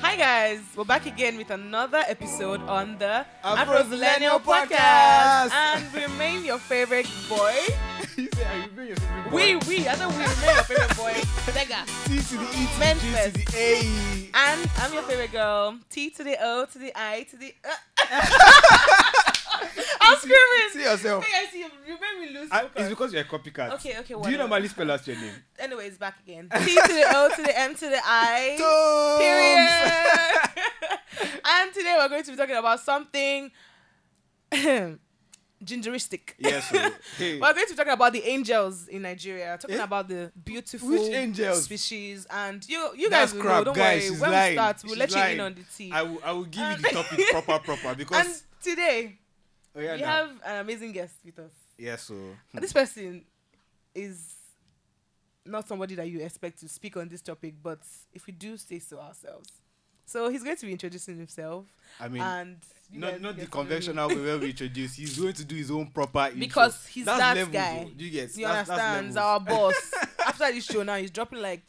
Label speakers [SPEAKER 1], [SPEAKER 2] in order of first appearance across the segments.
[SPEAKER 1] guys, we're back again with another episode on the
[SPEAKER 2] Afro
[SPEAKER 1] Afro-Zillennial
[SPEAKER 2] Zillennial Podcast.
[SPEAKER 1] and we remain your favorite boy.
[SPEAKER 2] you say, are you being your favorite
[SPEAKER 1] We,
[SPEAKER 2] boy?
[SPEAKER 1] we, I know we remain your favorite boy, Vega.
[SPEAKER 2] T to the E to
[SPEAKER 1] Men
[SPEAKER 2] the G to the A.
[SPEAKER 1] And I'm your favorite girl, T to the O to the I to the. uh. I'm
[SPEAKER 2] See
[SPEAKER 1] screaming.
[SPEAKER 2] yourself.
[SPEAKER 1] Hey, I see you. You made me lose
[SPEAKER 2] I,
[SPEAKER 1] focus.
[SPEAKER 2] it's because you're a copycat.
[SPEAKER 1] Okay, okay,
[SPEAKER 2] Do you
[SPEAKER 1] whatever.
[SPEAKER 2] normally spell out your name?
[SPEAKER 1] Anyways, back again. T to the O to the M to the I. Period. and today we're going to be talking about something gingeristic.
[SPEAKER 2] Yes. oh. Hey.
[SPEAKER 1] We're going to be talking about the angels in Nigeria, talking
[SPEAKER 2] Eh?
[SPEAKER 1] about the beautiful
[SPEAKER 2] Which angels?
[SPEAKER 1] species, and you you
[SPEAKER 2] That's
[SPEAKER 1] guys will know.
[SPEAKER 2] crap,
[SPEAKER 1] Don't
[SPEAKER 2] guys.
[SPEAKER 1] worry.
[SPEAKER 2] She's
[SPEAKER 1] When
[SPEAKER 2] lying.
[SPEAKER 1] we start, we'll
[SPEAKER 2] She's
[SPEAKER 1] let you
[SPEAKER 2] lying.
[SPEAKER 1] in on the tea.
[SPEAKER 2] I will, I will give you
[SPEAKER 1] And-
[SPEAKER 2] the topic proper, proper because.
[SPEAKER 1] and today
[SPEAKER 2] oh, yeah, Hmm.
[SPEAKER 1] we
[SPEAKER 2] now.
[SPEAKER 1] have an amazing guest with us.
[SPEAKER 2] Yes, so.
[SPEAKER 1] And this person is not somebody that you expect to speak on this topic, but if we do say so ourselves. So he's going to be introducing himself
[SPEAKER 2] I mean,
[SPEAKER 1] and you
[SPEAKER 2] not,
[SPEAKER 1] guys
[SPEAKER 2] not the
[SPEAKER 1] get to know him.
[SPEAKER 2] conventional way where we introduce. He's going to do his own proper intro.
[SPEAKER 1] Because he's
[SPEAKER 2] that's
[SPEAKER 1] that
[SPEAKER 2] levels,
[SPEAKER 1] guy.
[SPEAKER 2] oh. Do you get?
[SPEAKER 1] You
[SPEAKER 2] that's, that's
[SPEAKER 1] understand? He's
[SPEAKER 2] levels.
[SPEAKER 1] our boss. After this show now he's dropping like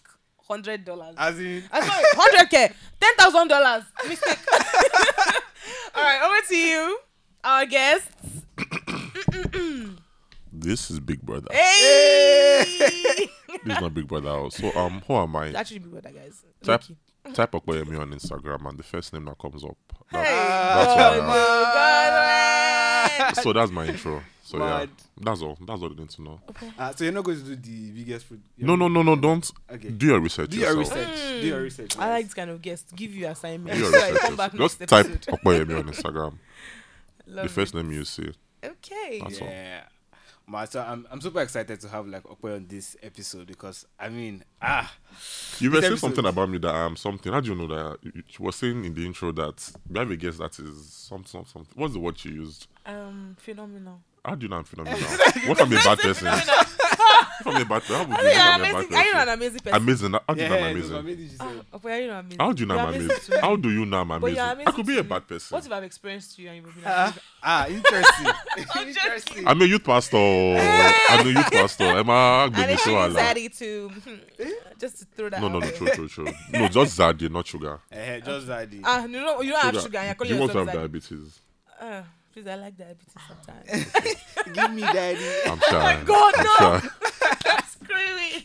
[SPEAKER 1] hundred dollars.
[SPEAKER 2] As in,
[SPEAKER 1] I'm sorry, hundred k, ten thousand dollars. Mistake. All right, over to you, our guest.
[SPEAKER 3] This is Big Brother.
[SPEAKER 1] Eh, Hey,
[SPEAKER 3] This is my Big Brother. house. So um, who am I?
[SPEAKER 1] that should be better, guys.
[SPEAKER 3] Type
[SPEAKER 1] Loki.
[SPEAKER 3] type Okoyemi on Instagram, and the first name that comes up.
[SPEAKER 1] Hey,
[SPEAKER 3] that-
[SPEAKER 2] that's
[SPEAKER 3] what I
[SPEAKER 1] God,
[SPEAKER 3] am.
[SPEAKER 1] God, man.
[SPEAKER 3] so that's my intro. So
[SPEAKER 2] Mad.
[SPEAKER 3] yeah, that's all. That's all you need to know.
[SPEAKER 2] uh, so you're not going to do the biggest. Pro-
[SPEAKER 3] No, no, no, no. Don't
[SPEAKER 2] Okay.
[SPEAKER 3] do your research.
[SPEAKER 2] Do your
[SPEAKER 3] yourself.
[SPEAKER 2] research. Do your research.
[SPEAKER 1] Hmm. I
[SPEAKER 2] yes.
[SPEAKER 1] like this kind of guest. Give you assignment.
[SPEAKER 3] Do your
[SPEAKER 1] So I
[SPEAKER 3] research.
[SPEAKER 1] come back next
[SPEAKER 3] yourself. Just type
[SPEAKER 1] episode.
[SPEAKER 3] Okoyemi on Instagram.
[SPEAKER 1] Love
[SPEAKER 3] the
[SPEAKER 1] it.
[SPEAKER 3] first name you see.
[SPEAKER 1] Okay.
[SPEAKER 3] That's- So-
[SPEAKER 2] Yeah. Ma, so I'm, I'm super excited to have like Okwe on this episode because I mean ah
[SPEAKER 3] You were
[SPEAKER 2] This
[SPEAKER 3] saying
[SPEAKER 2] episode-
[SPEAKER 3] something about me that I am something. How do you know that? You you were saying in the intro that we have a guest that is something, something. something. What's the word you used?
[SPEAKER 1] Um, phenomenal.
[SPEAKER 3] How do you know I'm phenomenal? what if I'm a bad person? if I'm a bad person, how would
[SPEAKER 1] I think
[SPEAKER 3] you know
[SPEAKER 1] you're
[SPEAKER 3] I'm a bad
[SPEAKER 1] amazing.
[SPEAKER 3] person?
[SPEAKER 1] Are you an amazing person?
[SPEAKER 3] amazing. How do you know I'm
[SPEAKER 2] no,
[SPEAKER 3] amazing?
[SPEAKER 2] but maybe she said-
[SPEAKER 1] Oh, but are you not amazing?
[SPEAKER 3] How do you know
[SPEAKER 1] You're
[SPEAKER 3] I'm amazing?
[SPEAKER 1] to me.
[SPEAKER 3] How do you know I'm amazing?
[SPEAKER 1] you're
[SPEAKER 3] I
[SPEAKER 1] amazing
[SPEAKER 3] could be
[SPEAKER 1] to
[SPEAKER 3] a
[SPEAKER 1] me.
[SPEAKER 3] bad person.
[SPEAKER 1] What if I've experienced you and you've been
[SPEAKER 2] ah,
[SPEAKER 1] amazing?
[SPEAKER 2] ah interesting
[SPEAKER 1] I'm joking.
[SPEAKER 2] interesting
[SPEAKER 3] I'm a youth pastor. I'm a youth pastor. Am I
[SPEAKER 1] And
[SPEAKER 3] going
[SPEAKER 1] then she needs
[SPEAKER 3] to
[SPEAKER 1] Zaddy to hmm, just to throw that.
[SPEAKER 3] Eh? No, no,
[SPEAKER 1] out
[SPEAKER 3] no,
[SPEAKER 1] there.
[SPEAKER 3] true, true, true. No, just Zaddy, not sugar.
[SPEAKER 2] Eh, just that the-
[SPEAKER 1] Ah, you know you don't have sugar. and You're
[SPEAKER 3] Do
[SPEAKER 1] calling
[SPEAKER 3] you want to
[SPEAKER 1] yourself
[SPEAKER 3] have
[SPEAKER 1] Zaddy.
[SPEAKER 3] diabetes?
[SPEAKER 1] Ah, please, I like diabetes sometimes.
[SPEAKER 2] give me daddy
[SPEAKER 3] I'm shy.
[SPEAKER 1] Oh God,
[SPEAKER 3] I'm
[SPEAKER 1] no.
[SPEAKER 3] shy.
[SPEAKER 1] Screaming.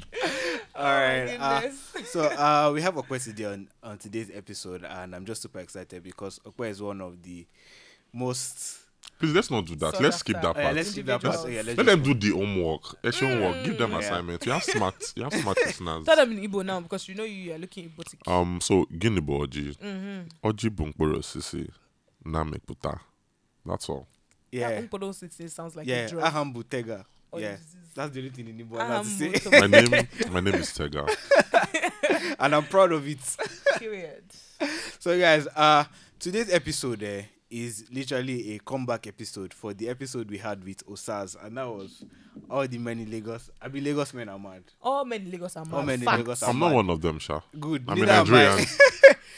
[SPEAKER 2] all right ah,
[SPEAKER 1] Oh goodness.
[SPEAKER 2] so uh we have Okwe today on, on today's episode and I'm just super excited because Okwe is one of the most
[SPEAKER 3] Please, let's not do that.
[SPEAKER 1] Sought
[SPEAKER 3] Let's skip
[SPEAKER 1] after.
[SPEAKER 3] that
[SPEAKER 2] oh, yeah,
[SPEAKER 3] part.
[SPEAKER 2] let's keep that
[SPEAKER 1] Individuals.
[SPEAKER 2] part. Oh, yeah, let's just-
[SPEAKER 3] Let them do the homework. Extra homework. Give them
[SPEAKER 2] Yeah.
[SPEAKER 3] assignment. You have smart. You have smart listeners.
[SPEAKER 1] Mm. Tell them in Igbo now because you know you are looking Igbo.
[SPEAKER 3] Um. So Guinea Oji.
[SPEAKER 1] Mm-hmm.
[SPEAKER 3] Oji Bunkporo Sisi. Nameputa. That's all.
[SPEAKER 2] yeah
[SPEAKER 1] Umpodo city sounds like
[SPEAKER 2] yeah
[SPEAKER 1] a drug. Ah,
[SPEAKER 2] Aham Butega
[SPEAKER 1] Or
[SPEAKER 2] yeah
[SPEAKER 1] disease.
[SPEAKER 2] that's the only thing in Igbo I have to
[SPEAKER 1] Oh, Aham
[SPEAKER 2] say
[SPEAKER 1] Butega.
[SPEAKER 3] My name. My name is Tega.
[SPEAKER 2] and I'm proud of it
[SPEAKER 1] Period.
[SPEAKER 2] So guys, uh today's episode eh, is literally a comeback episode for the episode we had with Osas, and that was all the many Lagos. I mean Lagos men are mad.
[SPEAKER 1] All men in Lagos are mad.
[SPEAKER 2] All men in
[SPEAKER 1] Fact.
[SPEAKER 2] Lagos are
[SPEAKER 3] I'm
[SPEAKER 2] mad.
[SPEAKER 3] not one of them, Sha.
[SPEAKER 2] Good.
[SPEAKER 3] I'm a
[SPEAKER 2] neither am I.
[SPEAKER 3] Nigerian.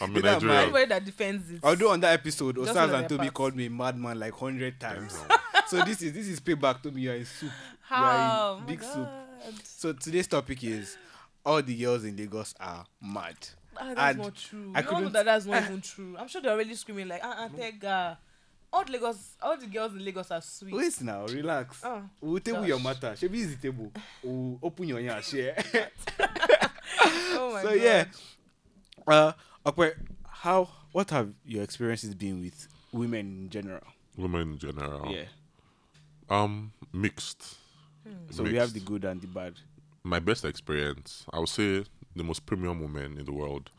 [SPEAKER 3] I'm a
[SPEAKER 2] Neither am I.
[SPEAKER 3] Nigerian.
[SPEAKER 1] Everybody that defends it.
[SPEAKER 2] Although on that episode,
[SPEAKER 1] Just
[SPEAKER 2] Osas
[SPEAKER 1] know
[SPEAKER 2] and
[SPEAKER 1] their
[SPEAKER 2] Toby
[SPEAKER 1] parts.
[SPEAKER 2] called me madman like hundred times. so this is this is payback. Toby, you are in soup. You
[SPEAKER 1] How?
[SPEAKER 2] are
[SPEAKER 1] Oh
[SPEAKER 2] in
[SPEAKER 1] my
[SPEAKER 2] big soup.
[SPEAKER 1] God.
[SPEAKER 2] So today's topic is all the girls in Lagos are mad.
[SPEAKER 1] Ah, that's
[SPEAKER 2] And
[SPEAKER 1] not true.
[SPEAKER 2] I
[SPEAKER 1] I all know
[SPEAKER 2] couldn't- Ah. Mm.
[SPEAKER 1] that that's not even true. I'm sure they're already screaming like, ah, uh, Tega. All the Lagos, all the girls in Lagos are sweet.
[SPEAKER 2] Wait now, relax.
[SPEAKER 1] Oh,
[SPEAKER 2] we'll table your
[SPEAKER 1] gosh.
[SPEAKER 2] matter. Shebi is the table. We'll open your ear, share.
[SPEAKER 1] Oh my
[SPEAKER 2] so
[SPEAKER 1] God.
[SPEAKER 2] yeah, uh, Okwe, how what have your experiences been with women in general?
[SPEAKER 3] Women in general. Um, mixed.
[SPEAKER 2] Hmm. So we have the
[SPEAKER 3] Mixed.
[SPEAKER 2] good and the bad.
[SPEAKER 3] my best experience. I would say the most premium women in the world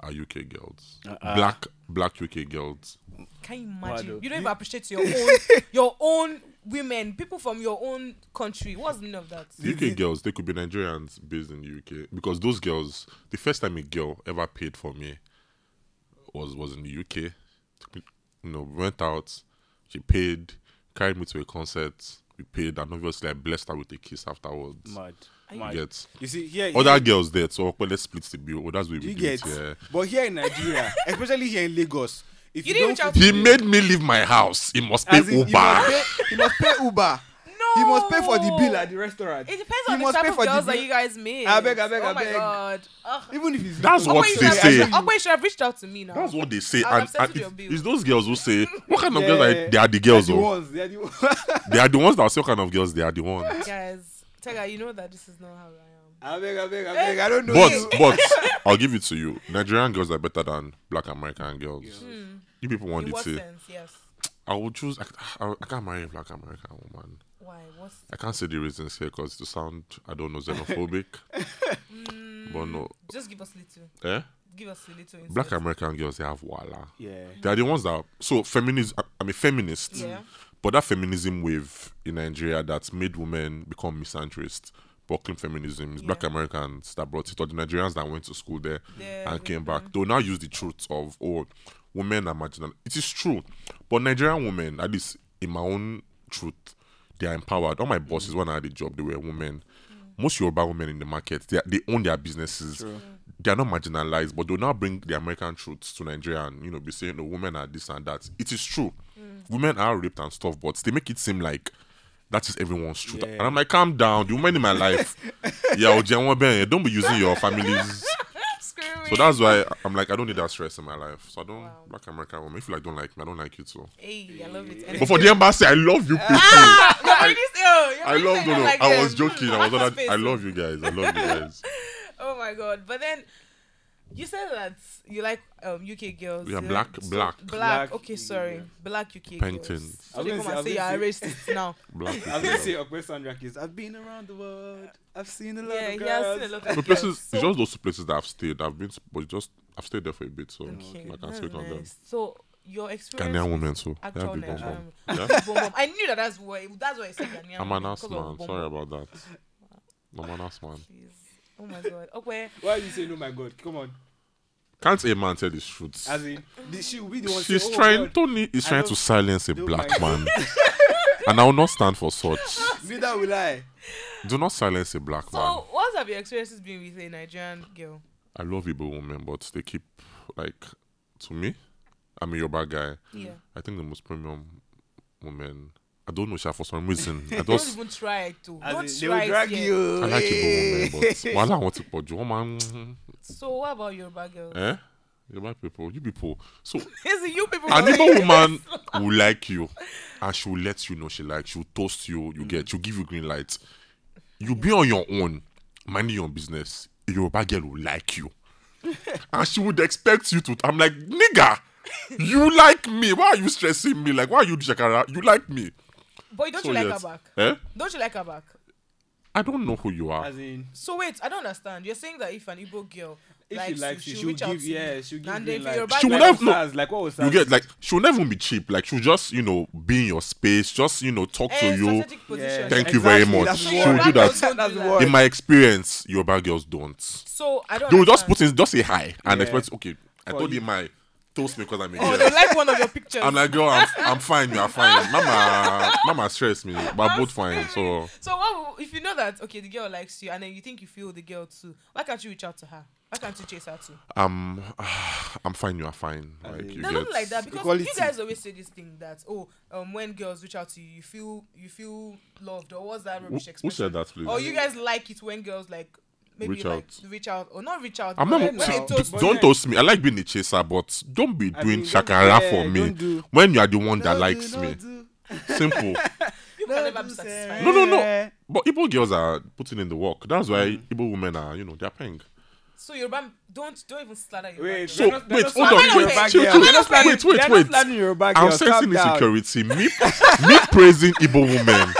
[SPEAKER 3] are UK girls.
[SPEAKER 2] Uh-uh.
[SPEAKER 3] Black black UK girls.
[SPEAKER 1] Can you
[SPEAKER 2] Wado.
[SPEAKER 1] imagine? You don't
[SPEAKER 2] You-
[SPEAKER 1] even appreciate your own, your own women, people from your own country. What's the meaning of that?
[SPEAKER 3] The UK girls, they could be Nigerians based in the UK because those girls, the first time a girl ever paid for me was was in the UK. Took me- You know, we went out, she paid, carried me to a concert, we paid, and obviously I blessed her with a kiss afterwards.
[SPEAKER 2] Mad,
[SPEAKER 1] you-
[SPEAKER 2] mad. You,
[SPEAKER 3] Get
[SPEAKER 2] see here,
[SPEAKER 3] other
[SPEAKER 2] here-
[SPEAKER 3] girls there, so well, let's split the bill. Oh, that's what we
[SPEAKER 2] you
[SPEAKER 3] do
[SPEAKER 2] get,
[SPEAKER 3] it, yeah.
[SPEAKER 2] but here in Nigeria, especially here in Lagos, if
[SPEAKER 1] You
[SPEAKER 2] you,
[SPEAKER 1] didn't
[SPEAKER 2] don't
[SPEAKER 1] reach out
[SPEAKER 3] He made me leave my house. He must pay
[SPEAKER 2] as in,
[SPEAKER 3] Uber.
[SPEAKER 2] you must pay, you must pay Uber.
[SPEAKER 1] No,
[SPEAKER 2] He must pay for the bill at the restaurant.
[SPEAKER 1] It depends
[SPEAKER 2] He
[SPEAKER 1] on the
[SPEAKER 2] must
[SPEAKER 1] type
[SPEAKER 2] pay
[SPEAKER 1] of
[SPEAKER 2] for the
[SPEAKER 1] girls that
[SPEAKER 2] bill.
[SPEAKER 1] you guys meet.
[SPEAKER 2] I beg, I beg,
[SPEAKER 1] oh
[SPEAKER 2] I
[SPEAKER 1] my
[SPEAKER 2] beg.
[SPEAKER 1] god. Ugh.
[SPEAKER 2] Even if he's
[SPEAKER 3] That's
[SPEAKER 1] Ope,
[SPEAKER 3] what
[SPEAKER 1] you
[SPEAKER 3] they
[SPEAKER 1] should have-
[SPEAKER 3] say.
[SPEAKER 1] Ope, you should have reached out to me now.
[SPEAKER 3] That's what they say.
[SPEAKER 1] I'll
[SPEAKER 3] And,
[SPEAKER 1] settle
[SPEAKER 3] and
[SPEAKER 1] your
[SPEAKER 3] it's,
[SPEAKER 1] bill.
[SPEAKER 3] it's those girls who say, What kind of
[SPEAKER 2] Yeah,
[SPEAKER 3] girls
[SPEAKER 2] yeah,
[SPEAKER 3] are
[SPEAKER 2] yeah.
[SPEAKER 3] they are the girls
[SPEAKER 2] the
[SPEAKER 3] oh.
[SPEAKER 2] ones. They are the ones.
[SPEAKER 3] They are the ones that say what kind of girls they are the ones.
[SPEAKER 1] Guys, Tega, you know that this is not how I
[SPEAKER 2] I beg, I beg, I beg. I don't know.
[SPEAKER 3] But
[SPEAKER 2] you.
[SPEAKER 3] but I'll give it to you. Nigerian girls are better than black American girls. You people
[SPEAKER 1] am.
[SPEAKER 3] want
[SPEAKER 1] In
[SPEAKER 3] it
[SPEAKER 1] what
[SPEAKER 3] to.
[SPEAKER 1] sense? Yes.
[SPEAKER 3] I would choose I, I, I can't marry a black American woman.
[SPEAKER 1] Why? What's
[SPEAKER 3] I can't say the reasons here because to sound I don't know xenophobic.
[SPEAKER 1] Mm.
[SPEAKER 3] but no.
[SPEAKER 1] just give us little.
[SPEAKER 3] Eh?
[SPEAKER 1] Give us a little.
[SPEAKER 3] Black
[SPEAKER 1] insight.
[SPEAKER 3] American girls they have wala.
[SPEAKER 2] yeah.
[SPEAKER 3] They are the ones that so feminism. I'm a feminist,
[SPEAKER 1] Yeah.
[SPEAKER 3] but that feminism wave in Nigeria that's made women become misandrist, buckling feminism is black
[SPEAKER 1] Yeah.
[SPEAKER 3] Americans that brought it, or the Nigerians that went to school there
[SPEAKER 1] Yeah,
[SPEAKER 3] and
[SPEAKER 1] we-
[SPEAKER 3] came back. They'll now use the truth of oh, women are marginal. It is true, but Nigerian women, at least in my own truth, they are empowered. All my bosses when I had a job, they were women. Most Yoruba women in the market, they, are- they own their businesses
[SPEAKER 2] True.
[SPEAKER 3] they are not marginalized, but they'll now bring the American truths to Nigeria and you know be saying the women are this and that. It is true. Women are raped and stuff, but they make it seem like that is everyone's truth.
[SPEAKER 2] Yeah.
[SPEAKER 3] And I'm like, calm down, the women in my life. yeah, Ojianwabe, don't be using your family's
[SPEAKER 1] Screaming.
[SPEAKER 3] so that's why I'm like, I don't need that stress in my life. So I don't
[SPEAKER 1] Wow.
[SPEAKER 3] black American woman. If you like don't like me, I don't like you too.
[SPEAKER 1] Hey, I love it.
[SPEAKER 3] But for the embassy, I love you people.
[SPEAKER 1] Ah, you're already- oh, you're
[SPEAKER 3] I
[SPEAKER 1] already
[SPEAKER 3] love
[SPEAKER 1] saying
[SPEAKER 3] no
[SPEAKER 1] it
[SPEAKER 3] no.
[SPEAKER 1] like
[SPEAKER 3] I
[SPEAKER 2] um,
[SPEAKER 1] them.
[SPEAKER 3] was joking. I was not
[SPEAKER 1] Space.
[SPEAKER 3] I love you guys. I love you guys.
[SPEAKER 1] Oh my god! But then you said that you like um UK girls.
[SPEAKER 3] Yeah,
[SPEAKER 1] you
[SPEAKER 3] black-
[SPEAKER 1] like- so-
[SPEAKER 3] black.
[SPEAKER 1] black.
[SPEAKER 2] Black
[SPEAKER 1] Okay,
[SPEAKER 2] UK
[SPEAKER 1] sorry,
[SPEAKER 2] girls.
[SPEAKER 1] black UK
[SPEAKER 3] Repentance.
[SPEAKER 1] girls. So they
[SPEAKER 2] I was
[SPEAKER 1] come
[SPEAKER 2] gonna
[SPEAKER 1] and say
[SPEAKER 2] say-
[SPEAKER 1] you
[SPEAKER 2] I
[SPEAKER 1] are
[SPEAKER 2] was
[SPEAKER 1] racist now.
[SPEAKER 3] Black
[SPEAKER 2] I was gonna say
[SPEAKER 3] people.
[SPEAKER 2] Okwe Sandra is. I've been around the world. I've seen a lot
[SPEAKER 1] Yeah,
[SPEAKER 2] of
[SPEAKER 1] he has
[SPEAKER 2] girls.
[SPEAKER 1] seen a lot
[SPEAKER 3] The
[SPEAKER 1] of
[SPEAKER 3] places,
[SPEAKER 1] girls.
[SPEAKER 3] it's just those two places that I've stayed. I've been, to- but just I've stayed there for a bit, so
[SPEAKER 1] Okay,
[SPEAKER 3] I can
[SPEAKER 1] that's
[SPEAKER 3] speak on them.
[SPEAKER 1] nice. So your experience. um,
[SPEAKER 3] Ghanaian women too. They have
[SPEAKER 1] Actual
[SPEAKER 3] big
[SPEAKER 2] um,
[SPEAKER 1] Nigerian
[SPEAKER 3] bum
[SPEAKER 1] women.
[SPEAKER 3] bum. Yeah?
[SPEAKER 1] Bum bum. I knew that that's why that's why I said Ghanaian.
[SPEAKER 2] um,
[SPEAKER 3] I'm an
[SPEAKER 1] women,
[SPEAKER 3] ass
[SPEAKER 1] because of
[SPEAKER 3] man.
[SPEAKER 1] bum
[SPEAKER 3] Sorry
[SPEAKER 1] bum.
[SPEAKER 3] about that. I'm an ass man.
[SPEAKER 1] Please. Oh my god. Okay.
[SPEAKER 2] Why are you saying, oh my god? Come on.
[SPEAKER 3] Can't a man tell his truth?
[SPEAKER 2] As in, the, she will be the one
[SPEAKER 3] She's
[SPEAKER 2] saying, oh
[SPEAKER 3] trying.
[SPEAKER 2] God,
[SPEAKER 3] Tony is
[SPEAKER 2] I
[SPEAKER 3] trying
[SPEAKER 2] don't-
[SPEAKER 3] to silence a
[SPEAKER 2] don't
[SPEAKER 3] black man,
[SPEAKER 2] mind.
[SPEAKER 3] and I will not stand for such.
[SPEAKER 2] Neither will I.
[SPEAKER 3] Do not silence a black man.
[SPEAKER 1] So what have your experiences been with a Nigerian girl?
[SPEAKER 3] I love Igbo women, but they keep like to me. I'm a Yoruba guy.
[SPEAKER 1] Yeah.
[SPEAKER 3] I think the most premium woman. I don't know, Sha, for some reason. I
[SPEAKER 1] Don't
[SPEAKER 3] just
[SPEAKER 1] even try to.
[SPEAKER 2] As
[SPEAKER 1] Don't
[SPEAKER 2] in, they
[SPEAKER 1] try
[SPEAKER 2] will drag
[SPEAKER 1] it yet.
[SPEAKER 2] you.
[SPEAKER 3] I like Igbo women, but
[SPEAKER 2] Hey.
[SPEAKER 3] wahala wọn ti pọ̀ jù. Wọ́n máa ń
[SPEAKER 1] So what about Yoruba girls?
[SPEAKER 3] eh? Yoruba people, you people. So
[SPEAKER 1] Is it you people?
[SPEAKER 3] an
[SPEAKER 1] who-
[SPEAKER 3] Igbo woman will like you and she will let you know she likes she will toast you, you get, she'll give you green light. You be on your own, minding your business. A Yoruba girl will like you. and she would expect you to. I'm like, nigga, you like me. Why are you stressing me? Like, why are you Jakara? You like me.
[SPEAKER 1] But don't
[SPEAKER 3] So,
[SPEAKER 1] you like
[SPEAKER 3] yes.
[SPEAKER 1] her back?
[SPEAKER 3] Eh?
[SPEAKER 1] Don't you like her back?
[SPEAKER 3] I don't know who you are.
[SPEAKER 2] As in,
[SPEAKER 1] So wait, I don't understand. You're saying that if an Igbo girl
[SPEAKER 2] if
[SPEAKER 1] likes
[SPEAKER 2] she likes
[SPEAKER 1] you,
[SPEAKER 2] you,
[SPEAKER 1] she'll
[SPEAKER 2] she'll
[SPEAKER 1] reach out
[SPEAKER 2] give,
[SPEAKER 1] to you.
[SPEAKER 2] yeah, she'll give
[SPEAKER 1] And
[SPEAKER 2] green
[SPEAKER 1] if you're
[SPEAKER 2] light.
[SPEAKER 1] back,
[SPEAKER 3] She will
[SPEAKER 2] Like
[SPEAKER 1] like,
[SPEAKER 3] never-
[SPEAKER 2] what Sars, like what was
[SPEAKER 3] you
[SPEAKER 2] Sars?
[SPEAKER 3] get like she'll never even be cheap. Like she'll just, you know, be in your space, just you know, talk
[SPEAKER 1] eh,
[SPEAKER 3] to you.
[SPEAKER 1] strategic position.
[SPEAKER 3] Thank you very much.
[SPEAKER 2] That's
[SPEAKER 1] So
[SPEAKER 2] the
[SPEAKER 3] She
[SPEAKER 1] Yoruba
[SPEAKER 3] will do
[SPEAKER 2] word.
[SPEAKER 3] that.
[SPEAKER 1] girls don't
[SPEAKER 2] That's
[SPEAKER 1] do
[SPEAKER 2] the
[SPEAKER 1] that.
[SPEAKER 2] word.
[SPEAKER 3] in my experience, Yoruba girls don't.
[SPEAKER 1] So I don't.
[SPEAKER 3] They will just
[SPEAKER 1] understand.
[SPEAKER 3] put in just say hi and
[SPEAKER 2] Yeah.
[SPEAKER 3] expect okay. I
[SPEAKER 2] For
[SPEAKER 3] told
[SPEAKER 2] you.
[SPEAKER 3] him my toast me because I'm a
[SPEAKER 1] Oh,
[SPEAKER 3] girl.
[SPEAKER 1] they like one of your pictures.
[SPEAKER 3] I'm like girl, I'm, I'm fine. You are fine. Mama, mama stress me, but both fine. So
[SPEAKER 1] So what will- if you know that okay, the girl likes you, and then you think you feel the girl too? Why can't you reach out to her? Why can't you chase her too?
[SPEAKER 3] um, I'm fine. You are fine. Like you
[SPEAKER 1] No, not
[SPEAKER 3] get
[SPEAKER 1] like that because
[SPEAKER 2] Equality.
[SPEAKER 1] you guys always say this thing that oh, um, when girls reach out to you, you feel you feel loved or what's that
[SPEAKER 3] Who,
[SPEAKER 1] rubbish
[SPEAKER 3] who
[SPEAKER 1] expression?
[SPEAKER 3] said that, please?
[SPEAKER 1] Or you guys like it when girls like maybe
[SPEAKER 3] Reach
[SPEAKER 1] like
[SPEAKER 3] out.
[SPEAKER 1] reach out or not reach out.
[SPEAKER 3] I'm
[SPEAKER 1] but
[SPEAKER 3] not.
[SPEAKER 1] when
[SPEAKER 3] see,
[SPEAKER 1] they
[SPEAKER 2] now.
[SPEAKER 1] toast
[SPEAKER 3] d-
[SPEAKER 1] you,
[SPEAKER 3] don't
[SPEAKER 2] yeah.
[SPEAKER 3] toast me. I like being a chaser, but don't be
[SPEAKER 2] I
[SPEAKER 3] doing
[SPEAKER 2] mean, don't-
[SPEAKER 3] shakara
[SPEAKER 2] yeah,
[SPEAKER 3] for me
[SPEAKER 2] don't do.
[SPEAKER 3] when you are the one that
[SPEAKER 2] No,
[SPEAKER 3] likes
[SPEAKER 2] no,
[SPEAKER 3] me.
[SPEAKER 2] do.
[SPEAKER 3] Simple.
[SPEAKER 1] you
[SPEAKER 2] No,
[SPEAKER 1] can never be
[SPEAKER 2] do,
[SPEAKER 1] satisfied.
[SPEAKER 2] Sarah.
[SPEAKER 3] No, no, no.
[SPEAKER 2] Yeah. Mm.
[SPEAKER 3] But Igbo girls are putting in the work. That's why Igbo women are, you know, they're paying.
[SPEAKER 1] So Yoruba, don't don't even slander Yoruba.
[SPEAKER 2] Wait,
[SPEAKER 1] girls.
[SPEAKER 3] So,
[SPEAKER 2] they're not-
[SPEAKER 3] wait,
[SPEAKER 2] they're
[SPEAKER 3] hold
[SPEAKER 2] not
[SPEAKER 3] on,
[SPEAKER 2] slamming
[SPEAKER 1] wait,
[SPEAKER 2] your back
[SPEAKER 1] chill,
[SPEAKER 2] girls.
[SPEAKER 1] chill.
[SPEAKER 2] They're not slamming-
[SPEAKER 3] Wait, wait,
[SPEAKER 2] they're
[SPEAKER 3] wait.
[SPEAKER 2] not slamming your back
[SPEAKER 3] I'm
[SPEAKER 2] girls.
[SPEAKER 3] sensing
[SPEAKER 2] Calm down.
[SPEAKER 3] insecurity. Me, me praising Igbo women.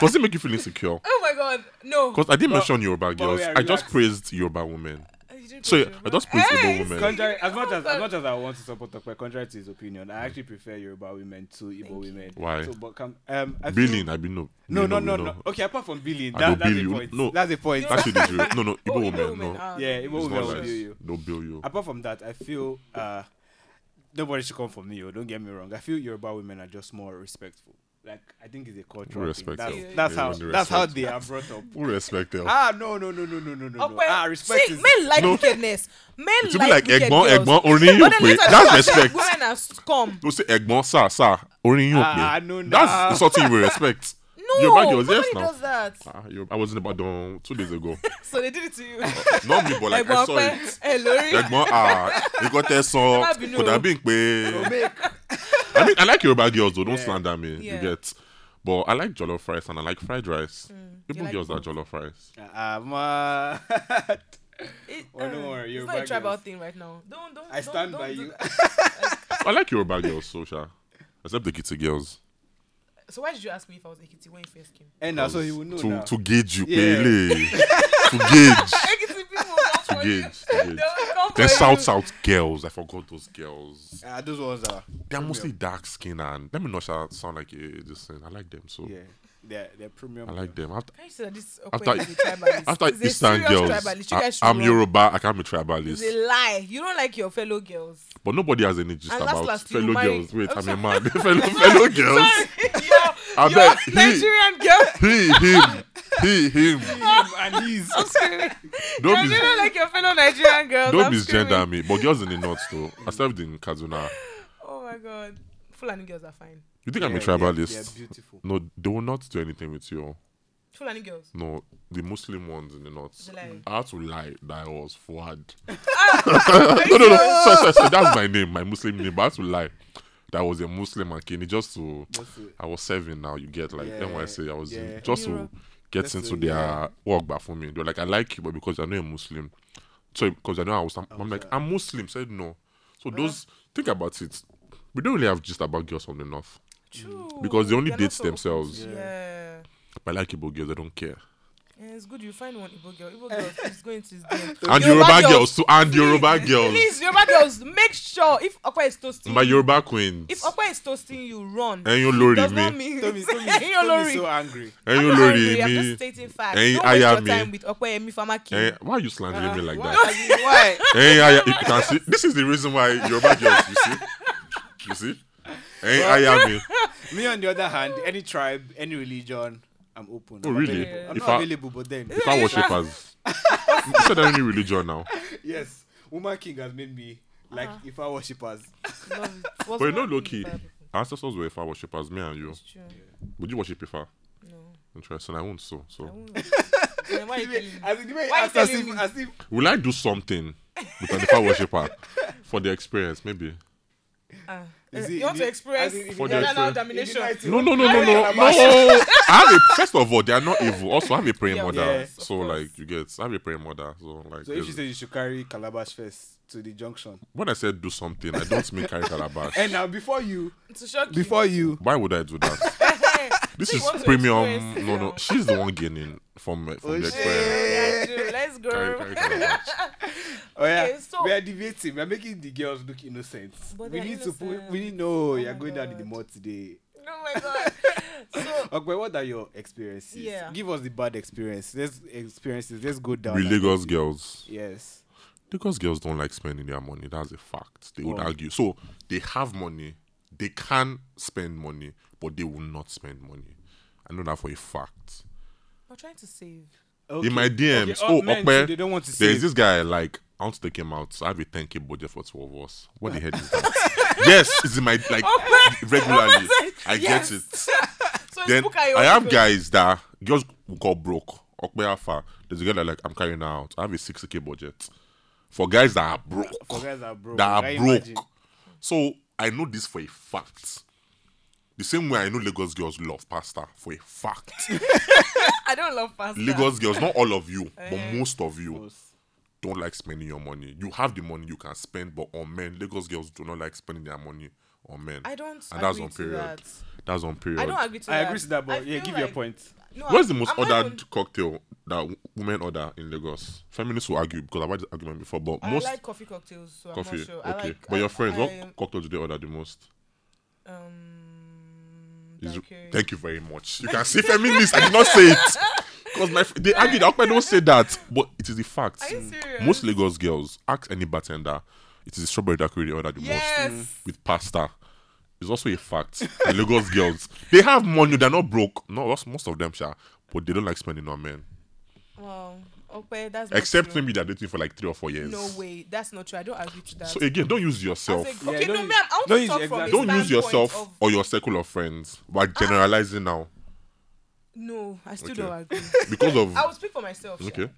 [SPEAKER 3] Does it make you feel insecure?
[SPEAKER 1] Oh my God, no.
[SPEAKER 3] Because I didn't
[SPEAKER 2] But-
[SPEAKER 3] mention Yoruba
[SPEAKER 2] but we
[SPEAKER 3] girls.
[SPEAKER 2] are
[SPEAKER 3] I just
[SPEAKER 2] relaxed.
[SPEAKER 3] praised Yoruba women.
[SPEAKER 1] You didn't
[SPEAKER 3] So
[SPEAKER 1] go
[SPEAKER 3] yeah,
[SPEAKER 1] to
[SPEAKER 3] I
[SPEAKER 1] Yoruba.
[SPEAKER 3] just praise
[SPEAKER 1] Hey,
[SPEAKER 3] Igbo women.
[SPEAKER 1] see,
[SPEAKER 2] Contrary, as much as
[SPEAKER 1] oh my
[SPEAKER 2] as much as I want to support Tokwe, contrary to his opinion, I actually prefer Yoruba women to Igbo women.
[SPEAKER 3] Why?
[SPEAKER 2] So, but come, um, I feel-
[SPEAKER 3] Billing, I be no.
[SPEAKER 2] No,
[SPEAKER 3] you
[SPEAKER 2] no,
[SPEAKER 3] know,
[SPEAKER 2] no,
[SPEAKER 3] you
[SPEAKER 2] no.
[SPEAKER 3] know.
[SPEAKER 2] Okay, apart from billing,
[SPEAKER 3] I
[SPEAKER 2] that,
[SPEAKER 3] don't
[SPEAKER 2] that's
[SPEAKER 3] bill
[SPEAKER 2] the
[SPEAKER 3] you.
[SPEAKER 2] point.
[SPEAKER 3] No.
[SPEAKER 2] That's the point.
[SPEAKER 1] That's-
[SPEAKER 3] That shit is real. No, no,
[SPEAKER 1] Oh,
[SPEAKER 3] Igbo
[SPEAKER 1] Igbo
[SPEAKER 3] women,
[SPEAKER 1] women,
[SPEAKER 3] no.
[SPEAKER 1] ah.
[SPEAKER 2] oh, yeah, Igbo
[SPEAKER 3] It's
[SPEAKER 2] women
[SPEAKER 3] not
[SPEAKER 2] will
[SPEAKER 3] like-
[SPEAKER 2] bill you. Ah.
[SPEAKER 3] They'll bill you.
[SPEAKER 2] Apart from that, I feel uh, nobody should come for me. Or don't get me wrong. I feel Yoruba women are just more respectful. Like I think it's a cultural
[SPEAKER 3] Respect
[SPEAKER 2] thing.
[SPEAKER 1] them.
[SPEAKER 2] That's, that's
[SPEAKER 3] Yeah,
[SPEAKER 2] how
[SPEAKER 3] yeah.
[SPEAKER 2] that's how
[SPEAKER 3] Respect.
[SPEAKER 2] they are brought up.
[SPEAKER 3] Who respect them?
[SPEAKER 2] Ah no no no no no no no. no.
[SPEAKER 1] Ọpẹ́,
[SPEAKER 2] Ah respect
[SPEAKER 1] see,
[SPEAKER 2] is
[SPEAKER 1] men like
[SPEAKER 3] No.
[SPEAKER 1] wickedness. Men
[SPEAKER 3] To be
[SPEAKER 1] like
[SPEAKER 3] like
[SPEAKER 1] wicked
[SPEAKER 3] Egbon,
[SPEAKER 1] girls.
[SPEAKER 3] Egbon, Orin
[SPEAKER 1] But then
[SPEAKER 3] Yope.
[SPEAKER 1] later,
[SPEAKER 3] That's
[SPEAKER 1] you are saying
[SPEAKER 3] respect.
[SPEAKER 1] Women are scum.
[SPEAKER 3] They'll say Egbon, sir, sir, Orin Yope.
[SPEAKER 2] Ah, no,
[SPEAKER 3] That's
[SPEAKER 2] nah.
[SPEAKER 3] insulting with respect.
[SPEAKER 1] No, No,
[SPEAKER 3] Yoruba girls, yes
[SPEAKER 1] nobody
[SPEAKER 3] now.
[SPEAKER 1] does that.
[SPEAKER 3] Ah, Yoruba- I was in Ibadan two days ago.
[SPEAKER 1] So they did it to you.
[SPEAKER 3] Not me, but like I saw
[SPEAKER 1] Egbope,
[SPEAKER 3] it.
[SPEAKER 1] Elori.
[SPEAKER 3] Ẹ̀gbọ́n ah, nǹkan tẹ sọ
[SPEAKER 1] Má bínú
[SPEAKER 3] kò
[SPEAKER 1] o.
[SPEAKER 3] dàbí pé.
[SPEAKER 2] Make
[SPEAKER 3] I mean, I like Yoruba girls though. Don't
[SPEAKER 2] Yeah.
[SPEAKER 3] slander me. You
[SPEAKER 1] Yeah. Mm.
[SPEAKER 3] get. But I like jollof rice and I like fried rice. Even
[SPEAKER 1] like
[SPEAKER 3] girls that
[SPEAKER 1] both.
[SPEAKER 3] jollof rice.
[SPEAKER 2] Ah, mad.
[SPEAKER 1] It-
[SPEAKER 2] Oh, don't
[SPEAKER 1] uh,
[SPEAKER 2] worry,
[SPEAKER 1] It's
[SPEAKER 2] Yoruba
[SPEAKER 1] not a tribal
[SPEAKER 2] girls.
[SPEAKER 1] thing right now. Don't don't.
[SPEAKER 2] I
[SPEAKER 1] don't-
[SPEAKER 2] stand
[SPEAKER 1] don't
[SPEAKER 2] by
[SPEAKER 1] do
[SPEAKER 2] you.
[SPEAKER 1] that.
[SPEAKER 3] I like Yoruba girls, so sha. Except the kitty girls.
[SPEAKER 1] So why did you ask me if I was Ekiti when you first came?
[SPEAKER 2] And now, Ah, so you will know
[SPEAKER 3] to,
[SPEAKER 2] now.
[SPEAKER 3] to gauge you,
[SPEAKER 2] Yeah.
[SPEAKER 3] pele. to gauge.
[SPEAKER 1] Ekiti people come
[SPEAKER 3] To
[SPEAKER 1] for you.
[SPEAKER 3] gauge. To gauge.
[SPEAKER 1] They will come
[SPEAKER 3] Then
[SPEAKER 1] for
[SPEAKER 3] South
[SPEAKER 1] you.
[SPEAKER 3] South girls. I forgot those girls.
[SPEAKER 2] Ah, those ones are.
[SPEAKER 3] They're
[SPEAKER 2] premium.
[SPEAKER 3] mostly dark skinned and let me not sha- sound like a this thing. I like them so.
[SPEAKER 2] Yeah, they're they're premium.
[SPEAKER 3] I like them. After,
[SPEAKER 1] Can you say that this
[SPEAKER 3] After-
[SPEAKER 1] Okwe is a tribalist?
[SPEAKER 3] after
[SPEAKER 1] It's a
[SPEAKER 3] Eastern
[SPEAKER 1] serious
[SPEAKER 3] girls,
[SPEAKER 1] tribalist. You
[SPEAKER 3] I,
[SPEAKER 1] guys should
[SPEAKER 3] I'm
[SPEAKER 1] run.
[SPEAKER 3] Yoruba. I can't be
[SPEAKER 1] It's
[SPEAKER 3] tribalist.
[SPEAKER 1] a lie. You don't like your fellow girls.
[SPEAKER 3] But nobody has any gist
[SPEAKER 1] And last,
[SPEAKER 3] about
[SPEAKER 1] last, you
[SPEAKER 3] fellow
[SPEAKER 1] marry-
[SPEAKER 3] girls. Wait,
[SPEAKER 1] I'm
[SPEAKER 3] I'm, a
[SPEAKER 1] sorry.
[SPEAKER 3] man. fellow, fellow girls. I
[SPEAKER 1] Your, your
[SPEAKER 3] bet he-
[SPEAKER 1] Nigerian girl.
[SPEAKER 3] He, him, he, him.
[SPEAKER 2] Him and his.
[SPEAKER 1] I'm screaming.
[SPEAKER 3] Don't
[SPEAKER 1] you
[SPEAKER 3] mis-
[SPEAKER 1] don't like your fellow Nigerian girls.
[SPEAKER 3] don't
[SPEAKER 1] I'm
[SPEAKER 3] misgender
[SPEAKER 1] screaming.
[SPEAKER 3] me. But girls in the north though. I served in Kaduna.
[SPEAKER 1] Oh my god. Fulani girls are fine.
[SPEAKER 3] You think I'm a
[SPEAKER 2] Yeah, they're-
[SPEAKER 3] tribalist?
[SPEAKER 2] They're beautiful.
[SPEAKER 3] No, they will not do anything with you.
[SPEAKER 1] Fulani girls.
[SPEAKER 3] No, the Muslim ones in the north.
[SPEAKER 1] They
[SPEAKER 2] Mm,
[SPEAKER 1] lie.
[SPEAKER 3] I had to lie that I was Fuad.
[SPEAKER 1] Ah,
[SPEAKER 3] no, no, no. Sorry, sorry, sorry. That's my name, my Muslim name. But I had to lie that I was a Muslim and Kenny just to.
[SPEAKER 2] Just to-
[SPEAKER 3] I was serving now. You get like
[SPEAKER 2] Yeah,
[SPEAKER 3] NYC. I was in-
[SPEAKER 2] yeah.
[SPEAKER 3] just to
[SPEAKER 1] Europe.
[SPEAKER 3] get
[SPEAKER 2] Just
[SPEAKER 3] into
[SPEAKER 2] to-
[SPEAKER 3] their
[SPEAKER 2] yeah.
[SPEAKER 3] work back for me. They're like, I like you, but because you're not a Muslim, so because I know I was, I'm, I'm like, I'm Muslim. Said no. So those think about it. We don't really have just about girls from the north.
[SPEAKER 1] True.
[SPEAKER 3] Because they only
[SPEAKER 1] They're
[SPEAKER 3] date
[SPEAKER 1] not so open to-
[SPEAKER 3] themselves.
[SPEAKER 1] Yeah.
[SPEAKER 3] But I like Igbo girls. I don't care.
[SPEAKER 1] Yeah, it's good you find one Igbo girl. Igbo girl is going to his DM.
[SPEAKER 3] And Yoruba, girls too. And Yoruba girls.
[SPEAKER 1] Please, Yoruba girls, make sure if Okwa is toasting
[SPEAKER 3] My
[SPEAKER 1] you,
[SPEAKER 3] Yoruba queens.
[SPEAKER 1] if Okwa is toasting you, run.
[SPEAKER 3] And you lorry
[SPEAKER 1] Does not
[SPEAKER 3] me.
[SPEAKER 1] mean Uh-huh,
[SPEAKER 2] Tommy, Tommy,
[SPEAKER 1] And you're
[SPEAKER 2] Tommy's
[SPEAKER 1] lorry.
[SPEAKER 2] so angry.
[SPEAKER 3] And
[SPEAKER 1] I'm
[SPEAKER 3] you
[SPEAKER 1] not
[SPEAKER 3] lorry
[SPEAKER 1] angry, I'm
[SPEAKER 3] me.
[SPEAKER 1] just stating facts.
[SPEAKER 3] And
[SPEAKER 1] Don't
[SPEAKER 3] I
[SPEAKER 1] waste your
[SPEAKER 3] am me.
[SPEAKER 1] time with Okweyemi Farmer King.
[SPEAKER 3] Eh, why are you slandering me like
[SPEAKER 2] why?
[SPEAKER 3] that?
[SPEAKER 2] why?
[SPEAKER 3] Eh, I, you can see, this is the reason why Yoruba girls, you see. You see? Eh, I am me.
[SPEAKER 2] Me on the other hand, any tribe, any religion, I'm open.
[SPEAKER 3] Oh,
[SPEAKER 2] I'm
[SPEAKER 3] really?
[SPEAKER 2] available. I'm
[SPEAKER 3] If I-
[SPEAKER 2] not available, but then
[SPEAKER 3] You can't worship us. You said any religion now.
[SPEAKER 2] yes, Woman King has made me like
[SPEAKER 1] Uh-huh.
[SPEAKER 2] if I worshippers.
[SPEAKER 1] Love it. Was
[SPEAKER 3] But you know,
[SPEAKER 1] not in
[SPEAKER 3] low
[SPEAKER 1] the
[SPEAKER 3] key,
[SPEAKER 1] Bible.
[SPEAKER 3] our ancestors were Ifa worshippers, me and you.
[SPEAKER 1] It's true.
[SPEAKER 3] Would you worship Ifa?
[SPEAKER 1] No,
[SPEAKER 3] Interesting. I won't, so. so.
[SPEAKER 1] I won't. Then why are you telling me?
[SPEAKER 2] As in the way,
[SPEAKER 1] Why you
[SPEAKER 2] as, as,
[SPEAKER 1] telling
[SPEAKER 2] if,
[SPEAKER 1] me?
[SPEAKER 2] as if
[SPEAKER 3] Will I do something with an Ifa worshipper for the experience, maybe?
[SPEAKER 1] Ah.
[SPEAKER 2] Is
[SPEAKER 1] Eh,
[SPEAKER 2] it-
[SPEAKER 1] you want
[SPEAKER 2] is
[SPEAKER 1] to
[SPEAKER 2] it-
[SPEAKER 1] express
[SPEAKER 2] as in, if
[SPEAKER 3] For
[SPEAKER 1] for
[SPEAKER 3] the
[SPEAKER 1] the
[SPEAKER 3] experience.
[SPEAKER 1] domination?
[SPEAKER 2] United-
[SPEAKER 3] No, no, no, no, no,
[SPEAKER 2] Hey,
[SPEAKER 3] no. I have a first of all, they are not evil. Also, I have a praying
[SPEAKER 1] Yeah, of
[SPEAKER 3] mother,
[SPEAKER 2] course,
[SPEAKER 1] of
[SPEAKER 3] so
[SPEAKER 1] course.
[SPEAKER 3] like you get, I have a praying mother, so like.
[SPEAKER 2] so if you
[SPEAKER 3] there's-
[SPEAKER 2] say you should carry calabash first to the junction,
[SPEAKER 3] when I said do something, I don't mean carry calabash.
[SPEAKER 2] and now before you,
[SPEAKER 1] To shock you.
[SPEAKER 2] before you,
[SPEAKER 3] Why would I do that?
[SPEAKER 1] Eh,
[SPEAKER 3] This
[SPEAKER 1] so you
[SPEAKER 3] is
[SPEAKER 1] want to
[SPEAKER 3] premium.
[SPEAKER 1] express,
[SPEAKER 3] No,
[SPEAKER 1] you
[SPEAKER 3] no,
[SPEAKER 1] know.
[SPEAKER 3] she's the one gaining from from
[SPEAKER 2] Oh,
[SPEAKER 3] the
[SPEAKER 2] shit.
[SPEAKER 3] experience.
[SPEAKER 1] Yeah, true. Let's go.
[SPEAKER 3] Carry, carry calabash.
[SPEAKER 2] oh yeah,
[SPEAKER 1] Okay, so-
[SPEAKER 2] we are debating. We are making the girls look innocent.
[SPEAKER 1] But
[SPEAKER 2] we
[SPEAKER 1] they're
[SPEAKER 2] need to put. We
[SPEAKER 1] innocent.
[SPEAKER 2] need no.
[SPEAKER 1] Oh
[SPEAKER 2] you're
[SPEAKER 1] my
[SPEAKER 2] going down in the
[SPEAKER 1] God.
[SPEAKER 2] mud today.
[SPEAKER 1] Oh my god. So
[SPEAKER 2] Okay, what are your experiences?
[SPEAKER 1] Yeah.
[SPEAKER 2] Give us the bad experience. Let's experiences. Let's go down.
[SPEAKER 3] With
[SPEAKER 2] and-
[SPEAKER 3] Lagos girls,
[SPEAKER 2] Yes.
[SPEAKER 3] Lagos girls don't like spending their money. That's a fact. They would
[SPEAKER 2] Oh.
[SPEAKER 3] argue. So they have money, they can spend money, but they will not spend money. I know that for a fact.
[SPEAKER 1] we're trying to save.
[SPEAKER 2] Okay.
[SPEAKER 3] in my DMs.
[SPEAKER 2] Okay, all
[SPEAKER 3] Oh,
[SPEAKER 2] men,
[SPEAKER 3] Okpe,
[SPEAKER 2] so they don't want to
[SPEAKER 3] There's
[SPEAKER 2] save.
[SPEAKER 3] this guy like I want to take him out. So I have a 10k budget for two of us. What the heck is that? yes, it's in my like
[SPEAKER 1] Okpe,
[SPEAKER 3] regularly.
[SPEAKER 1] Okpe said
[SPEAKER 3] I
[SPEAKER 1] yes.
[SPEAKER 3] get it.
[SPEAKER 1] So
[SPEAKER 3] Then
[SPEAKER 1] it's Bukayo
[SPEAKER 3] I have
[SPEAKER 1] Ojo.
[SPEAKER 3] guys that girls who call broke. Okpe Alpha. There's a guy that like I'm carrying her out. I have a 60k budget for guys that are broke.
[SPEAKER 2] For guys that are broke.
[SPEAKER 3] that
[SPEAKER 2] can
[SPEAKER 3] are
[SPEAKER 2] you
[SPEAKER 3] broke.
[SPEAKER 2] imagine?
[SPEAKER 3] So I know this for a fact. The same way I know Lagos girls love pasta for a fact.
[SPEAKER 1] I don't love pasta.
[SPEAKER 3] Lagos girls, not all of you, but most of you
[SPEAKER 2] Most.
[SPEAKER 3] don't like spending your money. You have the money you can spend, but on men, Lagos girls do not like spending their money on men.
[SPEAKER 1] I don't
[SPEAKER 3] And that's
[SPEAKER 1] agree
[SPEAKER 3] on
[SPEAKER 1] to
[SPEAKER 3] period.
[SPEAKER 1] that.
[SPEAKER 3] That's on period.
[SPEAKER 1] I don't agree to
[SPEAKER 2] I
[SPEAKER 1] that.
[SPEAKER 2] agree to that,
[SPEAKER 1] I
[SPEAKER 2] but yeah,
[SPEAKER 1] feel
[SPEAKER 2] give your
[SPEAKER 1] like-
[SPEAKER 2] point.
[SPEAKER 1] No,
[SPEAKER 3] What's the
[SPEAKER 1] I'm-
[SPEAKER 3] most
[SPEAKER 1] I'm not
[SPEAKER 3] ordered
[SPEAKER 1] even-
[SPEAKER 3] cocktail that w- women order in Lagos? Feminists will argue because I've had this argument before, but
[SPEAKER 1] I
[SPEAKER 3] most
[SPEAKER 1] like coffee cocktails, so I'm
[SPEAKER 3] coffee.
[SPEAKER 1] not sure.
[SPEAKER 3] Okay.
[SPEAKER 1] I like,
[SPEAKER 3] but
[SPEAKER 1] I-
[SPEAKER 3] your friends,
[SPEAKER 1] I-
[SPEAKER 3] what cocktail do they order the most?
[SPEAKER 1] Um,
[SPEAKER 3] Is-
[SPEAKER 1] daiquiri.
[SPEAKER 3] Thank you very much. You can say feminist. I did not say it. Because my f- they argued, Akpe don't say that. But it is the fact.
[SPEAKER 1] Are you serious?
[SPEAKER 3] Most Lagos girls, ask any bartender, it is the strawberry daiquiri they order the most.
[SPEAKER 1] Yes.
[SPEAKER 3] with pasta is also a fact. The Lagos girls, they have money, they're not broke. No, that's most of them, sha, but they don't like spending on men.
[SPEAKER 1] Wow. Okay, that's not
[SPEAKER 3] Except
[SPEAKER 1] true.
[SPEAKER 3] maybe they're dating for like three or four years.
[SPEAKER 1] No way. That's not true. I don't agree to that.
[SPEAKER 3] So again, don't use yourself.
[SPEAKER 1] As a-
[SPEAKER 2] Yeah,
[SPEAKER 1] okay,
[SPEAKER 2] don't
[SPEAKER 1] no,
[SPEAKER 2] use-
[SPEAKER 1] ma'am. I want
[SPEAKER 2] don't
[SPEAKER 1] to
[SPEAKER 2] use
[SPEAKER 1] talk from
[SPEAKER 2] exact-
[SPEAKER 1] a
[SPEAKER 3] don't use
[SPEAKER 1] standpoint
[SPEAKER 3] yourself
[SPEAKER 1] of-
[SPEAKER 3] or your circle of friends. We're generalizing now.
[SPEAKER 1] No, I still
[SPEAKER 3] Okay.
[SPEAKER 1] don't agree.
[SPEAKER 3] because of
[SPEAKER 1] I will speak for myself. sha.
[SPEAKER 3] okay.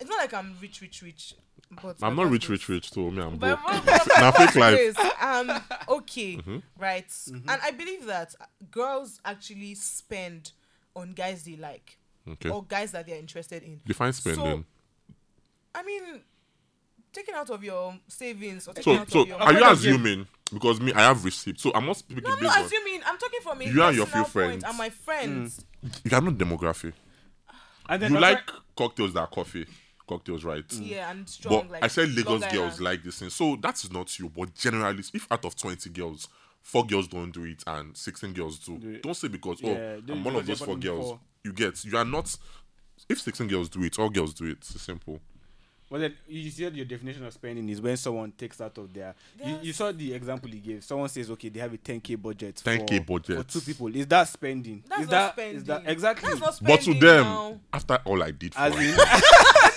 [SPEAKER 1] It's not like I'm rich, rich, rich. But
[SPEAKER 3] I'm
[SPEAKER 1] my
[SPEAKER 3] not rich,
[SPEAKER 1] boss
[SPEAKER 3] rich, rich. So me, I'm
[SPEAKER 1] is-
[SPEAKER 3] broke.
[SPEAKER 1] But my boss- my
[SPEAKER 3] Nah,
[SPEAKER 1] boss
[SPEAKER 3] fake life.
[SPEAKER 1] is, um, okay,
[SPEAKER 3] Mm-hmm.
[SPEAKER 1] right?
[SPEAKER 2] Mm-hmm.
[SPEAKER 1] And I believe that girls actually spend on guys they like
[SPEAKER 3] Okay.
[SPEAKER 1] or guys that they're interested in.
[SPEAKER 3] Define spending.
[SPEAKER 1] I mean, taking out of your savings or taking
[SPEAKER 3] So,
[SPEAKER 1] out
[SPEAKER 3] so,
[SPEAKER 1] of your.
[SPEAKER 3] are you
[SPEAKER 2] Hold on, Jim.
[SPEAKER 3] assuming? Because me, I have received. So I'm not speaking
[SPEAKER 1] no, I'm
[SPEAKER 3] based
[SPEAKER 1] not
[SPEAKER 3] on-
[SPEAKER 1] assuming. I'm talking from a
[SPEAKER 3] You and your
[SPEAKER 1] personal
[SPEAKER 3] few
[SPEAKER 1] point
[SPEAKER 3] friends.
[SPEAKER 1] And my friends.
[SPEAKER 3] You are not demographic.
[SPEAKER 2] And
[SPEAKER 3] You like cocktails that are coffee. Cocktails, right?
[SPEAKER 2] Mm-hmm.
[SPEAKER 1] Yeah, and strong.
[SPEAKER 3] But
[SPEAKER 1] like,
[SPEAKER 3] I said
[SPEAKER 1] Long
[SPEAKER 3] Lagos girls
[SPEAKER 1] Island.
[SPEAKER 3] like this thing. So that's not you. But generally, if out of 20 girls, four girls don't do it and 16 girls do,
[SPEAKER 2] Do it.
[SPEAKER 3] don't say because,
[SPEAKER 2] Yeah,
[SPEAKER 3] oh,
[SPEAKER 2] do it
[SPEAKER 3] I'm
[SPEAKER 2] because
[SPEAKER 3] one of
[SPEAKER 2] you're
[SPEAKER 3] those four
[SPEAKER 2] bottom
[SPEAKER 3] girls.
[SPEAKER 2] four.
[SPEAKER 3] You get, you are not. If 16 girls do it, all girls do it. It's simple.
[SPEAKER 2] Well, then you said your definition of spending is when someone takes out of their. You,
[SPEAKER 1] Yes.
[SPEAKER 2] you saw the example he gave. Someone says, okay, they have a 10k budget.
[SPEAKER 3] 10K
[SPEAKER 2] for,
[SPEAKER 3] budget.
[SPEAKER 2] for two people. Is that spending?
[SPEAKER 1] That's
[SPEAKER 2] is
[SPEAKER 1] not
[SPEAKER 2] that,
[SPEAKER 1] spending.
[SPEAKER 2] Is that exactly?
[SPEAKER 1] That's not
[SPEAKER 3] But
[SPEAKER 1] spending.
[SPEAKER 3] to them,
[SPEAKER 1] now.
[SPEAKER 3] after all I did for
[SPEAKER 2] As
[SPEAKER 3] you,
[SPEAKER 2] in,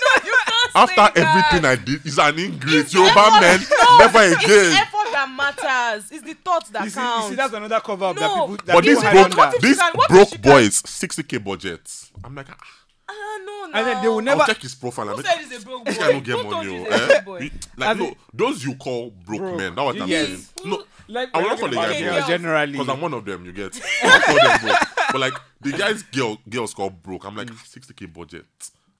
[SPEAKER 3] after
[SPEAKER 1] Say that.
[SPEAKER 3] everything I did, is an ingrate.
[SPEAKER 1] It's
[SPEAKER 3] Yoruba
[SPEAKER 1] effort.
[SPEAKER 3] men,
[SPEAKER 1] No,
[SPEAKER 3] never
[SPEAKER 1] It's the
[SPEAKER 3] again.
[SPEAKER 1] effort that matters. It's the thought that
[SPEAKER 2] you, see, you
[SPEAKER 1] counts.
[SPEAKER 2] see, that's another cover up that
[SPEAKER 1] No,
[SPEAKER 2] people. That
[SPEAKER 3] But
[SPEAKER 2] people
[SPEAKER 3] these
[SPEAKER 1] this
[SPEAKER 2] hide
[SPEAKER 1] is-
[SPEAKER 2] under.
[SPEAKER 1] what
[SPEAKER 3] broke,
[SPEAKER 1] if
[SPEAKER 3] these
[SPEAKER 1] you can- what if
[SPEAKER 3] broke
[SPEAKER 1] you can-
[SPEAKER 3] boys, 60K budgets. I'm like, ah.
[SPEAKER 1] Ah, no, no.
[SPEAKER 2] And then they will
[SPEAKER 3] I'll
[SPEAKER 2] never-
[SPEAKER 3] check his profile. and
[SPEAKER 1] Who
[SPEAKER 3] make-
[SPEAKER 1] said he's a broke
[SPEAKER 3] This
[SPEAKER 1] boy?
[SPEAKER 3] guy don't get
[SPEAKER 1] Who told
[SPEAKER 3] money.
[SPEAKER 1] you
[SPEAKER 3] oh,
[SPEAKER 1] he's a broke
[SPEAKER 3] eh?
[SPEAKER 1] boy?
[SPEAKER 3] We-
[SPEAKER 2] As
[SPEAKER 3] Like, no,
[SPEAKER 2] in-
[SPEAKER 3] those you call broke,
[SPEAKER 2] Broke.
[SPEAKER 3] men. That what I'm
[SPEAKER 2] Yes.
[SPEAKER 3] saying.
[SPEAKER 1] Who-
[SPEAKER 3] No,
[SPEAKER 2] Like,
[SPEAKER 3] I will
[SPEAKER 2] we're talking
[SPEAKER 3] not call the
[SPEAKER 2] about
[SPEAKER 3] guy
[SPEAKER 1] Okay,
[SPEAKER 2] girls
[SPEAKER 1] girls.
[SPEAKER 2] generally.
[SPEAKER 3] because I'm one of them. You get. I'll call them broke. But like the guys, girl, girls call broke. I'm like
[SPEAKER 1] Mm.
[SPEAKER 3] 60k budget.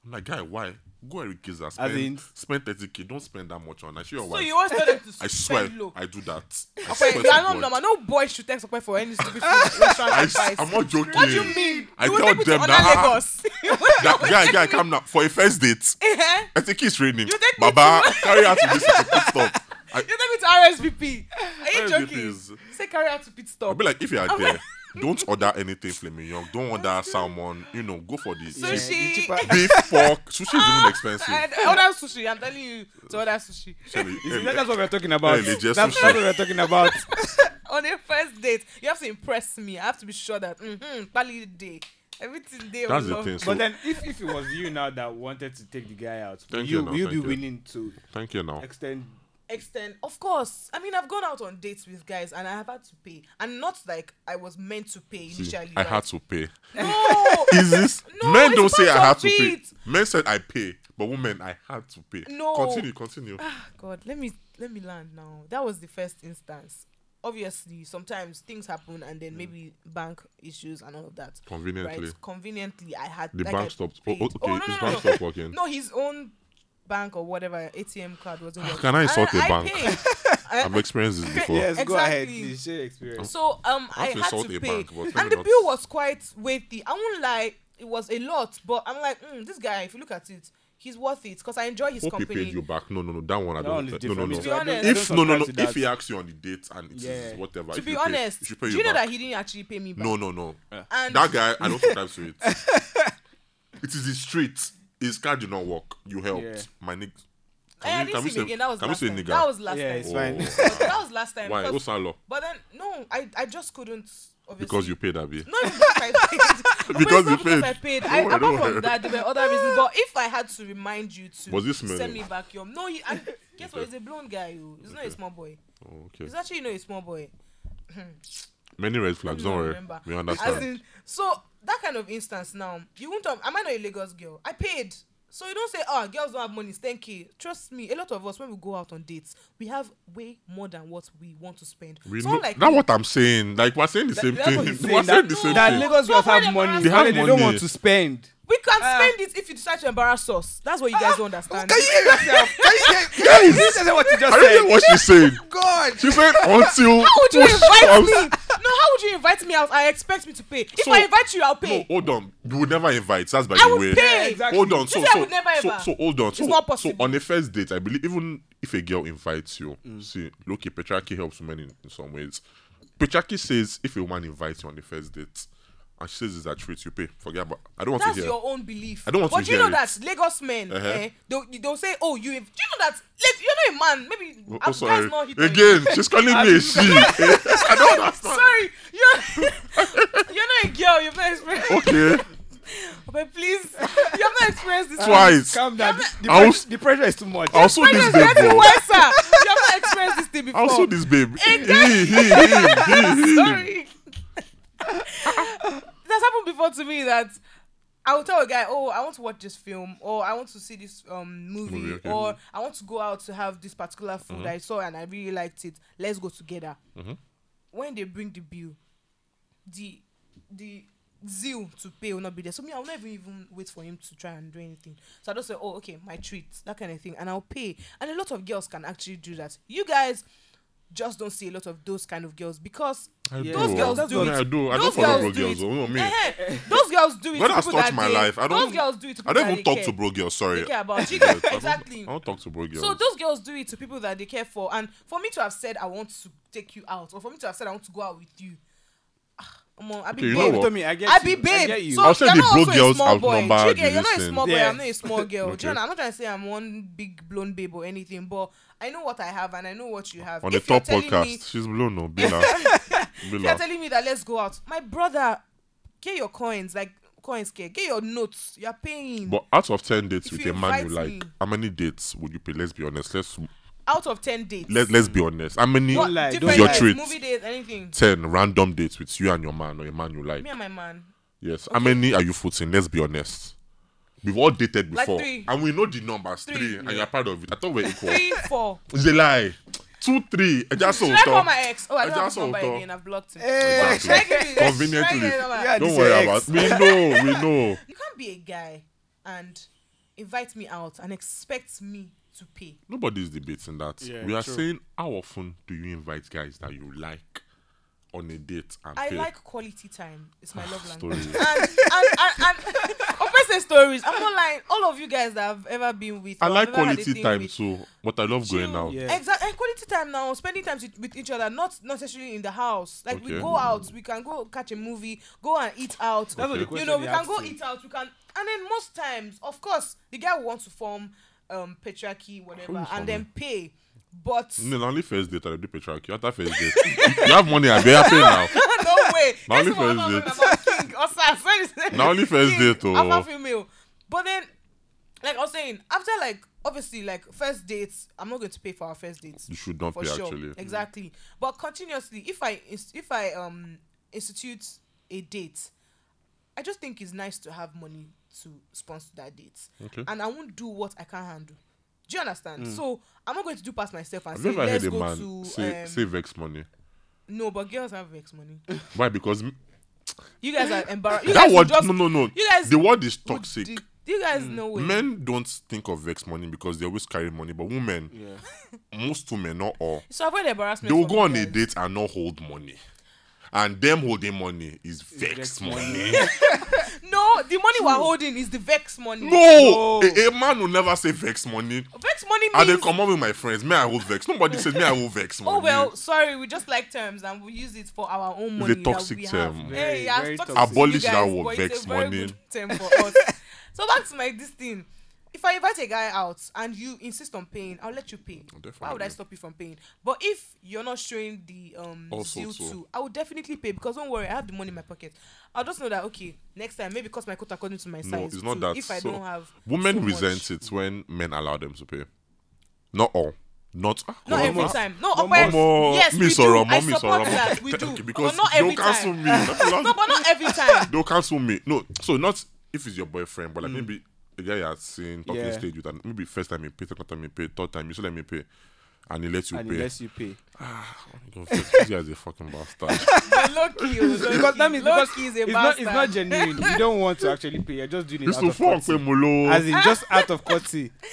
[SPEAKER 3] I'm like, guy, why? Go Eric Giza. Spend,
[SPEAKER 2] in-
[SPEAKER 3] spend 30k. Don't spend that much on. I sure your
[SPEAKER 1] So
[SPEAKER 3] wife.
[SPEAKER 1] you always tell them to
[SPEAKER 3] I swear,
[SPEAKER 1] spend low.
[SPEAKER 3] I do that. I
[SPEAKER 1] Okay,
[SPEAKER 3] swear
[SPEAKER 1] you are
[SPEAKER 3] to
[SPEAKER 1] not
[SPEAKER 3] God.
[SPEAKER 1] normal. No boy should text Okpe for any stupid food restaurant
[SPEAKER 3] I,
[SPEAKER 1] advice.
[SPEAKER 3] am not joking.
[SPEAKER 1] What do you mean?
[SPEAKER 3] I
[SPEAKER 1] you will
[SPEAKER 3] tell
[SPEAKER 1] take me to
[SPEAKER 3] them
[SPEAKER 1] Ona
[SPEAKER 3] that, ah,
[SPEAKER 1] Lagos.
[SPEAKER 3] That, guy, guy, come now for a first date.
[SPEAKER 1] Eh?
[SPEAKER 3] I think it's raining.
[SPEAKER 1] You take me
[SPEAKER 3] Baba,
[SPEAKER 1] to-
[SPEAKER 3] carry her to this pit stop. I,
[SPEAKER 1] you take me to RSVP. Are you
[SPEAKER 3] RSVP
[SPEAKER 1] joking?
[SPEAKER 3] is-
[SPEAKER 1] Say carry out to pit
[SPEAKER 3] I'll
[SPEAKER 1] stop.
[SPEAKER 3] be like, if you
[SPEAKER 1] Oh,
[SPEAKER 3] are there, don't order anything flaming young. Don't order salmon. You know, go for this.
[SPEAKER 2] Yeah, the
[SPEAKER 1] Sushi.
[SPEAKER 2] cheaper-
[SPEAKER 3] Beef, pork. Sushi is even
[SPEAKER 1] and
[SPEAKER 3] expensive.
[SPEAKER 1] order sushi. I'm telling you to order sushi.
[SPEAKER 3] Sorry,
[SPEAKER 2] You see,
[SPEAKER 3] eh,
[SPEAKER 2] that's what we're talking about.
[SPEAKER 3] Yeah, they
[SPEAKER 2] that's,
[SPEAKER 3] just
[SPEAKER 2] that's
[SPEAKER 3] sushi.
[SPEAKER 2] what we're talking about.
[SPEAKER 1] On a first date, you have to impress me. I have to be sure that mm-hmm, quality day. Everything day.
[SPEAKER 3] That's
[SPEAKER 1] we
[SPEAKER 3] the
[SPEAKER 1] love.
[SPEAKER 3] thing. So,
[SPEAKER 2] but then, if, if it was you now that wanted to take the guy out, will
[SPEAKER 3] Thank
[SPEAKER 2] you,
[SPEAKER 3] you, no,
[SPEAKER 2] will you be
[SPEAKER 3] thank you.
[SPEAKER 2] willing to
[SPEAKER 3] thank you now.
[SPEAKER 2] extend?
[SPEAKER 1] extend of course i mean i've gone out on dates with guys and i have had to pay and not like i was meant to pay
[SPEAKER 3] See,
[SPEAKER 1] initially
[SPEAKER 3] I
[SPEAKER 1] right?
[SPEAKER 3] had to pay.
[SPEAKER 1] no
[SPEAKER 3] Is this?
[SPEAKER 1] No,
[SPEAKER 3] men
[SPEAKER 1] it's
[SPEAKER 3] don't say
[SPEAKER 1] part
[SPEAKER 3] I had
[SPEAKER 1] of
[SPEAKER 3] to pay.
[SPEAKER 1] it.
[SPEAKER 3] Men said I pay, but women I had to pay.
[SPEAKER 1] No.
[SPEAKER 3] Continue, continue.
[SPEAKER 1] Ah, god let me let me land now that was the first instance obviously sometimes things happen and then maybe bank issues and all of that
[SPEAKER 3] Conveniently,
[SPEAKER 1] right conveniently i had
[SPEAKER 3] the
[SPEAKER 1] like, I
[SPEAKER 3] bank stopped. Oh,
[SPEAKER 1] paid-
[SPEAKER 3] oh, okay,
[SPEAKER 1] no, no,
[SPEAKER 3] his
[SPEAKER 1] no,
[SPEAKER 3] bank
[SPEAKER 1] no.
[SPEAKER 3] stopped working.
[SPEAKER 1] no his own bank or whatever atm card wasn't working.
[SPEAKER 3] Can I insult
[SPEAKER 1] And
[SPEAKER 3] a bank?
[SPEAKER 1] paid.
[SPEAKER 3] I've experienced this before.
[SPEAKER 2] Yes, go ahead.
[SPEAKER 1] Exactly.
[SPEAKER 2] please, Share experience.
[SPEAKER 1] So um, I
[SPEAKER 3] to
[SPEAKER 1] had
[SPEAKER 3] insult
[SPEAKER 1] to
[SPEAKER 3] a
[SPEAKER 1] pay,
[SPEAKER 3] bank, but let me
[SPEAKER 1] and the
[SPEAKER 3] not-
[SPEAKER 1] bill was quite weighty. I won't lie, it was a lot, but I'm like, mm, this guy. If you look at it, he's worth it because I enjoy his
[SPEAKER 3] Hope he
[SPEAKER 1] company.
[SPEAKER 3] paid you back. No, no, no. That one I
[SPEAKER 2] That one is
[SPEAKER 3] don't. No, no,
[SPEAKER 2] different.
[SPEAKER 1] To
[SPEAKER 3] no.
[SPEAKER 1] be honest-
[SPEAKER 3] if no no no if he
[SPEAKER 2] yeah,
[SPEAKER 3] asks you on the date and it's
[SPEAKER 2] Yeah.
[SPEAKER 3] whatever
[SPEAKER 1] to
[SPEAKER 3] if
[SPEAKER 1] be
[SPEAKER 3] you pay-
[SPEAKER 1] honest,
[SPEAKER 3] he should pay
[SPEAKER 1] do
[SPEAKER 3] you
[SPEAKER 1] you know
[SPEAKER 3] back.
[SPEAKER 1] that he didn't actually pay me back?
[SPEAKER 3] no no no
[SPEAKER 1] And-
[SPEAKER 3] that guy i don't subscribe to it it is the street his car did not work you helped
[SPEAKER 2] Yeah.
[SPEAKER 3] my nigga
[SPEAKER 1] Eh, I didn't see him again. That was
[SPEAKER 3] can we
[SPEAKER 1] last
[SPEAKER 3] say
[SPEAKER 1] time.
[SPEAKER 3] nigga Oh.
[SPEAKER 1] That was last
[SPEAKER 2] it's
[SPEAKER 1] time.
[SPEAKER 2] fine.
[SPEAKER 1] But that was last time.
[SPEAKER 3] why
[SPEAKER 1] Because,
[SPEAKER 3] Osalo
[SPEAKER 1] but then no, I I just couldn't. Obviously.
[SPEAKER 3] because you paid Abi
[SPEAKER 1] No, it's because I paid.
[SPEAKER 3] Because you
[SPEAKER 1] But it's not
[SPEAKER 3] paid.
[SPEAKER 1] I paid.
[SPEAKER 3] Don't
[SPEAKER 1] I,
[SPEAKER 3] worry,
[SPEAKER 1] apart
[SPEAKER 3] don't
[SPEAKER 1] from
[SPEAKER 3] worry.
[SPEAKER 1] that, there were other reasons. But if I had to remind you to
[SPEAKER 3] Was he
[SPEAKER 1] send
[SPEAKER 3] smelling?
[SPEAKER 1] me back your no, he, and guess what?
[SPEAKER 3] Okay.
[SPEAKER 1] He's a blonde guy. oh. He's not a small boy.
[SPEAKER 3] oh, okay
[SPEAKER 1] He's actually not a small boy.
[SPEAKER 3] many red flags
[SPEAKER 1] No,
[SPEAKER 3] don't worry
[SPEAKER 1] remember.
[SPEAKER 3] we
[SPEAKER 1] As
[SPEAKER 3] understand
[SPEAKER 1] in, so that kind of instance now, you won't. Talk, am I not a Lagos girl? I paid. So you don't say, oh, girls don't have money. Thank you. Trust me, a lot of us when we go out on dates, we have way more than what we want to spend.
[SPEAKER 3] we
[SPEAKER 1] so
[SPEAKER 3] know
[SPEAKER 1] like
[SPEAKER 3] that's what I'm saying like we're saying the same
[SPEAKER 2] that's
[SPEAKER 3] thing
[SPEAKER 2] what he's
[SPEAKER 3] we're
[SPEAKER 2] saying.
[SPEAKER 3] saying
[SPEAKER 2] That,
[SPEAKER 3] the same
[SPEAKER 2] that
[SPEAKER 3] thing
[SPEAKER 2] Lagos girls
[SPEAKER 1] Nobody
[SPEAKER 2] have money.
[SPEAKER 1] has
[SPEAKER 2] They,
[SPEAKER 3] money.
[SPEAKER 2] they don't want
[SPEAKER 3] money.
[SPEAKER 2] to spend.
[SPEAKER 1] we can't
[SPEAKER 2] Ah.
[SPEAKER 1] spend it if you decide to embarrass us. That's what you guys don't understand.
[SPEAKER 2] hear yourself? Can you hear? Guys, this is what you
[SPEAKER 3] I
[SPEAKER 2] just
[SPEAKER 3] don't get what she's saying
[SPEAKER 2] God.
[SPEAKER 3] she said until
[SPEAKER 1] How would you invite me? No, how would you invite me? I, I expect me to pay. If
[SPEAKER 3] So-
[SPEAKER 1] I invite you, I'll
[SPEAKER 3] no
[SPEAKER 1] pay.
[SPEAKER 3] hold on you would never invite that's by
[SPEAKER 1] I
[SPEAKER 3] the
[SPEAKER 1] would
[SPEAKER 3] way
[SPEAKER 1] pay.
[SPEAKER 2] exactly.
[SPEAKER 3] hold on
[SPEAKER 1] This
[SPEAKER 3] so
[SPEAKER 1] guy
[SPEAKER 3] so,
[SPEAKER 1] would never
[SPEAKER 3] so
[SPEAKER 1] ever.
[SPEAKER 3] so hold on so,
[SPEAKER 1] not
[SPEAKER 3] so
[SPEAKER 1] possible. Mm.
[SPEAKER 3] on a first date i believe even if a girl invites you see look petrarchy helps women in, in some ways petrarchy says if a woman invites you on the first date and she says it's a treat you pay forget about i don't want
[SPEAKER 1] That's
[SPEAKER 3] to hear Oh,
[SPEAKER 1] your own belief.
[SPEAKER 3] I don't want
[SPEAKER 1] but
[SPEAKER 3] to
[SPEAKER 1] do you
[SPEAKER 3] hear
[SPEAKER 1] know
[SPEAKER 3] it.
[SPEAKER 1] that Lagos men,
[SPEAKER 3] Uh-huh.
[SPEAKER 1] eh, they'll, they'll say, oh, you, do you know that, like, you're not a man. Maybe,
[SPEAKER 3] oh,
[SPEAKER 1] I'm
[SPEAKER 3] oh, sorry
[SPEAKER 1] not hit on you.
[SPEAKER 3] again she's calling me a she Eh, i don't understand
[SPEAKER 1] Sorry, you're, you're not a girl, you've not experienced,
[SPEAKER 3] okay
[SPEAKER 1] but please, you have not experienced this
[SPEAKER 3] twice
[SPEAKER 2] Calm down. The,
[SPEAKER 3] I
[SPEAKER 2] pressure,
[SPEAKER 3] was-
[SPEAKER 2] the pressure is too much.
[SPEAKER 3] i also this
[SPEAKER 1] That's
[SPEAKER 3] babe bro.
[SPEAKER 1] worse, sir. You have not experienced this thing
[SPEAKER 3] i
[SPEAKER 1] before.
[SPEAKER 3] also this babe he,
[SPEAKER 1] Exactly.
[SPEAKER 3] he, he, he, he.
[SPEAKER 1] Sorry. That's happened comfort to me that I will tell a guy, oh, I want to watch this film, or I want to see this um movie,
[SPEAKER 3] Movie, Uh-huh. okay.
[SPEAKER 1] or I want to go out to have this particular food I saw and I really liked it. Let's go together.
[SPEAKER 3] Mm-hmm.
[SPEAKER 1] When they bring the bill, the the zeal to pay will not be there. So me, I'll never even wait for him to try and do anything. So I just say, oh, okay, my treat, that kind of thing, and I'll pay. And a lot of girls can actually do that. You guys just don't see a lot of those kind of girls because
[SPEAKER 3] I
[SPEAKER 2] Yeah.
[SPEAKER 3] do.
[SPEAKER 1] Those girls
[SPEAKER 2] That's
[SPEAKER 1] do
[SPEAKER 2] what-
[SPEAKER 1] it.
[SPEAKER 3] Yeah, I do. I
[SPEAKER 1] Those
[SPEAKER 3] don't follow
[SPEAKER 1] girls
[SPEAKER 3] bro
[SPEAKER 1] do
[SPEAKER 3] girls.
[SPEAKER 1] it.
[SPEAKER 3] Oh, no, me.
[SPEAKER 1] Eh, Those girls do it.
[SPEAKER 3] God
[SPEAKER 1] to
[SPEAKER 3] has
[SPEAKER 1] people
[SPEAKER 3] touched
[SPEAKER 1] that
[SPEAKER 3] my
[SPEAKER 1] they-
[SPEAKER 3] life. I
[SPEAKER 1] Those
[SPEAKER 3] don't-
[SPEAKER 1] girls do it. To
[SPEAKER 3] I
[SPEAKER 1] people
[SPEAKER 3] don't
[SPEAKER 1] that
[SPEAKER 3] even
[SPEAKER 1] they
[SPEAKER 3] talk to
[SPEAKER 1] care-
[SPEAKER 3] bro girls.
[SPEAKER 1] They
[SPEAKER 3] Sorry.
[SPEAKER 1] care about you.
[SPEAKER 3] I don't-
[SPEAKER 1] exactly.
[SPEAKER 3] I don't talk to bro girls.
[SPEAKER 1] So those girls do it to people that they care for, and for me to have said I want to take you out, or for me to have said I want to go out with you, ah, omo, I be
[SPEAKER 3] Okay, you know
[SPEAKER 1] babe.
[SPEAKER 3] what?
[SPEAKER 2] Tommy, I get
[SPEAKER 1] I be
[SPEAKER 2] you. I
[SPEAKER 1] babe.
[SPEAKER 2] get you.
[SPEAKER 1] so
[SPEAKER 3] I'll say
[SPEAKER 1] you're
[SPEAKER 3] the
[SPEAKER 1] not
[SPEAKER 3] bro
[SPEAKER 1] also a
[SPEAKER 3] girls
[SPEAKER 1] small boy.
[SPEAKER 3] outnumber
[SPEAKER 1] Chike, you're
[SPEAKER 3] this
[SPEAKER 1] not a
[SPEAKER 3] thing.
[SPEAKER 1] small boy.
[SPEAKER 2] Yeah.
[SPEAKER 1] I'm not a small girl. Do you
[SPEAKER 3] Okay.
[SPEAKER 1] know, I'm not trying to say I'm one big blown babe or anything, but I know what I have and I know what you have.
[SPEAKER 3] On
[SPEAKER 1] if
[SPEAKER 3] the top
[SPEAKER 1] you're telling
[SPEAKER 3] podcast,
[SPEAKER 1] me
[SPEAKER 3] she's blown no Bila.
[SPEAKER 1] if you're
[SPEAKER 3] Bila.
[SPEAKER 1] telling me that let's go out, my brother, get your coins, like coins, get, get your notes. You're paying.
[SPEAKER 3] But out of ten dates
[SPEAKER 1] If
[SPEAKER 3] with
[SPEAKER 1] you
[SPEAKER 3] a man you
[SPEAKER 1] invite
[SPEAKER 3] like,
[SPEAKER 1] me-
[SPEAKER 3] how many dates would you pay? Let's be honest. Let's
[SPEAKER 1] Out of ten dates,
[SPEAKER 3] let let's be honest. How many
[SPEAKER 1] what
[SPEAKER 2] Don't lie,
[SPEAKER 1] different
[SPEAKER 3] don't lie.
[SPEAKER 1] dates,
[SPEAKER 3] Your treat.
[SPEAKER 1] movie dates, anything.
[SPEAKER 3] ten random dates with you and your man or a man you like?
[SPEAKER 1] Me and my man.
[SPEAKER 3] Yes. How many are you footing? Let's be honest. We've all dated
[SPEAKER 1] Like
[SPEAKER 3] before,
[SPEAKER 1] three.
[SPEAKER 3] and we know the numbers three,
[SPEAKER 1] Three.
[SPEAKER 3] and you're part of it. I thought we we're equal.
[SPEAKER 1] Three, four.
[SPEAKER 3] it's a lie. Two, three. I just
[SPEAKER 1] Should I call my ex? Oh, I don't have his number again. I've blocked him.
[SPEAKER 2] Hey.
[SPEAKER 1] Should I give you- should I
[SPEAKER 3] Conveniently.
[SPEAKER 1] give you his number?
[SPEAKER 2] Eh. Yeah,
[SPEAKER 3] Don't
[SPEAKER 2] this
[SPEAKER 3] worry
[SPEAKER 2] is
[SPEAKER 3] about.
[SPEAKER 2] ex.
[SPEAKER 3] it. We know. We know.
[SPEAKER 1] You can't be a guy and invite me out and expect me to pay.
[SPEAKER 3] Nobody's debating that.
[SPEAKER 2] Yeah,
[SPEAKER 3] we are
[SPEAKER 2] true.
[SPEAKER 3] saying how often do you invite guys that you like on a date and
[SPEAKER 1] I
[SPEAKER 3] pay? Ah,
[SPEAKER 1] like quality time. It's my love language.
[SPEAKER 3] stories.
[SPEAKER 1] And and and, and open say stories. I'm not lying. All of you guys that I've ever been with,
[SPEAKER 3] I
[SPEAKER 1] or
[SPEAKER 3] like
[SPEAKER 1] I've ever had a
[SPEAKER 3] quality
[SPEAKER 1] thing
[SPEAKER 3] time
[SPEAKER 1] with,
[SPEAKER 3] too, but I love going out.
[SPEAKER 2] Yeah.
[SPEAKER 1] Exactly. And quality time now, spending time with, with each other, not not necessarily in the house. Like we
[SPEAKER 3] Okay.
[SPEAKER 1] go out, we can go catch a movie, go and eat out.
[SPEAKER 2] That's what the
[SPEAKER 1] you
[SPEAKER 2] question
[SPEAKER 1] know,
[SPEAKER 2] they
[SPEAKER 1] we can
[SPEAKER 2] asked
[SPEAKER 1] go
[SPEAKER 2] you.
[SPEAKER 1] eat out. We can, and then most times, of course, the guy will want to form um patriarchy, whatever,
[SPEAKER 3] Who's
[SPEAKER 1] and then pay. But
[SPEAKER 3] No, na only first date I dey do patriarchy. After first date, you have money, I better pay now.
[SPEAKER 1] no way.
[SPEAKER 3] Na only
[SPEAKER 1] That's what I'm talking about,
[SPEAKER 3] first date.
[SPEAKER 1] King or Sars, what is it?
[SPEAKER 3] Na only first
[SPEAKER 1] King,
[SPEAKER 3] date, oh.
[SPEAKER 1] Alpha female. But then, like I was saying, after like obviously like first dates, I'm not going to pay for our first dates.
[SPEAKER 3] You should not
[SPEAKER 1] for
[SPEAKER 3] pay
[SPEAKER 1] sure.
[SPEAKER 3] actually.
[SPEAKER 1] Exactly. But continuously, if I ins- if I um institute a date, I just think it's nice to have money to sponsor that date,
[SPEAKER 3] Okay. Hmm.
[SPEAKER 1] and I won't do what I can't handle. Do you understand? So I'm not going to do past myself and
[SPEAKER 3] Have
[SPEAKER 1] say
[SPEAKER 3] you ever
[SPEAKER 1] let's
[SPEAKER 3] heard a
[SPEAKER 1] go
[SPEAKER 3] man
[SPEAKER 1] to
[SPEAKER 3] say
[SPEAKER 1] um,
[SPEAKER 3] say vex money?
[SPEAKER 1] no, but girls have vex money.
[SPEAKER 3] Why? Because m-
[SPEAKER 1] You guys are embarrassed. You
[SPEAKER 3] that
[SPEAKER 1] guys would
[SPEAKER 3] word
[SPEAKER 1] just,
[SPEAKER 3] no no no.
[SPEAKER 1] you guys
[SPEAKER 3] the word is
[SPEAKER 1] would
[SPEAKER 3] toxic.
[SPEAKER 1] do- you guys know way.
[SPEAKER 3] Men don't think of vex money because they always carry money, but women,
[SPEAKER 2] Yeah.
[SPEAKER 1] Mm.
[SPEAKER 3] most women, not all,
[SPEAKER 1] so avoid embarrassment.
[SPEAKER 3] they will
[SPEAKER 1] from
[SPEAKER 3] go on
[SPEAKER 1] you
[SPEAKER 3] a
[SPEAKER 1] guys.
[SPEAKER 3] date and not hold money. And them holding money is vex
[SPEAKER 2] vex
[SPEAKER 3] money.
[SPEAKER 1] No, the money we're holding is the vex money.
[SPEAKER 3] no,
[SPEAKER 2] No.
[SPEAKER 3] A, a man will never say vex money.
[SPEAKER 1] Vex money
[SPEAKER 3] I they
[SPEAKER 1] means
[SPEAKER 3] come up with my friends. Me, I hold vex. Nobody says me, I hold vex money.
[SPEAKER 1] Oh well, sorry, we just like terms and we use it for our own money. that
[SPEAKER 3] toxic
[SPEAKER 1] we
[SPEAKER 3] term.
[SPEAKER 1] Have.
[SPEAKER 2] Very,
[SPEAKER 1] hey, yeah,
[SPEAKER 2] very
[SPEAKER 1] toxic
[SPEAKER 2] toxic.
[SPEAKER 1] to you
[SPEAKER 3] Abolish that
[SPEAKER 1] guys,
[SPEAKER 3] word,
[SPEAKER 1] but it's a
[SPEAKER 3] vex
[SPEAKER 1] very
[SPEAKER 3] money.
[SPEAKER 1] good term for us. so that's my this thing. If I invite a guy out and you insist on paying, I'll let you pay. Why would I
[SPEAKER 3] Oh, Definitely.
[SPEAKER 1] stop you from paying? But if you're not showing the um
[SPEAKER 3] Also
[SPEAKER 1] zeal
[SPEAKER 3] so.
[SPEAKER 1] to, I will definitely pay because don't worry, I have the money in my pocket. I'll just know that okay, next time maybe because my quote according to my size.
[SPEAKER 3] no, it's not
[SPEAKER 1] too,
[SPEAKER 3] that.
[SPEAKER 1] If I
[SPEAKER 3] So,
[SPEAKER 1] don't have
[SPEAKER 3] women
[SPEAKER 1] so much.
[SPEAKER 3] resent it when men allow them to pay. Not all. Not, ah,
[SPEAKER 1] Not
[SPEAKER 3] come
[SPEAKER 1] every
[SPEAKER 3] on.
[SPEAKER 1] time. No,
[SPEAKER 2] Mama,
[SPEAKER 1] Okpe,
[SPEAKER 3] Omo,
[SPEAKER 1] yes,
[SPEAKER 3] me
[SPEAKER 1] we do.
[SPEAKER 3] sorrow,
[SPEAKER 1] I
[SPEAKER 3] mommy
[SPEAKER 1] support
[SPEAKER 3] sorrow,
[SPEAKER 1] that. We
[SPEAKER 3] thank
[SPEAKER 1] do.
[SPEAKER 3] you, Because
[SPEAKER 1] but not
[SPEAKER 3] they'll
[SPEAKER 1] every
[SPEAKER 3] cancel
[SPEAKER 1] time.
[SPEAKER 3] me.
[SPEAKER 1] No, but not every time.
[SPEAKER 3] they'll cancel me. No, so not if it's your boyfriend, but like maybe a guy you had seen talking
[SPEAKER 2] Yeah.
[SPEAKER 3] stage with, and maybe first time he pay, second time he pay, third time you still let me pay, and he lets you
[SPEAKER 2] And
[SPEAKER 3] pay.
[SPEAKER 2] unless you pay.
[SPEAKER 3] Go first. This guy is a fucking bastard.
[SPEAKER 1] But Loki, oh, Loki.
[SPEAKER 2] Because that means because
[SPEAKER 1] Loki is a
[SPEAKER 2] it's not, it's not
[SPEAKER 1] bastard.
[SPEAKER 2] genuine. You don't want to actually pay. You're just doing it
[SPEAKER 3] This
[SPEAKER 2] out
[SPEAKER 3] will
[SPEAKER 2] of
[SPEAKER 3] fuck
[SPEAKER 2] courtesy.
[SPEAKER 3] me, Molo.
[SPEAKER 2] As in just out of courtesy.
[SPEAKER 1] But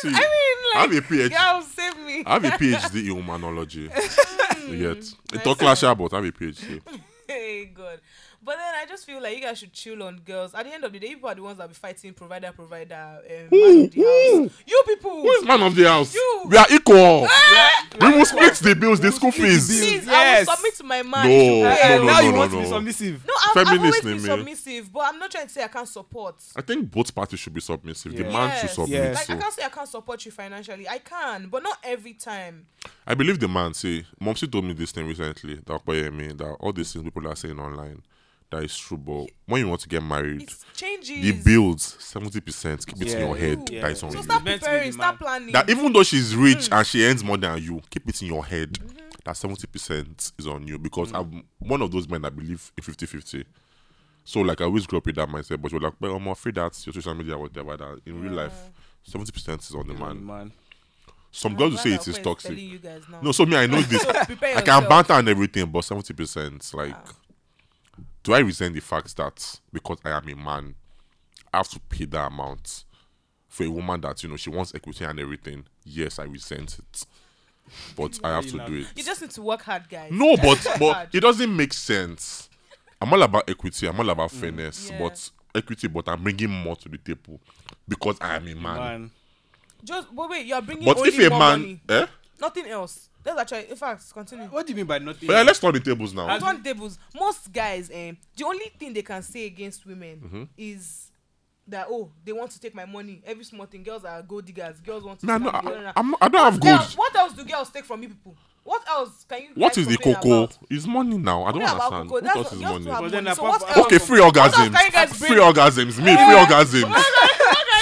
[SPEAKER 3] See,
[SPEAKER 1] I
[SPEAKER 3] have
[SPEAKER 1] mean,
[SPEAKER 3] a PhD.
[SPEAKER 1] like, girl, save me.
[SPEAKER 3] I have a PhD in humanology. Yet, a talk clash about I have a PhD.
[SPEAKER 1] Hey God. But then I just feel like you guys should chill on girls. At the end of the day, people are the ones that be fighting provider, provider. Um, man of
[SPEAKER 3] Who?
[SPEAKER 1] the house.
[SPEAKER 3] Who?
[SPEAKER 1] You people.
[SPEAKER 3] Who is man of the house?
[SPEAKER 1] You.
[SPEAKER 3] We are equal. we will split the bills, the school
[SPEAKER 2] split the
[SPEAKER 3] fees.
[SPEAKER 2] bills.
[SPEAKER 1] Please,
[SPEAKER 2] Yes.
[SPEAKER 1] I will submit to my man.
[SPEAKER 3] No,
[SPEAKER 1] You should-
[SPEAKER 3] no,
[SPEAKER 1] Eh,
[SPEAKER 2] Yeah,
[SPEAKER 3] no,
[SPEAKER 2] now
[SPEAKER 3] no,
[SPEAKER 2] you
[SPEAKER 3] no,
[SPEAKER 2] want
[SPEAKER 3] no.
[SPEAKER 2] to be submissive.
[SPEAKER 1] No, I've, I've always
[SPEAKER 3] Feminist
[SPEAKER 1] been
[SPEAKER 3] in me.
[SPEAKER 1] submissive, but I'm not trying to say I can't support.
[SPEAKER 3] I think both parties should be submissive. The
[SPEAKER 2] Yeah.
[SPEAKER 3] man should
[SPEAKER 1] Yes.
[SPEAKER 3] submit.
[SPEAKER 2] Yes.
[SPEAKER 1] Like I
[SPEAKER 3] So.
[SPEAKER 1] can't say I can't support you financially. I can, but not every time.
[SPEAKER 3] I believe the man. See, Momsi told me this thing recently that by me that all these things people are saying online, that is true. But when you want to get married,
[SPEAKER 1] It changes.
[SPEAKER 3] the bills seventy percent keep it in
[SPEAKER 2] Yeah.
[SPEAKER 3] your head.
[SPEAKER 1] Ooh.
[SPEAKER 3] That is on
[SPEAKER 1] So Mm-hmm.
[SPEAKER 3] you.
[SPEAKER 1] start
[SPEAKER 2] Meant to be
[SPEAKER 1] preparing,
[SPEAKER 2] the
[SPEAKER 1] start
[SPEAKER 2] man.
[SPEAKER 1] planning.
[SPEAKER 3] that even though she's rich and she earns more than you, keep it in your head
[SPEAKER 1] Mm-hmm.
[SPEAKER 3] that 70% is on you because I'm one of those men that believe in 50 50. So like I always grew up with that mindset, but you're like, well, I'm afraid that's your social media, whatever. That in real life, seventy percent is on the man.
[SPEAKER 2] man.
[SPEAKER 3] Some
[SPEAKER 1] I'm
[SPEAKER 3] girls will
[SPEAKER 1] glad
[SPEAKER 3] say
[SPEAKER 1] our
[SPEAKER 3] it is
[SPEAKER 1] friend
[SPEAKER 3] toxic.
[SPEAKER 1] telling you guys now.
[SPEAKER 3] No, so me, I know this.
[SPEAKER 1] So prepare
[SPEAKER 3] I can
[SPEAKER 1] yourself.
[SPEAKER 3] banter and everything, but seventy percent, like,
[SPEAKER 1] Wow.
[SPEAKER 3] do I resent the fact that because I am a man, I have to pay that amount for a woman that you know she wants equity and everything? Yes, I resent it, but I have
[SPEAKER 2] you
[SPEAKER 3] to
[SPEAKER 2] laugh.
[SPEAKER 3] do it.
[SPEAKER 1] You just need to work hard, guys.
[SPEAKER 3] No, but but
[SPEAKER 1] hard.
[SPEAKER 3] it doesn't make sense. I'm all about equity. I'm all about fairness,
[SPEAKER 1] Mm. Yeah.
[SPEAKER 3] but equity. But I'm bringing more to the table because I am a man.
[SPEAKER 2] Man.
[SPEAKER 1] Just but wait, you're bringing
[SPEAKER 3] But
[SPEAKER 1] only
[SPEAKER 3] if a
[SPEAKER 1] more
[SPEAKER 3] man,
[SPEAKER 1] money.
[SPEAKER 3] eh?
[SPEAKER 1] nothing else. That's actually, in fact, continue.
[SPEAKER 2] What do you mean by nothing?
[SPEAKER 3] But yeah, let's turn the tables now.
[SPEAKER 1] At one tables, most guys, eh, the only thing they can say against women
[SPEAKER 3] Mm-hmm.
[SPEAKER 1] is that oh, they want to take my money. Every small thing, girls are gold diggers. Girls want to.
[SPEAKER 3] No,
[SPEAKER 1] take
[SPEAKER 3] no,
[SPEAKER 1] my money.
[SPEAKER 3] I, I'm not, I don't have
[SPEAKER 1] Girl,
[SPEAKER 3] gold.
[SPEAKER 1] what else do girls take from me, people? What else can you?
[SPEAKER 3] What
[SPEAKER 1] guys
[SPEAKER 3] is the
[SPEAKER 1] complain
[SPEAKER 3] cocoa?
[SPEAKER 1] About?
[SPEAKER 3] It's money now. I don't
[SPEAKER 1] Complain about
[SPEAKER 3] understand.
[SPEAKER 1] cocoa.
[SPEAKER 3] What
[SPEAKER 1] That's
[SPEAKER 3] else
[SPEAKER 1] not-
[SPEAKER 3] is
[SPEAKER 1] girls don't
[SPEAKER 3] money?
[SPEAKER 1] have
[SPEAKER 2] But then
[SPEAKER 1] money. So
[SPEAKER 2] apart
[SPEAKER 1] what
[SPEAKER 2] from-
[SPEAKER 1] else?
[SPEAKER 3] Okay, free
[SPEAKER 1] else can
[SPEAKER 3] orgasms.
[SPEAKER 1] you guys
[SPEAKER 3] Free
[SPEAKER 1] bring?
[SPEAKER 3] orgasms. Me, free orgasms. Free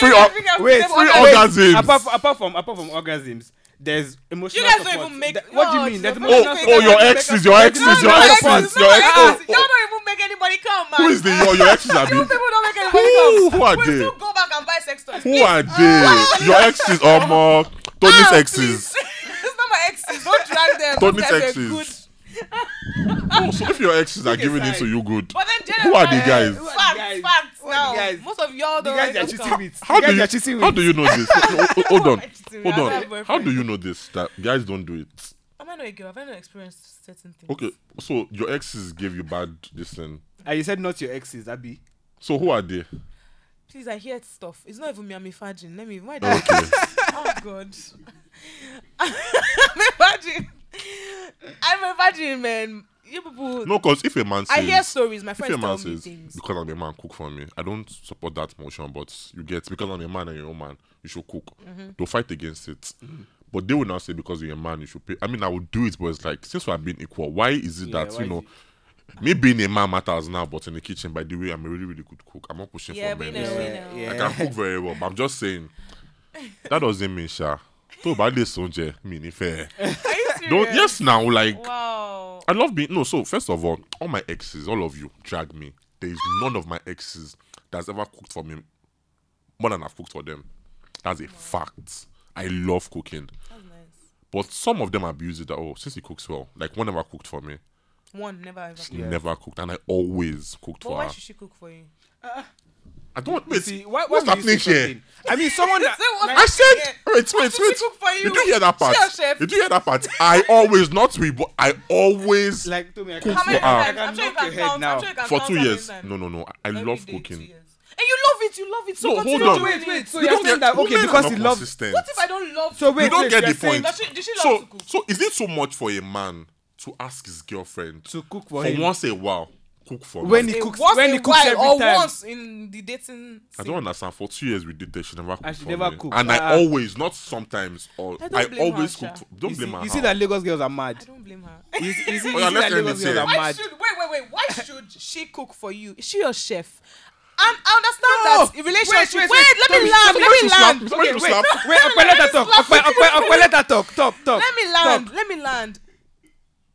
[SPEAKER 1] Free,
[SPEAKER 3] or-
[SPEAKER 2] Wait,
[SPEAKER 3] Free
[SPEAKER 2] wait,
[SPEAKER 3] orgasms.
[SPEAKER 2] Apart, from- apart from apart from orgasms, there's emotional.
[SPEAKER 1] You guys don't
[SPEAKER 2] support.
[SPEAKER 1] even make-
[SPEAKER 2] Th- what do
[SPEAKER 1] no,
[SPEAKER 2] you mean? There's
[SPEAKER 1] it's
[SPEAKER 2] emotional
[SPEAKER 1] your
[SPEAKER 3] Oh,
[SPEAKER 1] Free
[SPEAKER 3] oh,
[SPEAKER 2] support.
[SPEAKER 3] your
[SPEAKER 1] orgasms.
[SPEAKER 3] exes, your exes,
[SPEAKER 2] No,
[SPEAKER 3] your
[SPEAKER 2] no, exes,
[SPEAKER 3] exes, your exes.
[SPEAKER 1] Y'all
[SPEAKER 3] Oh,
[SPEAKER 1] don't even make anybody come, man.
[SPEAKER 3] Who is the your your exes? Abi?
[SPEAKER 1] You people don't make anybody
[SPEAKER 3] Who
[SPEAKER 1] come.
[SPEAKER 3] who are
[SPEAKER 1] We
[SPEAKER 3] they?
[SPEAKER 1] still go back and buy sex toys.
[SPEAKER 3] Who are they? Your exes or more
[SPEAKER 1] Ah,
[SPEAKER 3] Tony's
[SPEAKER 1] please.
[SPEAKER 3] exes?
[SPEAKER 1] it's not my exes. Don't drag them. Those
[SPEAKER 3] Tony's
[SPEAKER 1] guys were
[SPEAKER 3] exes. Oh, so if your exes are giving in
[SPEAKER 2] aside.
[SPEAKER 3] to you, good.
[SPEAKER 1] But then
[SPEAKER 3] Who are the
[SPEAKER 1] generally-
[SPEAKER 3] guys?
[SPEAKER 2] are
[SPEAKER 3] Who
[SPEAKER 2] the
[SPEAKER 1] Facts,
[SPEAKER 2] guys?
[SPEAKER 1] facts.
[SPEAKER 2] Who are
[SPEAKER 1] Now,
[SPEAKER 2] the guys?
[SPEAKER 1] most of y'all
[SPEAKER 2] The
[SPEAKER 1] don't.
[SPEAKER 2] guys are
[SPEAKER 1] just
[SPEAKER 2] cheating
[SPEAKER 1] come.
[SPEAKER 2] with. The
[SPEAKER 3] How do
[SPEAKER 2] guys
[SPEAKER 3] you
[SPEAKER 2] are cheating
[SPEAKER 3] How
[SPEAKER 2] with.
[SPEAKER 3] do you know this? Ho- ho- Hold on,
[SPEAKER 1] I cheated with
[SPEAKER 3] hold
[SPEAKER 1] another
[SPEAKER 3] on. How
[SPEAKER 1] boyfriend.
[SPEAKER 3] do you know this? That guys don't do it.
[SPEAKER 1] Am I not a girl? Have I not experienced certain things?
[SPEAKER 3] Okay, so your exes gave you bad this thing.
[SPEAKER 2] And you said not your exes, Abby.
[SPEAKER 3] So who are they?
[SPEAKER 1] Please, I hear stuff. It's not even me. I'm a virgin. Let me. Why do
[SPEAKER 3] Okay,
[SPEAKER 1] oh god i'm a virgin i'm a virgin man you people
[SPEAKER 3] no, because if a man says,
[SPEAKER 1] i hear stories my
[SPEAKER 3] if a
[SPEAKER 1] friends
[SPEAKER 3] man
[SPEAKER 1] tell me
[SPEAKER 3] says,
[SPEAKER 1] things
[SPEAKER 3] because I'm a man, cook for me. I don't support that motion, but you get because I'm a man and you're a man, you should cook.
[SPEAKER 1] Mm-hmm.
[SPEAKER 3] Don't fight against it. But they will not say because you're a man, you should pay. I mean, I would do it, but it's like since we're being equal, why is it
[SPEAKER 2] Yeah,
[SPEAKER 3] that
[SPEAKER 2] why
[SPEAKER 3] you
[SPEAKER 2] is
[SPEAKER 3] know? Me being a man matters now, but in the kitchen, by the way, I'm a really, really good cook. I'm not pushing
[SPEAKER 1] yeah
[SPEAKER 3] for
[SPEAKER 1] we
[SPEAKER 3] men.
[SPEAKER 1] know
[SPEAKER 3] It's-
[SPEAKER 1] we
[SPEAKER 2] Yeah,
[SPEAKER 1] know
[SPEAKER 2] yeah.
[SPEAKER 3] I can cook very well, but I'm just saying that doesn't mean sha. Tó o bá lè sóúnjẹ, mi ní fẹ́ ẹ.
[SPEAKER 1] are you serious
[SPEAKER 3] Don't yes now like
[SPEAKER 1] wow
[SPEAKER 3] I love being no. So first of all, all my exes, all of you, drag me. There is none of my exes that's ever cooked for me more than I've cooked for them. That's a fact. I love cooking,
[SPEAKER 1] that's nice
[SPEAKER 3] but some of them abuse it. That oh, since he cooks well, like one never cooked for me,
[SPEAKER 1] one never ever
[SPEAKER 3] she
[SPEAKER 2] Yeah.
[SPEAKER 3] never cooked, and I always cooked
[SPEAKER 1] but
[SPEAKER 3] for
[SPEAKER 1] why
[SPEAKER 3] her.
[SPEAKER 1] should she cook for you
[SPEAKER 3] I don't
[SPEAKER 2] You
[SPEAKER 3] wait.
[SPEAKER 2] see, why, why would
[SPEAKER 3] what's
[SPEAKER 2] you
[SPEAKER 3] happening
[SPEAKER 2] say
[SPEAKER 3] here?
[SPEAKER 2] something? I mean, someone. that-
[SPEAKER 1] So what-
[SPEAKER 3] I said,
[SPEAKER 1] Yeah.
[SPEAKER 3] wait, wait,
[SPEAKER 1] did she
[SPEAKER 3] wait.
[SPEAKER 1] cook for you?
[SPEAKER 3] Did you hear that part?
[SPEAKER 1] She a chef.
[SPEAKER 3] Did you hear that part? I always, not we, but I always
[SPEAKER 2] like to me, I
[SPEAKER 3] Cook
[SPEAKER 2] can,
[SPEAKER 1] how
[SPEAKER 3] for
[SPEAKER 1] many
[SPEAKER 3] her.
[SPEAKER 2] I
[SPEAKER 1] times i'm
[SPEAKER 2] can
[SPEAKER 1] sure you
[SPEAKER 2] knock
[SPEAKER 1] can
[SPEAKER 2] your head
[SPEAKER 1] count
[SPEAKER 2] now.
[SPEAKER 1] i'm sure you can
[SPEAKER 3] for
[SPEAKER 1] count
[SPEAKER 3] two
[SPEAKER 1] how many
[SPEAKER 3] years.
[SPEAKER 1] times.
[SPEAKER 3] No, no, no. I
[SPEAKER 1] Every
[SPEAKER 3] love
[SPEAKER 1] day, two
[SPEAKER 3] cooking.
[SPEAKER 1] years. and you love it you love it so
[SPEAKER 3] No,
[SPEAKER 1] continue
[SPEAKER 3] hold on.
[SPEAKER 1] doing
[SPEAKER 2] Wait, wait,
[SPEAKER 1] it.
[SPEAKER 2] so
[SPEAKER 1] what
[SPEAKER 2] you're
[SPEAKER 3] don't
[SPEAKER 2] saying
[SPEAKER 3] get-
[SPEAKER 2] that okay
[SPEAKER 3] women are
[SPEAKER 2] because
[SPEAKER 3] not
[SPEAKER 2] he loves.
[SPEAKER 3] consistent.
[SPEAKER 1] if i don't love
[SPEAKER 2] So
[SPEAKER 1] you?
[SPEAKER 2] wait,
[SPEAKER 3] you don't
[SPEAKER 2] wait,
[SPEAKER 3] get
[SPEAKER 2] you're
[SPEAKER 3] the
[SPEAKER 2] saying
[SPEAKER 3] point.
[SPEAKER 1] Does she- did she love
[SPEAKER 3] so,
[SPEAKER 1] to cook?
[SPEAKER 3] so is it so much for a man to ask his girlfriend
[SPEAKER 2] To cook for
[SPEAKER 3] for
[SPEAKER 2] him.
[SPEAKER 3] once in a while cook for
[SPEAKER 2] When
[SPEAKER 3] me?
[SPEAKER 2] he
[SPEAKER 1] Say
[SPEAKER 2] cooks-
[SPEAKER 1] once
[SPEAKER 2] when
[SPEAKER 1] in
[SPEAKER 2] he
[SPEAKER 1] a
[SPEAKER 2] cooks
[SPEAKER 1] while
[SPEAKER 2] every
[SPEAKER 1] or
[SPEAKER 2] time.
[SPEAKER 1] once in the dating
[SPEAKER 3] I
[SPEAKER 1] scene.
[SPEAKER 3] don't understand. For two years we dated, she never cooked
[SPEAKER 2] she
[SPEAKER 3] for
[SPEAKER 2] never
[SPEAKER 3] me,
[SPEAKER 2] cooked.
[SPEAKER 3] and
[SPEAKER 2] Ah.
[SPEAKER 3] I always, not sometimes, or
[SPEAKER 1] I don't
[SPEAKER 3] I,
[SPEAKER 1] blame her,
[SPEAKER 3] always
[SPEAKER 1] Sha.
[SPEAKER 3] cooked. For, don't
[SPEAKER 2] you
[SPEAKER 3] blame
[SPEAKER 2] see,
[SPEAKER 3] her.
[SPEAKER 2] you see
[SPEAKER 3] how.
[SPEAKER 2] that Lagos girls are
[SPEAKER 1] I
[SPEAKER 2] mad.
[SPEAKER 1] don't blame her.
[SPEAKER 2] You see, you see,
[SPEAKER 3] Oh, yeah,
[SPEAKER 2] you see
[SPEAKER 3] let's
[SPEAKER 2] that
[SPEAKER 3] end
[SPEAKER 2] Lagos girls
[SPEAKER 3] it here.
[SPEAKER 2] are
[SPEAKER 1] Why
[SPEAKER 2] mad.
[SPEAKER 1] should wait wait wait? Why should she cook for you? Is she your chef? And I understand that in relationship. Wait,
[SPEAKER 2] wait, wait.
[SPEAKER 1] let me
[SPEAKER 2] Sorry,
[SPEAKER 1] land.
[SPEAKER 3] sorry,
[SPEAKER 1] Let me
[SPEAKER 3] sorry, slap.
[SPEAKER 1] land.
[SPEAKER 3] Sorry,
[SPEAKER 2] Okay, wait,
[SPEAKER 3] slap.
[SPEAKER 2] wait, Okwe, let her talk. Okwe, Okwe, Okwe, let her talk. Talk, talk.
[SPEAKER 1] Let me land. Let me land.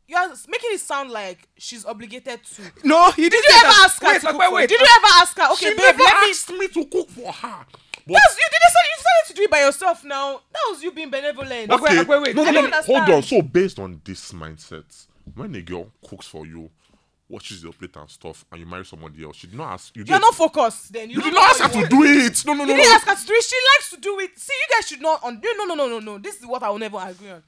[SPEAKER 1] You are making it sound like she's obligated to. Did
[SPEAKER 2] No, he didn't
[SPEAKER 1] you
[SPEAKER 2] say
[SPEAKER 1] ever
[SPEAKER 2] that.
[SPEAKER 1] ask her
[SPEAKER 2] Wait,
[SPEAKER 1] to cook
[SPEAKER 2] Okwe,
[SPEAKER 1] for you?
[SPEAKER 2] wait.
[SPEAKER 1] Did you ever ask her? Okay,
[SPEAKER 3] she
[SPEAKER 1] babe,
[SPEAKER 3] never
[SPEAKER 1] let me.
[SPEAKER 3] asked me to cook for her. But
[SPEAKER 1] That's, you didn't say you decided to do it by yourself. Now that was you being benevolent.
[SPEAKER 2] Okay. Wait, wait, wait.
[SPEAKER 3] No,
[SPEAKER 1] I
[SPEAKER 3] no,
[SPEAKER 1] don't
[SPEAKER 3] no. Hold on.
[SPEAKER 1] understand.
[SPEAKER 3] So based on this mindset, when a girl cooks for you, washes your plate and stuff, and you marry somebody else, she did not ask you.
[SPEAKER 1] You're
[SPEAKER 3] did-
[SPEAKER 1] not focused. Then you,
[SPEAKER 3] You
[SPEAKER 1] don't
[SPEAKER 3] did not ask
[SPEAKER 1] know what
[SPEAKER 3] her
[SPEAKER 1] you
[SPEAKER 3] to
[SPEAKER 1] want.
[SPEAKER 3] do it. No, no, no,
[SPEAKER 1] You didn't
[SPEAKER 3] no.
[SPEAKER 1] ask her to do it. She likes to do it. See, you guys should not. On no, no, no, no, no. This is what I will never agree on.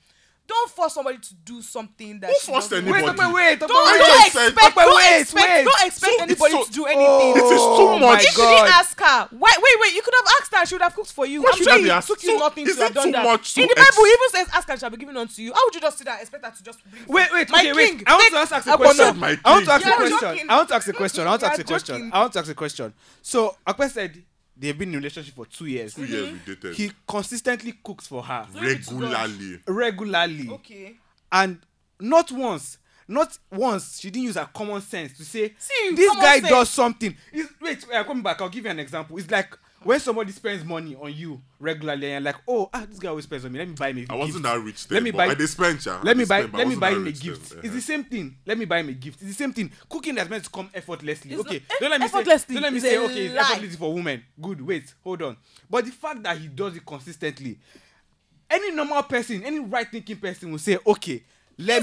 [SPEAKER 1] Don't force somebody to do something that.
[SPEAKER 3] Who
[SPEAKER 1] she
[SPEAKER 3] forced
[SPEAKER 1] doesn't-
[SPEAKER 2] Wait,
[SPEAKER 3] anybody?
[SPEAKER 2] Okwe, wait. Okwe,
[SPEAKER 1] Don't,
[SPEAKER 3] I
[SPEAKER 2] wait.
[SPEAKER 1] don't
[SPEAKER 3] just said-
[SPEAKER 1] expect. Don't
[SPEAKER 2] Wait,
[SPEAKER 1] expect.
[SPEAKER 2] wait.
[SPEAKER 1] Don't expect
[SPEAKER 3] So it's
[SPEAKER 1] anybody
[SPEAKER 3] so-
[SPEAKER 1] to do anything.
[SPEAKER 3] It is too
[SPEAKER 2] Oh
[SPEAKER 3] much.
[SPEAKER 2] my
[SPEAKER 1] If she
[SPEAKER 2] God.
[SPEAKER 1] didn't ask her, why? Wait, wait. You could have asked her. She would have cooked for you.
[SPEAKER 3] Why
[SPEAKER 1] I'm
[SPEAKER 3] should
[SPEAKER 1] sure
[SPEAKER 3] I be
[SPEAKER 1] it
[SPEAKER 3] asked?
[SPEAKER 1] took
[SPEAKER 3] So
[SPEAKER 1] you nothing
[SPEAKER 3] is
[SPEAKER 1] to have
[SPEAKER 3] it
[SPEAKER 1] done
[SPEAKER 3] too
[SPEAKER 1] that.
[SPEAKER 3] much to
[SPEAKER 1] In the Bible,
[SPEAKER 3] ex-
[SPEAKER 1] it even says, "Ask and it shall be given unto you." How would you just sit there and expect her to just bring? food?
[SPEAKER 2] Wait, wait,
[SPEAKER 1] my
[SPEAKER 2] okay, wait.
[SPEAKER 1] king.
[SPEAKER 2] I want
[SPEAKER 1] take
[SPEAKER 2] to ask ask a
[SPEAKER 1] a
[SPEAKER 2] question.
[SPEAKER 1] bonnet.
[SPEAKER 3] My
[SPEAKER 2] I want to ask
[SPEAKER 3] king.
[SPEAKER 2] a
[SPEAKER 1] You're
[SPEAKER 2] question.
[SPEAKER 1] joking.
[SPEAKER 2] I want to ask a question. I want to ask a
[SPEAKER 1] You're
[SPEAKER 2] question.
[SPEAKER 1] joking.
[SPEAKER 2] I want to ask a question. So Akwe said they've been in a relationship for two years.
[SPEAKER 3] Two years we dated.
[SPEAKER 2] He consistently cooks for her
[SPEAKER 3] regularly.
[SPEAKER 2] regularly.
[SPEAKER 1] Okay.
[SPEAKER 2] and not once not once she didn't use her common sense to say
[SPEAKER 1] See,
[SPEAKER 2] this
[SPEAKER 1] common
[SPEAKER 2] guy
[SPEAKER 1] sense.
[SPEAKER 2] uh, does something It's- wait i come back i'll give you an example it's like when somebody spends money on you regularly and you're like, oh, ah, this guy always spends on me. Let me buy him a gift.
[SPEAKER 3] I wasn't that rich then.
[SPEAKER 2] Let me buy.
[SPEAKER 3] I did spend, yeah.
[SPEAKER 2] let
[SPEAKER 3] I
[SPEAKER 2] me
[SPEAKER 3] did
[SPEAKER 2] buy.
[SPEAKER 3] spend, but I
[SPEAKER 2] let me
[SPEAKER 3] wasn't
[SPEAKER 2] buy
[SPEAKER 3] that
[SPEAKER 2] him a
[SPEAKER 3] rich then.
[SPEAKER 2] gift. It's
[SPEAKER 3] Uh-huh.
[SPEAKER 2] the same thing. Let me buy him a gift. It's the same thing. Cooking that's meant to come effortlessly.
[SPEAKER 1] It's
[SPEAKER 2] okay.
[SPEAKER 1] not-
[SPEAKER 2] don't let me say.
[SPEAKER 1] effortlessly
[SPEAKER 2] Don't let me
[SPEAKER 1] is
[SPEAKER 2] say.
[SPEAKER 1] a
[SPEAKER 2] Okay, it's
[SPEAKER 1] lie.
[SPEAKER 2] effortlessly for women. Good. Wait. Hold on. But the fact that he does it consistently, any normal person, any right-thinking person will say, okay, let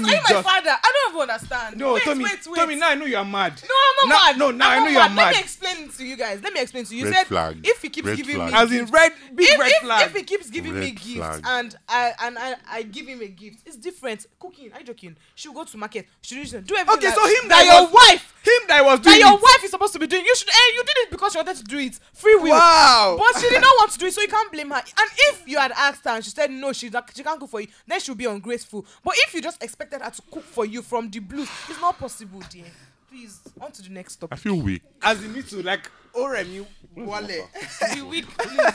[SPEAKER 1] Are you
[SPEAKER 2] me
[SPEAKER 1] my
[SPEAKER 2] just.
[SPEAKER 1] father? I don't even understand.
[SPEAKER 2] No,
[SPEAKER 1] wait,
[SPEAKER 2] Tommy.
[SPEAKER 1] wait, wait.
[SPEAKER 2] Tommy, now I know you are mad.
[SPEAKER 1] No, I'm
[SPEAKER 2] now,
[SPEAKER 1] not mad.
[SPEAKER 2] No, now
[SPEAKER 1] I'm
[SPEAKER 2] know
[SPEAKER 1] not
[SPEAKER 2] you are
[SPEAKER 1] Let
[SPEAKER 2] mad.
[SPEAKER 1] me explain it to you guys. Let me explain to you. You
[SPEAKER 3] Red
[SPEAKER 1] said
[SPEAKER 3] flag.
[SPEAKER 1] if he keeps
[SPEAKER 3] Red
[SPEAKER 1] giving
[SPEAKER 3] flag.
[SPEAKER 1] me
[SPEAKER 2] As in red, big
[SPEAKER 1] if,
[SPEAKER 2] red
[SPEAKER 1] if,
[SPEAKER 2] flag.
[SPEAKER 1] If he keeps giving
[SPEAKER 3] Red
[SPEAKER 1] me gifts
[SPEAKER 3] flag.
[SPEAKER 1] and I and I, I give him a gift, it's different. Cooking, are you joking? She'll go to market. She'll do everything.
[SPEAKER 2] Okay,
[SPEAKER 1] that,
[SPEAKER 2] so him
[SPEAKER 1] that
[SPEAKER 2] that
[SPEAKER 1] your
[SPEAKER 2] was-
[SPEAKER 1] wife
[SPEAKER 2] Him that was
[SPEAKER 1] that
[SPEAKER 2] doing.
[SPEAKER 1] your
[SPEAKER 2] it.
[SPEAKER 1] wife is supposed to be doing. You should. Eh, you did it because you wanted to do it. Free will.
[SPEAKER 2] Wow.
[SPEAKER 1] But she did not want to do it, so you can't blame her. And if you had asked her and she said no, she's not, she can't cook for you, then she'll be ungrateful. But if you just expected her to cook for you from the blues, it's not possible, dear. Please, on to the next
[SPEAKER 3] I
[SPEAKER 1] topic.
[SPEAKER 3] feel weak.
[SPEAKER 2] As in me too, like Oremi Wale.
[SPEAKER 1] be weak, please.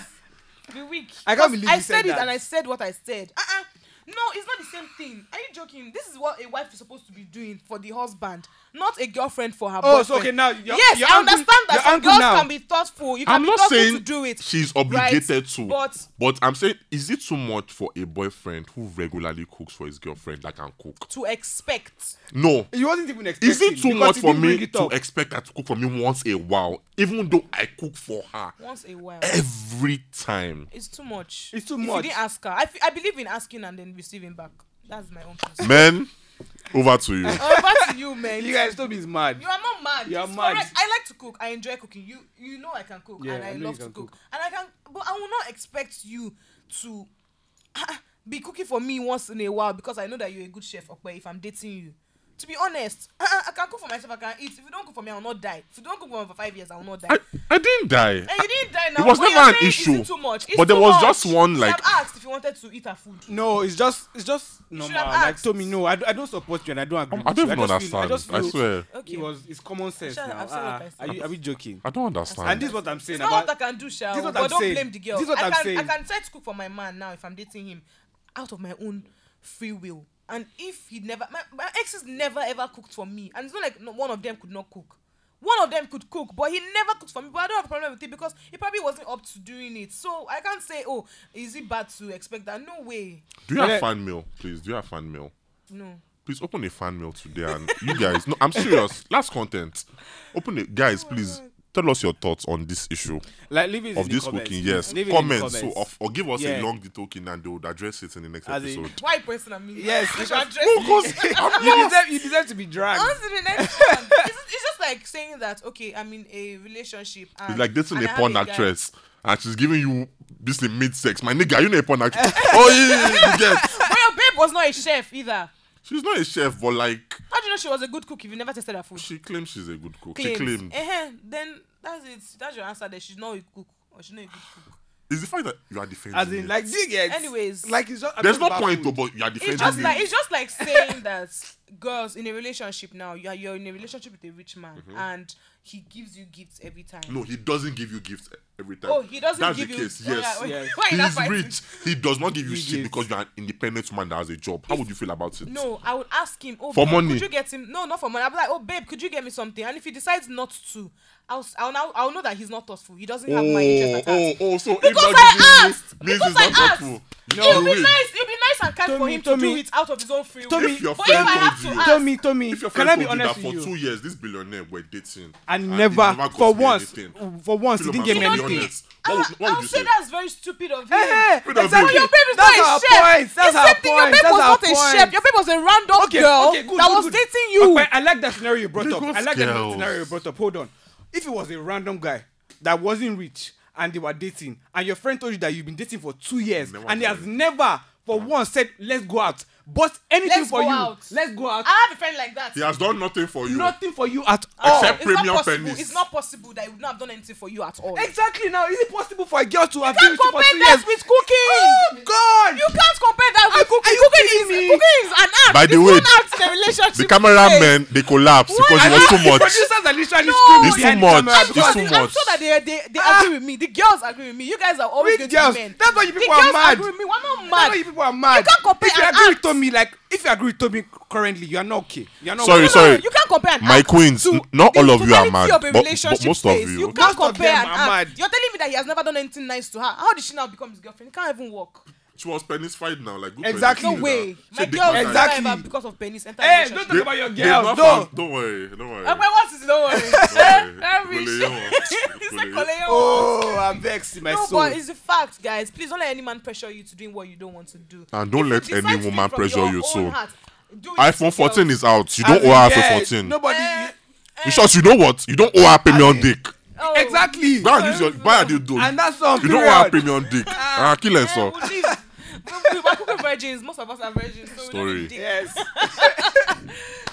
[SPEAKER 1] Be weak.
[SPEAKER 2] I can't
[SPEAKER 1] 'Cause
[SPEAKER 2] believe
[SPEAKER 1] I
[SPEAKER 2] you
[SPEAKER 1] said,
[SPEAKER 2] said
[SPEAKER 1] it
[SPEAKER 2] that.
[SPEAKER 1] and I said what I said. Uh-uh. No, it's not the same thing. Are you joking? This is what a wife is supposed to be doing for the husband, not a girlfriend for her
[SPEAKER 2] Oh,
[SPEAKER 1] boyfriend.
[SPEAKER 2] so okay, now your-
[SPEAKER 1] yes,
[SPEAKER 2] your
[SPEAKER 1] I
[SPEAKER 2] uncle-
[SPEAKER 1] understand that
[SPEAKER 2] your
[SPEAKER 1] some
[SPEAKER 2] uncle
[SPEAKER 1] girls
[SPEAKER 2] now.
[SPEAKER 1] can be thoughtful. You can
[SPEAKER 3] I'm
[SPEAKER 1] be
[SPEAKER 3] not
[SPEAKER 1] thoughtful
[SPEAKER 3] saying
[SPEAKER 1] to do it.
[SPEAKER 3] she's obligated to,
[SPEAKER 1] but-
[SPEAKER 3] I'm saying, is it too much for a boyfriend who regularly cooks for his girlfriend that can cook?
[SPEAKER 1] to expect.
[SPEAKER 3] No,
[SPEAKER 2] He wasn't even expecting.
[SPEAKER 3] is it too
[SPEAKER 2] because
[SPEAKER 3] much
[SPEAKER 2] he
[SPEAKER 3] for
[SPEAKER 2] didn't bring
[SPEAKER 3] me
[SPEAKER 2] it
[SPEAKER 3] to
[SPEAKER 2] up.
[SPEAKER 3] expect her to cook for me once a while, even though I cook for her
[SPEAKER 1] once a while.
[SPEAKER 3] every time?
[SPEAKER 1] It's too much.
[SPEAKER 2] It's too
[SPEAKER 1] if
[SPEAKER 2] much.
[SPEAKER 1] You didn't ask her. I fe- I believe in asking and then receiving back. That's my own principle.
[SPEAKER 3] Men, over to you.
[SPEAKER 1] Over to you, man.
[SPEAKER 2] You guys, Toby is mad.
[SPEAKER 1] You are not mad.
[SPEAKER 2] You are
[SPEAKER 1] It's
[SPEAKER 2] mad.
[SPEAKER 1] correct. I like to cook. I enjoy cooking. You you know I can cook
[SPEAKER 2] Yeah,
[SPEAKER 1] and I,
[SPEAKER 2] I know you
[SPEAKER 1] love to
[SPEAKER 2] can
[SPEAKER 1] cook.
[SPEAKER 2] cook.
[SPEAKER 1] And I can but I will not expect you to be cooking for me once in a while because I know that you're a good chef, okay, if I'm dating you. To be honest, I can cook for myself, I can eat. If you don't cook for me, I will not die. If you don't cook for me for five years, I will not die.
[SPEAKER 3] I, I didn't die.
[SPEAKER 1] and you didn't die now.
[SPEAKER 3] It was
[SPEAKER 1] but
[SPEAKER 3] never
[SPEAKER 1] you're
[SPEAKER 3] an
[SPEAKER 1] saying, is it
[SPEAKER 3] issue.
[SPEAKER 1] Too much? It's
[SPEAKER 3] But there
[SPEAKER 1] too
[SPEAKER 3] was
[SPEAKER 1] much.
[SPEAKER 3] just one,
[SPEAKER 1] You
[SPEAKER 3] like-
[SPEAKER 1] should have asked if you wanted to eat her food.
[SPEAKER 2] No, it's just, it's just normal.
[SPEAKER 1] have
[SPEAKER 2] Like
[SPEAKER 1] asked.
[SPEAKER 2] Tommy, no, I, d- I don't support you and I don't agree.
[SPEAKER 3] I
[SPEAKER 2] with you.
[SPEAKER 3] don't even
[SPEAKER 2] just feel-
[SPEAKER 3] understand.
[SPEAKER 2] just
[SPEAKER 3] I
[SPEAKER 2] feel
[SPEAKER 3] swear.
[SPEAKER 1] Okay.
[SPEAKER 2] It was, it's common sense
[SPEAKER 1] shall-
[SPEAKER 2] now.
[SPEAKER 1] I've said what
[SPEAKER 2] Ah,
[SPEAKER 1] I said.
[SPEAKER 2] are you, are we joking?
[SPEAKER 3] I don't
[SPEAKER 2] And this
[SPEAKER 3] understand.
[SPEAKER 2] is what I'm saying
[SPEAKER 1] It's not
[SPEAKER 2] about.
[SPEAKER 1] what I can do, shall
[SPEAKER 2] This is what
[SPEAKER 1] but
[SPEAKER 2] I'm
[SPEAKER 1] don't
[SPEAKER 2] saying.
[SPEAKER 1] blame the girl.
[SPEAKER 2] This is what
[SPEAKER 1] I
[SPEAKER 2] I'm
[SPEAKER 1] can I
[SPEAKER 2] saying.
[SPEAKER 1] can try to cook for my man now if I'm dating him out of my own free will. And if he never my, my exes never ever cooked for me. And it's not like no, one of them could not cook. One of them could cook, but he never cooked for me. But I don't have a problem with it because he probably wasn't up to doing it. So I can't say, oh, is it bad to expect that? No way.
[SPEAKER 3] Do you have
[SPEAKER 2] Yeah.
[SPEAKER 3] fan mail, please? Do you have fan mail?
[SPEAKER 1] No.
[SPEAKER 3] Please open a fan mail today, and you guys. No, I'm serious. Last content. Open it,
[SPEAKER 1] Oh
[SPEAKER 3] guys. Please tell us your thoughts on this issue
[SPEAKER 2] Like, leave it in
[SPEAKER 3] of
[SPEAKER 2] the
[SPEAKER 3] this
[SPEAKER 2] comments.
[SPEAKER 3] cooking. Yes,
[SPEAKER 2] Leave it in the
[SPEAKER 3] comments. So, of, or give us
[SPEAKER 2] Yeah.
[SPEAKER 3] a long talking, and they would address it in the next
[SPEAKER 2] As in-
[SPEAKER 3] episode.
[SPEAKER 1] Why person at me?
[SPEAKER 2] Yes,
[SPEAKER 1] They should
[SPEAKER 2] because-
[SPEAKER 1] address me.
[SPEAKER 2] you deserve, you deserve to be dragged.
[SPEAKER 1] On to the next one. It's, it's just like saying that okay, I'm in a relationship. And,
[SPEAKER 3] It's like dating
[SPEAKER 1] and I
[SPEAKER 3] a
[SPEAKER 1] have
[SPEAKER 3] porn
[SPEAKER 1] guy-
[SPEAKER 3] actress, and she's giving you basically mid sex. My nigga, you know a porn actress. oh yeah, yeah, yeah, you get.
[SPEAKER 1] But your babe was not a chef either.
[SPEAKER 3] She's not a chef, but like
[SPEAKER 1] How do you know she was a good cook if you never tested her food?
[SPEAKER 3] she claims she's a good cook. She
[SPEAKER 1] Claims.
[SPEAKER 3] claimed.
[SPEAKER 1] Eh-heh, then that's it. That's your answer. That she's not a cook or she's not a good cook.
[SPEAKER 3] It's the fact that you are defending.
[SPEAKER 2] As in,
[SPEAKER 3] it.
[SPEAKER 2] like, do you get?
[SPEAKER 1] Anyways.
[SPEAKER 2] like it's just. I'm
[SPEAKER 3] there's
[SPEAKER 2] talking
[SPEAKER 3] no
[SPEAKER 2] about
[SPEAKER 3] point
[SPEAKER 2] food.
[SPEAKER 3] though, but you are defending.
[SPEAKER 1] It's just
[SPEAKER 3] it.
[SPEAKER 1] like it's just like saying that girls in a relationship now you are you're in a relationship with a rich man and he gives you gifts every time.
[SPEAKER 3] Mm-hmm. No, he doesn't give you gifts every time.
[SPEAKER 1] Oh, he doesn't
[SPEAKER 3] That's
[SPEAKER 1] give
[SPEAKER 3] the
[SPEAKER 1] you.
[SPEAKER 3] Case.
[SPEAKER 1] oh,
[SPEAKER 3] Yes.
[SPEAKER 1] yeah,
[SPEAKER 2] Yes.
[SPEAKER 1] Why you not
[SPEAKER 3] He's
[SPEAKER 1] fighting?
[SPEAKER 3] rich. He does not give you
[SPEAKER 2] He
[SPEAKER 3] shit
[SPEAKER 2] gives.
[SPEAKER 3] because you're an independent woman that has a job. How would you feel about it?
[SPEAKER 1] No, I would ask him. Oh,
[SPEAKER 3] For
[SPEAKER 1] babe,
[SPEAKER 3] money.
[SPEAKER 1] Could you get him? No, not for money. I'll be like, oh, babe, could you get me something? And if he decides not to, I'll s- I'll now I'll know that he's not thoughtful. He doesn't have my
[SPEAKER 3] Oh,
[SPEAKER 1] interest at
[SPEAKER 3] oh,
[SPEAKER 1] heart.
[SPEAKER 3] oh! So
[SPEAKER 1] Because
[SPEAKER 3] if not
[SPEAKER 1] I
[SPEAKER 3] giving you
[SPEAKER 1] asked.
[SPEAKER 3] means
[SPEAKER 1] Because
[SPEAKER 3] it's not
[SPEAKER 1] I asked.
[SPEAKER 3] though.
[SPEAKER 2] No.
[SPEAKER 1] It'll
[SPEAKER 3] You
[SPEAKER 1] be
[SPEAKER 3] win.
[SPEAKER 1] nice. It'll be nice and kind for
[SPEAKER 2] Tommy,
[SPEAKER 1] him to
[SPEAKER 2] Tommy.
[SPEAKER 1] do it out of his own free will.
[SPEAKER 2] Tommy,
[SPEAKER 3] If your
[SPEAKER 1] but if I have
[SPEAKER 3] friend told
[SPEAKER 1] to
[SPEAKER 3] you-
[SPEAKER 1] ask,
[SPEAKER 2] Tommy, Tommy,
[SPEAKER 3] If your
[SPEAKER 2] can
[SPEAKER 3] friend
[SPEAKER 2] I be
[SPEAKER 3] told you that
[SPEAKER 2] honest
[SPEAKER 3] for
[SPEAKER 2] with you?
[SPEAKER 3] two years, this billionaire were dating
[SPEAKER 2] and
[SPEAKER 3] he
[SPEAKER 2] never, for
[SPEAKER 3] got me
[SPEAKER 2] once,
[SPEAKER 3] anything.
[SPEAKER 2] for once, he
[SPEAKER 3] Philip,
[SPEAKER 2] didn't
[SPEAKER 3] I'm
[SPEAKER 2] give me
[SPEAKER 3] sorry,
[SPEAKER 1] anything.
[SPEAKER 3] honest.
[SPEAKER 1] I'll,
[SPEAKER 3] What would, what
[SPEAKER 1] I'll
[SPEAKER 3] would you
[SPEAKER 1] say,
[SPEAKER 3] say?
[SPEAKER 1] that's very stupid of him.
[SPEAKER 2] Hey, hey,
[SPEAKER 3] Freedom of
[SPEAKER 1] But
[SPEAKER 2] exactly.
[SPEAKER 1] your babe is
[SPEAKER 2] That's
[SPEAKER 1] not
[SPEAKER 2] our
[SPEAKER 1] a chef.
[SPEAKER 2] point. That's our
[SPEAKER 1] Except that
[SPEAKER 2] point.
[SPEAKER 1] Your babe
[SPEAKER 2] That's
[SPEAKER 1] was
[SPEAKER 2] our
[SPEAKER 1] not
[SPEAKER 2] point.
[SPEAKER 1] a chef. Your babe was a random girl that was dating you.
[SPEAKER 2] Okay, I like that scenario you brought up. I
[SPEAKER 3] Lagos
[SPEAKER 2] like that
[SPEAKER 3] girls.
[SPEAKER 2] scenario you brought up. Hold on. If it was a random guy that wasn't rich and they were dating, and your friend told you that you've been dating for two years,
[SPEAKER 3] Never
[SPEAKER 2] and he has
[SPEAKER 3] married.
[SPEAKER 2] never for once said, "Let's go out," bought anything
[SPEAKER 1] Let's
[SPEAKER 2] for
[SPEAKER 1] go
[SPEAKER 2] you.
[SPEAKER 1] out. Ah.
[SPEAKER 2] Let's go out.
[SPEAKER 1] I have a friend like that.
[SPEAKER 3] He has done nothing for you.
[SPEAKER 2] Nothing for you at all.
[SPEAKER 3] Except
[SPEAKER 1] it's not
[SPEAKER 3] premium
[SPEAKER 1] possible.
[SPEAKER 3] pennies.
[SPEAKER 1] It's not possible that he would not have done anything for you at all.
[SPEAKER 2] Exactly. Now, is it possible for a girl to have been
[SPEAKER 1] can't
[SPEAKER 2] with you for two
[SPEAKER 1] compare that
[SPEAKER 2] years?
[SPEAKER 1] with cooking.
[SPEAKER 2] Oh God!
[SPEAKER 1] You can't compare that with
[SPEAKER 2] Are-
[SPEAKER 1] cooking.
[SPEAKER 2] are you
[SPEAKER 1] cooking
[SPEAKER 2] kidding
[SPEAKER 1] is
[SPEAKER 2] me?
[SPEAKER 1] cooking is an art.
[SPEAKER 3] By the
[SPEAKER 1] It's
[SPEAKER 3] way-
[SPEAKER 1] one art there relationship.
[SPEAKER 3] The cameramen they collapsed
[SPEAKER 1] Why?
[SPEAKER 3] because it
[SPEAKER 1] And
[SPEAKER 3] was too
[SPEAKER 2] The
[SPEAKER 3] much.
[SPEAKER 2] producers are literally
[SPEAKER 1] No,
[SPEAKER 2] screaming
[SPEAKER 1] it's
[SPEAKER 2] behind
[SPEAKER 3] too
[SPEAKER 2] the
[SPEAKER 3] much.
[SPEAKER 2] camera
[SPEAKER 3] It's
[SPEAKER 2] because
[SPEAKER 1] Because
[SPEAKER 3] too
[SPEAKER 1] I'm
[SPEAKER 3] much.
[SPEAKER 1] sure that they they, they
[SPEAKER 2] Ah.
[SPEAKER 1] agree with me. The girls agree with me. You guys are always
[SPEAKER 2] Which
[SPEAKER 1] going to
[SPEAKER 2] girls?
[SPEAKER 1] be men.
[SPEAKER 2] That's why you
[SPEAKER 1] The
[SPEAKER 2] people are
[SPEAKER 1] girls
[SPEAKER 2] mad.
[SPEAKER 1] agree with me. We're not
[SPEAKER 2] That's why
[SPEAKER 1] mad.
[SPEAKER 2] you people are mad.
[SPEAKER 1] can't compare
[SPEAKER 2] if you
[SPEAKER 1] and
[SPEAKER 2] agree with
[SPEAKER 1] act.
[SPEAKER 2] Tommy, like if you agree with Tommy currently, you are not okay. You are not
[SPEAKER 3] Sorry,
[SPEAKER 2] okay.
[SPEAKER 1] No,
[SPEAKER 3] sorry.
[SPEAKER 1] You can't compare. and
[SPEAKER 3] My
[SPEAKER 1] act.
[SPEAKER 3] queens,
[SPEAKER 2] to
[SPEAKER 3] n- not
[SPEAKER 1] The
[SPEAKER 3] all of you are
[SPEAKER 1] totality
[SPEAKER 3] mad,
[SPEAKER 1] of a
[SPEAKER 3] but, but
[SPEAKER 1] relationship
[SPEAKER 3] most of
[SPEAKER 1] phase,
[SPEAKER 3] you.
[SPEAKER 1] you can't
[SPEAKER 2] Most of
[SPEAKER 1] compare
[SPEAKER 2] them
[SPEAKER 1] and
[SPEAKER 2] are
[SPEAKER 1] act.
[SPEAKER 2] mad.
[SPEAKER 1] You're telling me that he has never done anything nice to her. How did she now become his girlfriend? It can't even work.
[SPEAKER 3] She was penis fight now, like good
[SPEAKER 2] Exactly.
[SPEAKER 1] No
[SPEAKER 2] Please,
[SPEAKER 1] way. My girl
[SPEAKER 3] girl.
[SPEAKER 1] is
[SPEAKER 2] Exactly.
[SPEAKER 1] exactly. because of penis. Enter
[SPEAKER 2] Hey,
[SPEAKER 1] relationship.
[SPEAKER 2] don't talk about your girls. No.
[SPEAKER 3] Don't worry, don't worry.
[SPEAKER 1] Ah, but what is it? Don't worry.
[SPEAKER 3] Don't worry.
[SPEAKER 1] Don't worry.
[SPEAKER 3] Koleyo.
[SPEAKER 1] He said
[SPEAKER 3] Koleyo.
[SPEAKER 1] Koleyo.
[SPEAKER 2] Oh, I'm vexed in my
[SPEAKER 1] No,
[SPEAKER 2] soul.
[SPEAKER 1] but it's a fact, guys. Please don't let any man pressure you to doing what you don't want to do.
[SPEAKER 3] And don't
[SPEAKER 1] If you
[SPEAKER 3] let
[SPEAKER 1] decide
[SPEAKER 3] any
[SPEAKER 1] to do it
[SPEAKER 3] woman
[SPEAKER 1] from
[SPEAKER 3] pressure
[SPEAKER 1] your
[SPEAKER 3] you,
[SPEAKER 1] own
[SPEAKER 3] so-
[SPEAKER 1] heart, do it
[SPEAKER 3] iPhone
[SPEAKER 1] yourself.
[SPEAKER 3] 14 is out. You
[SPEAKER 2] As
[SPEAKER 3] don't
[SPEAKER 2] in,
[SPEAKER 3] owe
[SPEAKER 2] yeah,
[SPEAKER 3] her iPhone 14.
[SPEAKER 2] Nobody.
[SPEAKER 1] Eh, eh,
[SPEAKER 3] In short, you know what? You don't owe her premium
[SPEAKER 2] As in-
[SPEAKER 3] dick.
[SPEAKER 1] oh.
[SPEAKER 2] Exactly.
[SPEAKER 3] Buy her this your buy her this dope.
[SPEAKER 2] And that's on
[SPEAKER 3] You don't owe her
[SPEAKER 2] period.
[SPEAKER 3] premium dick. Ah, kill her,
[SPEAKER 1] Eh,
[SPEAKER 3] so.
[SPEAKER 1] we live- we- we- we're cooking virgins. Most of us are virgins. So
[SPEAKER 3] Story.
[SPEAKER 1] We don't need dick.
[SPEAKER 2] Yes.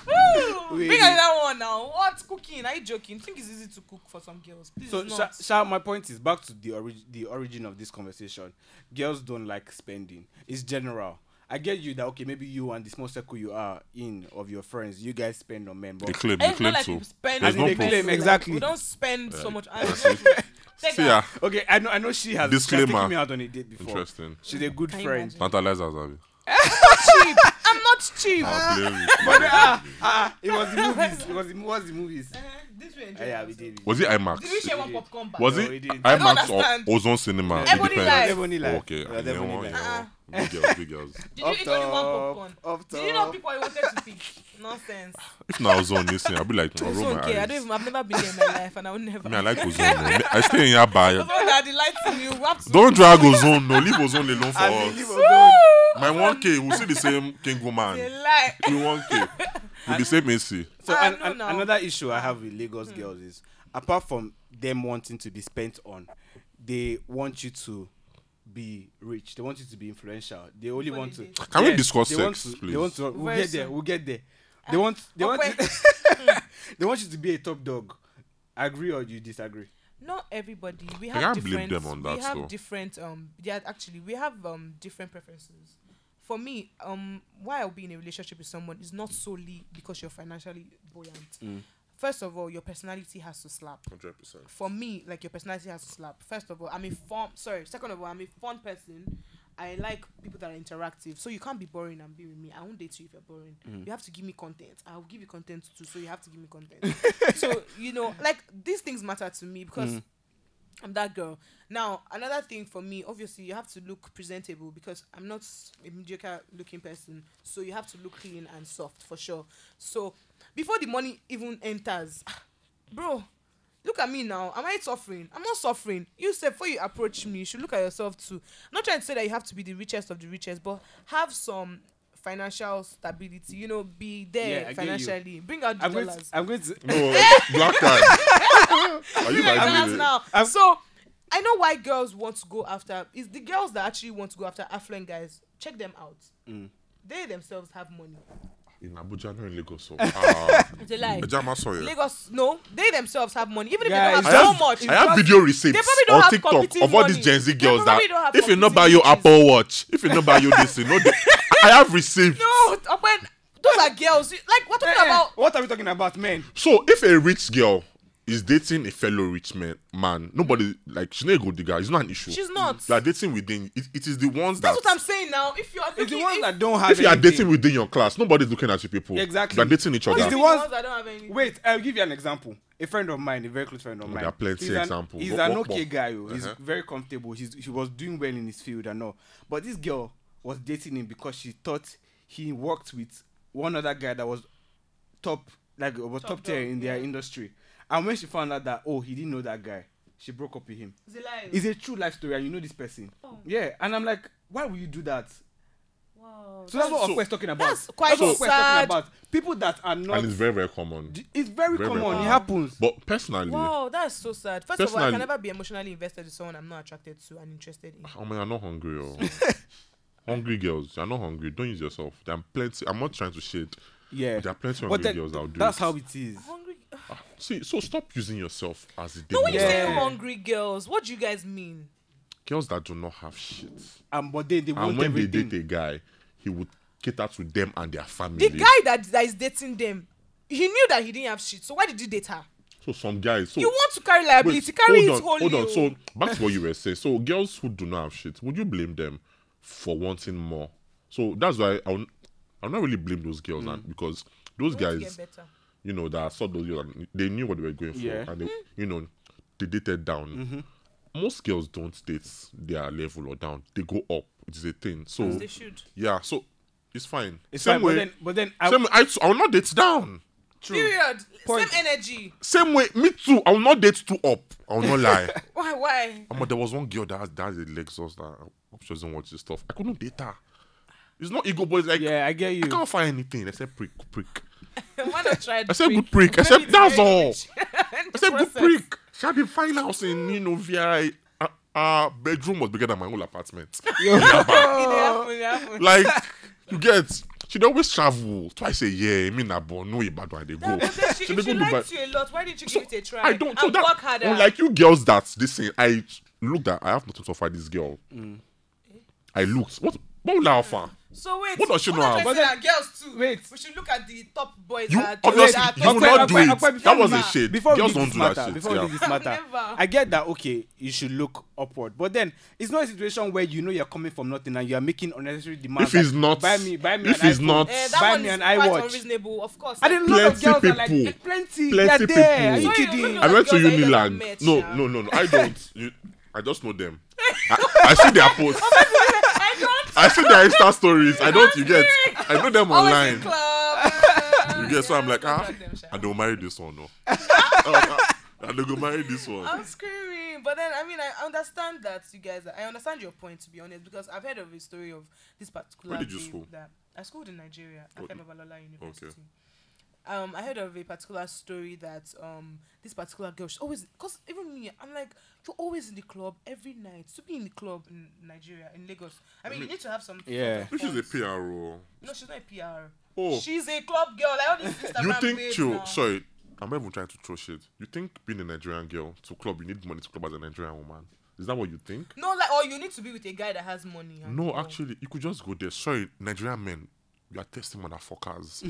[SPEAKER 1] Woo!
[SPEAKER 2] Wait.
[SPEAKER 1] Bring another one now. What cooking? Are you joking? Think it's easy to cook for some girls? Please,
[SPEAKER 2] So,
[SPEAKER 1] it's
[SPEAKER 2] Sha,
[SPEAKER 1] not.
[SPEAKER 2] Sha, my point is back to the, orig- the origin of this conversation. Girls don't like spending. It's general. I get you that okay, maybe you and the small circle you are in of your friends, you guys spend on men,
[SPEAKER 3] They
[SPEAKER 2] but
[SPEAKER 3] claim, they
[SPEAKER 1] It's not
[SPEAKER 3] claim
[SPEAKER 1] Eh, like
[SPEAKER 3] so.
[SPEAKER 1] we spend.
[SPEAKER 3] There's
[SPEAKER 1] on
[SPEAKER 3] no
[SPEAKER 1] men,
[SPEAKER 2] They claim,
[SPEAKER 1] like,
[SPEAKER 2] exactly.
[SPEAKER 1] We don't spend so much. I
[SPEAKER 3] that's it.
[SPEAKER 1] Take
[SPEAKER 3] See ah,
[SPEAKER 1] out.
[SPEAKER 3] ya.
[SPEAKER 2] okay, I know, I know she has, she has
[SPEAKER 3] Disclaimer.
[SPEAKER 2] taken me out on a date before.
[SPEAKER 3] Interesting.
[SPEAKER 2] She's a good
[SPEAKER 1] Can you
[SPEAKER 2] friend.
[SPEAKER 1] imagine?
[SPEAKER 3] Tantalize us, Abby.
[SPEAKER 1] cheap. I'm not cheap. Uh-huh.
[SPEAKER 3] I'm playing with you.
[SPEAKER 2] But ah, ah, it was the movies. It was the, it was the movies.
[SPEAKER 1] Eh, this way
[SPEAKER 2] Ah,
[SPEAKER 1] enjoy
[SPEAKER 2] yeah, we
[SPEAKER 1] ourselves.
[SPEAKER 2] did. it.
[SPEAKER 3] Was it IMAX?
[SPEAKER 1] Did we share one popcorn back?
[SPEAKER 3] Was
[SPEAKER 2] No, we
[SPEAKER 3] it
[SPEAKER 2] didn't.
[SPEAKER 1] I don't
[SPEAKER 3] IMAX
[SPEAKER 1] understand.
[SPEAKER 3] or Ozone Cinema? It
[SPEAKER 1] Ebony
[SPEAKER 3] depends.
[SPEAKER 1] Live.
[SPEAKER 2] Ebony Live.
[SPEAKER 3] Okay,
[SPEAKER 2] It
[SPEAKER 3] I
[SPEAKER 2] was
[SPEAKER 3] know
[SPEAKER 2] Ebony
[SPEAKER 3] one,
[SPEAKER 2] Live.
[SPEAKER 3] you know.
[SPEAKER 1] Uh-uh.
[SPEAKER 3] Big girls, big girls.
[SPEAKER 1] Did you
[SPEAKER 2] Up
[SPEAKER 1] eat only one popcorn?
[SPEAKER 2] top, up
[SPEAKER 1] Did you not
[SPEAKER 2] top.
[SPEAKER 1] pick what you wanted to pick? Nonsense.
[SPEAKER 3] If not Ozone this thing, I'll be like, no,
[SPEAKER 1] It's
[SPEAKER 3] roll my
[SPEAKER 1] okay. I don't
[SPEAKER 3] eyes.
[SPEAKER 1] even. I've never been there in my life, and I would never.
[SPEAKER 3] Me, I like Ozone. no. Me- I stay in Yaba.
[SPEAKER 1] Because all that the lights in you. we have to-
[SPEAKER 3] Don't drag Ozone. No, leave Ozone alone for
[SPEAKER 2] I believe
[SPEAKER 3] us.
[SPEAKER 2] on God.
[SPEAKER 3] My 1K, we'll see the same King
[SPEAKER 1] They
[SPEAKER 3] Woman.
[SPEAKER 1] lie.
[SPEAKER 3] We 1K. We'll be same AC.
[SPEAKER 2] So
[SPEAKER 1] I
[SPEAKER 2] an,
[SPEAKER 1] don't
[SPEAKER 2] an,
[SPEAKER 1] know.
[SPEAKER 2] another issue I have with Lagos girls is apart from them wanting to be spent on, they want you to be rich. They want you to be influential. They only want to.
[SPEAKER 1] Validate.
[SPEAKER 3] Can we discuss
[SPEAKER 2] they want
[SPEAKER 3] sex,
[SPEAKER 2] to-
[SPEAKER 3] please?
[SPEAKER 2] They want to. We'll
[SPEAKER 1] Very
[SPEAKER 2] get there.
[SPEAKER 1] soon.
[SPEAKER 2] We'll get there. They
[SPEAKER 1] Ah.
[SPEAKER 2] want. They want.
[SPEAKER 1] okay.
[SPEAKER 2] they want you to be a top dog. Agree or you disagree?
[SPEAKER 1] Not everybody. We
[SPEAKER 3] I
[SPEAKER 1] have
[SPEAKER 3] can't blame
[SPEAKER 1] different.
[SPEAKER 3] them on that,
[SPEAKER 1] we have
[SPEAKER 3] though.
[SPEAKER 1] different. Um. Yeah. Actually, we have um different preferences. For me, um, why I'll be in a relationship with someone is not solely because you're financially buoyant.
[SPEAKER 3] Mm.
[SPEAKER 1] First of all, your personality has to slap.
[SPEAKER 3] 100%.
[SPEAKER 1] for me, like your personality has to slap. First of all, I'm a fun. Sorry, second of all, I'm a fun person. I like people that are interactive. So you can't be boring and be with me. I won't date you if you're boring. You have to give me content. I'll give you content too. So you have to give me content. so you know, like these things matter to me because
[SPEAKER 2] Mm.
[SPEAKER 1] I'm that girl. Now, another thing for me, obviously, you have to look presentable because I'm not a mediocre looking person. So you have to look clean and soft for sure. So before the money even enters, bro, look at me now. Am I suffering? I'm not suffering. You said before you approach me, you should look at yourself too. I'm not trying to say that you have to be the richest of the richest, but have some financial stability. You know, be
[SPEAKER 2] Yeah,
[SPEAKER 1] there
[SPEAKER 2] I get you.
[SPEAKER 1] financially. Bring out the
[SPEAKER 2] I'm going. To,
[SPEAKER 1] dollars.
[SPEAKER 2] I'm going to.
[SPEAKER 3] No, black card. Are you
[SPEAKER 1] Like
[SPEAKER 3] like
[SPEAKER 1] us
[SPEAKER 3] me?
[SPEAKER 1] now.
[SPEAKER 2] I'm-
[SPEAKER 1] so I know why girls want to go after is the girls that actually want to go after affluent guys. Check them out. They themselves have money.
[SPEAKER 3] In Abuja, not in Lagos. So, ah,
[SPEAKER 1] They lie.
[SPEAKER 3] Jama Sawyer.
[SPEAKER 1] Lagos, no, they themselves have money. Even if
[SPEAKER 2] Guys,
[SPEAKER 1] they don't have
[SPEAKER 3] I have,
[SPEAKER 1] so much,
[SPEAKER 3] I have video receipts
[SPEAKER 1] They probably don't
[SPEAKER 3] on
[SPEAKER 1] have
[SPEAKER 3] TikTok
[SPEAKER 1] competing
[SPEAKER 3] of all these
[SPEAKER 1] money.
[SPEAKER 3] Gen Z
[SPEAKER 1] They
[SPEAKER 3] girls
[SPEAKER 1] probably don't
[SPEAKER 3] that
[SPEAKER 1] have
[SPEAKER 3] if you not
[SPEAKER 1] competing
[SPEAKER 3] buy your
[SPEAKER 1] riches.
[SPEAKER 3] Apple Watch, if you not buy your this, you know, the- I have receipts.
[SPEAKER 1] no, Open, those are girls. You- Like we're talking
[SPEAKER 2] Eh, eh,
[SPEAKER 1] about.
[SPEAKER 2] What are we talking about, men?
[SPEAKER 3] So if a rich girl is dating a fellow rich man, man, nobody like she's not a good digger. It's not an issue.
[SPEAKER 1] She's not.
[SPEAKER 3] Like dating within, it, it is the ones that.
[SPEAKER 1] That's what I'm saying now. If you are
[SPEAKER 2] It's the
[SPEAKER 1] looking-
[SPEAKER 2] ones
[SPEAKER 1] if-
[SPEAKER 2] that don't have.
[SPEAKER 3] if you are
[SPEAKER 2] anything.
[SPEAKER 3] dating within your class, nobody's looking at you people.
[SPEAKER 2] Exactly.
[SPEAKER 3] They're dating each
[SPEAKER 2] It's
[SPEAKER 3] other.
[SPEAKER 1] the
[SPEAKER 2] the
[SPEAKER 1] ones,
[SPEAKER 2] ones-
[SPEAKER 1] that don't have any.
[SPEAKER 2] Wait, I'll give you an example. A friend of mine, a very close friend of mine.
[SPEAKER 3] there are plenty
[SPEAKER 2] he's an,
[SPEAKER 3] examples.
[SPEAKER 2] He's
[SPEAKER 3] Wok-
[SPEAKER 2] an
[SPEAKER 3] wok-
[SPEAKER 2] okay
[SPEAKER 3] wok.
[SPEAKER 2] guy. oh. He's
[SPEAKER 3] Uh-huh.
[SPEAKER 2] very comfortable. He's, he was doing well in his field and all. But this girl was dating him because she thought he worked with one other guy that was top, like was top,
[SPEAKER 1] Top
[SPEAKER 2] tier
[SPEAKER 1] dog,
[SPEAKER 2] in their
[SPEAKER 1] yeah.
[SPEAKER 2] industry. And when she found out that oh he didn't know that guy, she broke up with him.
[SPEAKER 1] It's a lie.
[SPEAKER 2] It's a true life story, and you know this person.
[SPEAKER 1] Oh.
[SPEAKER 2] Yeah, and I'm like, why would you do that?
[SPEAKER 1] Wow.
[SPEAKER 2] So that's what
[SPEAKER 3] So-
[SPEAKER 2] Okwe's talking about.
[SPEAKER 1] That's quite
[SPEAKER 2] what Okwe's talking
[SPEAKER 1] sad.
[SPEAKER 2] about. People that are not.
[SPEAKER 3] and it's very, very common.
[SPEAKER 2] It's very,
[SPEAKER 3] Very, very
[SPEAKER 2] common.
[SPEAKER 3] common.
[SPEAKER 2] It happens.
[SPEAKER 3] But personally,
[SPEAKER 1] Wow, that's so sad. First of all, I
[SPEAKER 3] Personally-
[SPEAKER 1] can never be emotionally invested in someone I'm not attracted to and interested in.
[SPEAKER 3] I mean, I'm not hungry. Oh. hungry girls, you're not hungry. Don't use yourself. There are plenty. I'm not trying to shade.
[SPEAKER 2] Yeah.
[SPEAKER 3] There are plenty of
[SPEAKER 2] But
[SPEAKER 3] hungry
[SPEAKER 2] then,
[SPEAKER 3] girls that will do
[SPEAKER 2] that's
[SPEAKER 3] it.
[SPEAKER 2] how it is.
[SPEAKER 1] Hungry.
[SPEAKER 3] See, so stop using yourself as a
[SPEAKER 1] No, when you
[SPEAKER 3] demoner.
[SPEAKER 1] say oh.
[SPEAKER 2] Yeah.
[SPEAKER 1] hungry girls, what do you guys mean?
[SPEAKER 3] Girls that do not have shit.
[SPEAKER 2] And but they, they
[SPEAKER 3] And
[SPEAKER 2] want
[SPEAKER 3] when
[SPEAKER 2] everything.
[SPEAKER 3] they date a guy, he would cater to them and their family.
[SPEAKER 1] the guy that that is dating them he knew that he didn't have shit so why did he date her
[SPEAKER 3] so some guys. So
[SPEAKER 1] you want to carry liability carry
[SPEAKER 3] Oh. hold
[SPEAKER 1] it
[SPEAKER 3] on, hold
[SPEAKER 1] wholly oh.
[SPEAKER 3] on.
[SPEAKER 1] o.
[SPEAKER 3] So back to what you were saying. So girls who do not have shit, would you blame them for wanting more? So that's why I would, I'm not really blame those girls and because those
[SPEAKER 1] Hmm. Want to
[SPEAKER 3] guys,
[SPEAKER 1] get better.
[SPEAKER 3] you know, that saw those girls, and they knew what they were going for,
[SPEAKER 2] Yeah. Mm-hmm.
[SPEAKER 3] and they,
[SPEAKER 1] Hmm.
[SPEAKER 3] you know, they dated down. Most girls don't date their level or down; they go up. It is a thing. So
[SPEAKER 1] they should
[SPEAKER 3] yeah, so it's fine.
[SPEAKER 2] It's
[SPEAKER 3] same
[SPEAKER 2] fine,
[SPEAKER 3] way,
[SPEAKER 2] but then, but then I,
[SPEAKER 3] same way, I, I will not date down.
[SPEAKER 1] period
[SPEAKER 2] Point.
[SPEAKER 1] same energy
[SPEAKER 3] Same way, me too. I will not date too up. I will not lie.
[SPEAKER 1] why why
[SPEAKER 3] Omo, there was one girl that has that has a Lexus that I hope she doesn't watch this stuff. I couldn't date her. It's not ego, but it's like
[SPEAKER 2] yeah, I get you.
[SPEAKER 3] I can't find anything except prick, prick.
[SPEAKER 1] why not try
[SPEAKER 3] I said good prick. I said that's all. I said good prick. She had a fine house in you know via uh, uh bedroom was bigger than my whole apartment. like you get she dey always travel twice a year. Me na Borno Ibadan I dey go.
[SPEAKER 1] if
[SPEAKER 3] She
[SPEAKER 1] she
[SPEAKER 3] dey go Dubai.
[SPEAKER 1] likes you a lot why didn't you give it a try
[SPEAKER 3] I don't. So
[SPEAKER 1] and
[SPEAKER 3] that, oh,
[SPEAKER 1] work harder
[SPEAKER 3] Unlike you girls, that this thing, I looked at. I have nothing to offer this girl.
[SPEAKER 1] Mm.
[SPEAKER 3] I looked. What? What will I offer?
[SPEAKER 1] so wait
[SPEAKER 3] What does she
[SPEAKER 1] why
[SPEAKER 3] know
[SPEAKER 1] not
[SPEAKER 3] how?
[SPEAKER 1] try to say that girls too
[SPEAKER 2] Wait.
[SPEAKER 1] we should look at the top boys
[SPEAKER 3] You
[SPEAKER 1] that
[SPEAKER 3] obviously
[SPEAKER 1] that
[SPEAKER 3] you will
[SPEAKER 1] top
[SPEAKER 3] not do
[SPEAKER 1] boys.
[SPEAKER 3] it. That was a
[SPEAKER 1] Never.
[SPEAKER 3] shade.
[SPEAKER 2] Before we
[SPEAKER 3] girls
[SPEAKER 2] did
[SPEAKER 3] don't
[SPEAKER 2] this
[SPEAKER 3] do
[SPEAKER 2] matter,
[SPEAKER 3] that shit.
[SPEAKER 2] before we
[SPEAKER 3] yeah.
[SPEAKER 2] did this matter,
[SPEAKER 1] Never.
[SPEAKER 2] I get that. Okay, you should look upward, but then it's not a situation where you know you're coming from nothing and you are making unnecessary demands.
[SPEAKER 3] If it's
[SPEAKER 2] like,
[SPEAKER 3] not-
[SPEAKER 2] buy me, buy me.
[SPEAKER 3] if
[SPEAKER 2] an
[SPEAKER 3] it's
[SPEAKER 2] iPhone.
[SPEAKER 3] not-
[SPEAKER 1] Eh, that
[SPEAKER 2] buy
[SPEAKER 1] one
[SPEAKER 2] me
[SPEAKER 1] is
[SPEAKER 2] an
[SPEAKER 1] quite
[SPEAKER 2] iWatch.
[SPEAKER 1] unreasonable of course
[SPEAKER 2] I did not lot of
[SPEAKER 3] Plenty
[SPEAKER 2] girls are like
[SPEAKER 3] people.
[SPEAKER 2] eh, plenty.
[SPEAKER 3] Plenty
[SPEAKER 2] Plenty there. Are
[SPEAKER 3] people.
[SPEAKER 2] you
[SPEAKER 1] So you
[SPEAKER 2] kidding?
[SPEAKER 1] know
[SPEAKER 3] I went to
[SPEAKER 1] Girls that you
[SPEAKER 3] Uniland.
[SPEAKER 1] met,
[SPEAKER 3] no,
[SPEAKER 1] yeah.
[SPEAKER 3] no, no, no. I don't. You, I just know them. I, I see their posts.
[SPEAKER 1] I don't
[SPEAKER 3] I see their Insta stories. I don't. You get. I know them
[SPEAKER 1] always
[SPEAKER 3] online.
[SPEAKER 1] in club
[SPEAKER 3] You get. So I'm like,
[SPEAKER 1] don't
[SPEAKER 3] ah,
[SPEAKER 1] drag them, sha.
[SPEAKER 3] I don't marry this one, no. I don't go marry this one.
[SPEAKER 1] I'm screaming. But then I mean I understand that you guys I understand your point to be honest because I've heard of a story of this particular
[SPEAKER 3] Where did you
[SPEAKER 1] babe
[SPEAKER 3] school?
[SPEAKER 1] that I schooled in Nigeria at
[SPEAKER 3] What-
[SPEAKER 1] Kemabalola University. Um I heard of a particular story that um this particular girl she always because even me I'm like you're always in the club every night to be in the club in Nigeria in Lagos I mean,
[SPEAKER 3] mean-
[SPEAKER 1] you need to have some
[SPEAKER 2] Yeah.
[SPEAKER 1] sort of
[SPEAKER 3] Which is a
[SPEAKER 1] funds.
[SPEAKER 3] PR role.
[SPEAKER 1] no she's not a PR
[SPEAKER 3] Oh.
[SPEAKER 1] she's a club girl like all these Instagram
[SPEAKER 3] you think
[SPEAKER 1] babes
[SPEAKER 3] to
[SPEAKER 1] now.
[SPEAKER 3] sorry i'm not even trying to throw shit you think being a nigerian girl to club you need money to club as a nigerian woman is that what you think
[SPEAKER 1] no like or you need to be with a guy that has money and
[SPEAKER 3] no
[SPEAKER 1] all.
[SPEAKER 3] actually you could just go there sorry nigerian men you are testing motherfuckers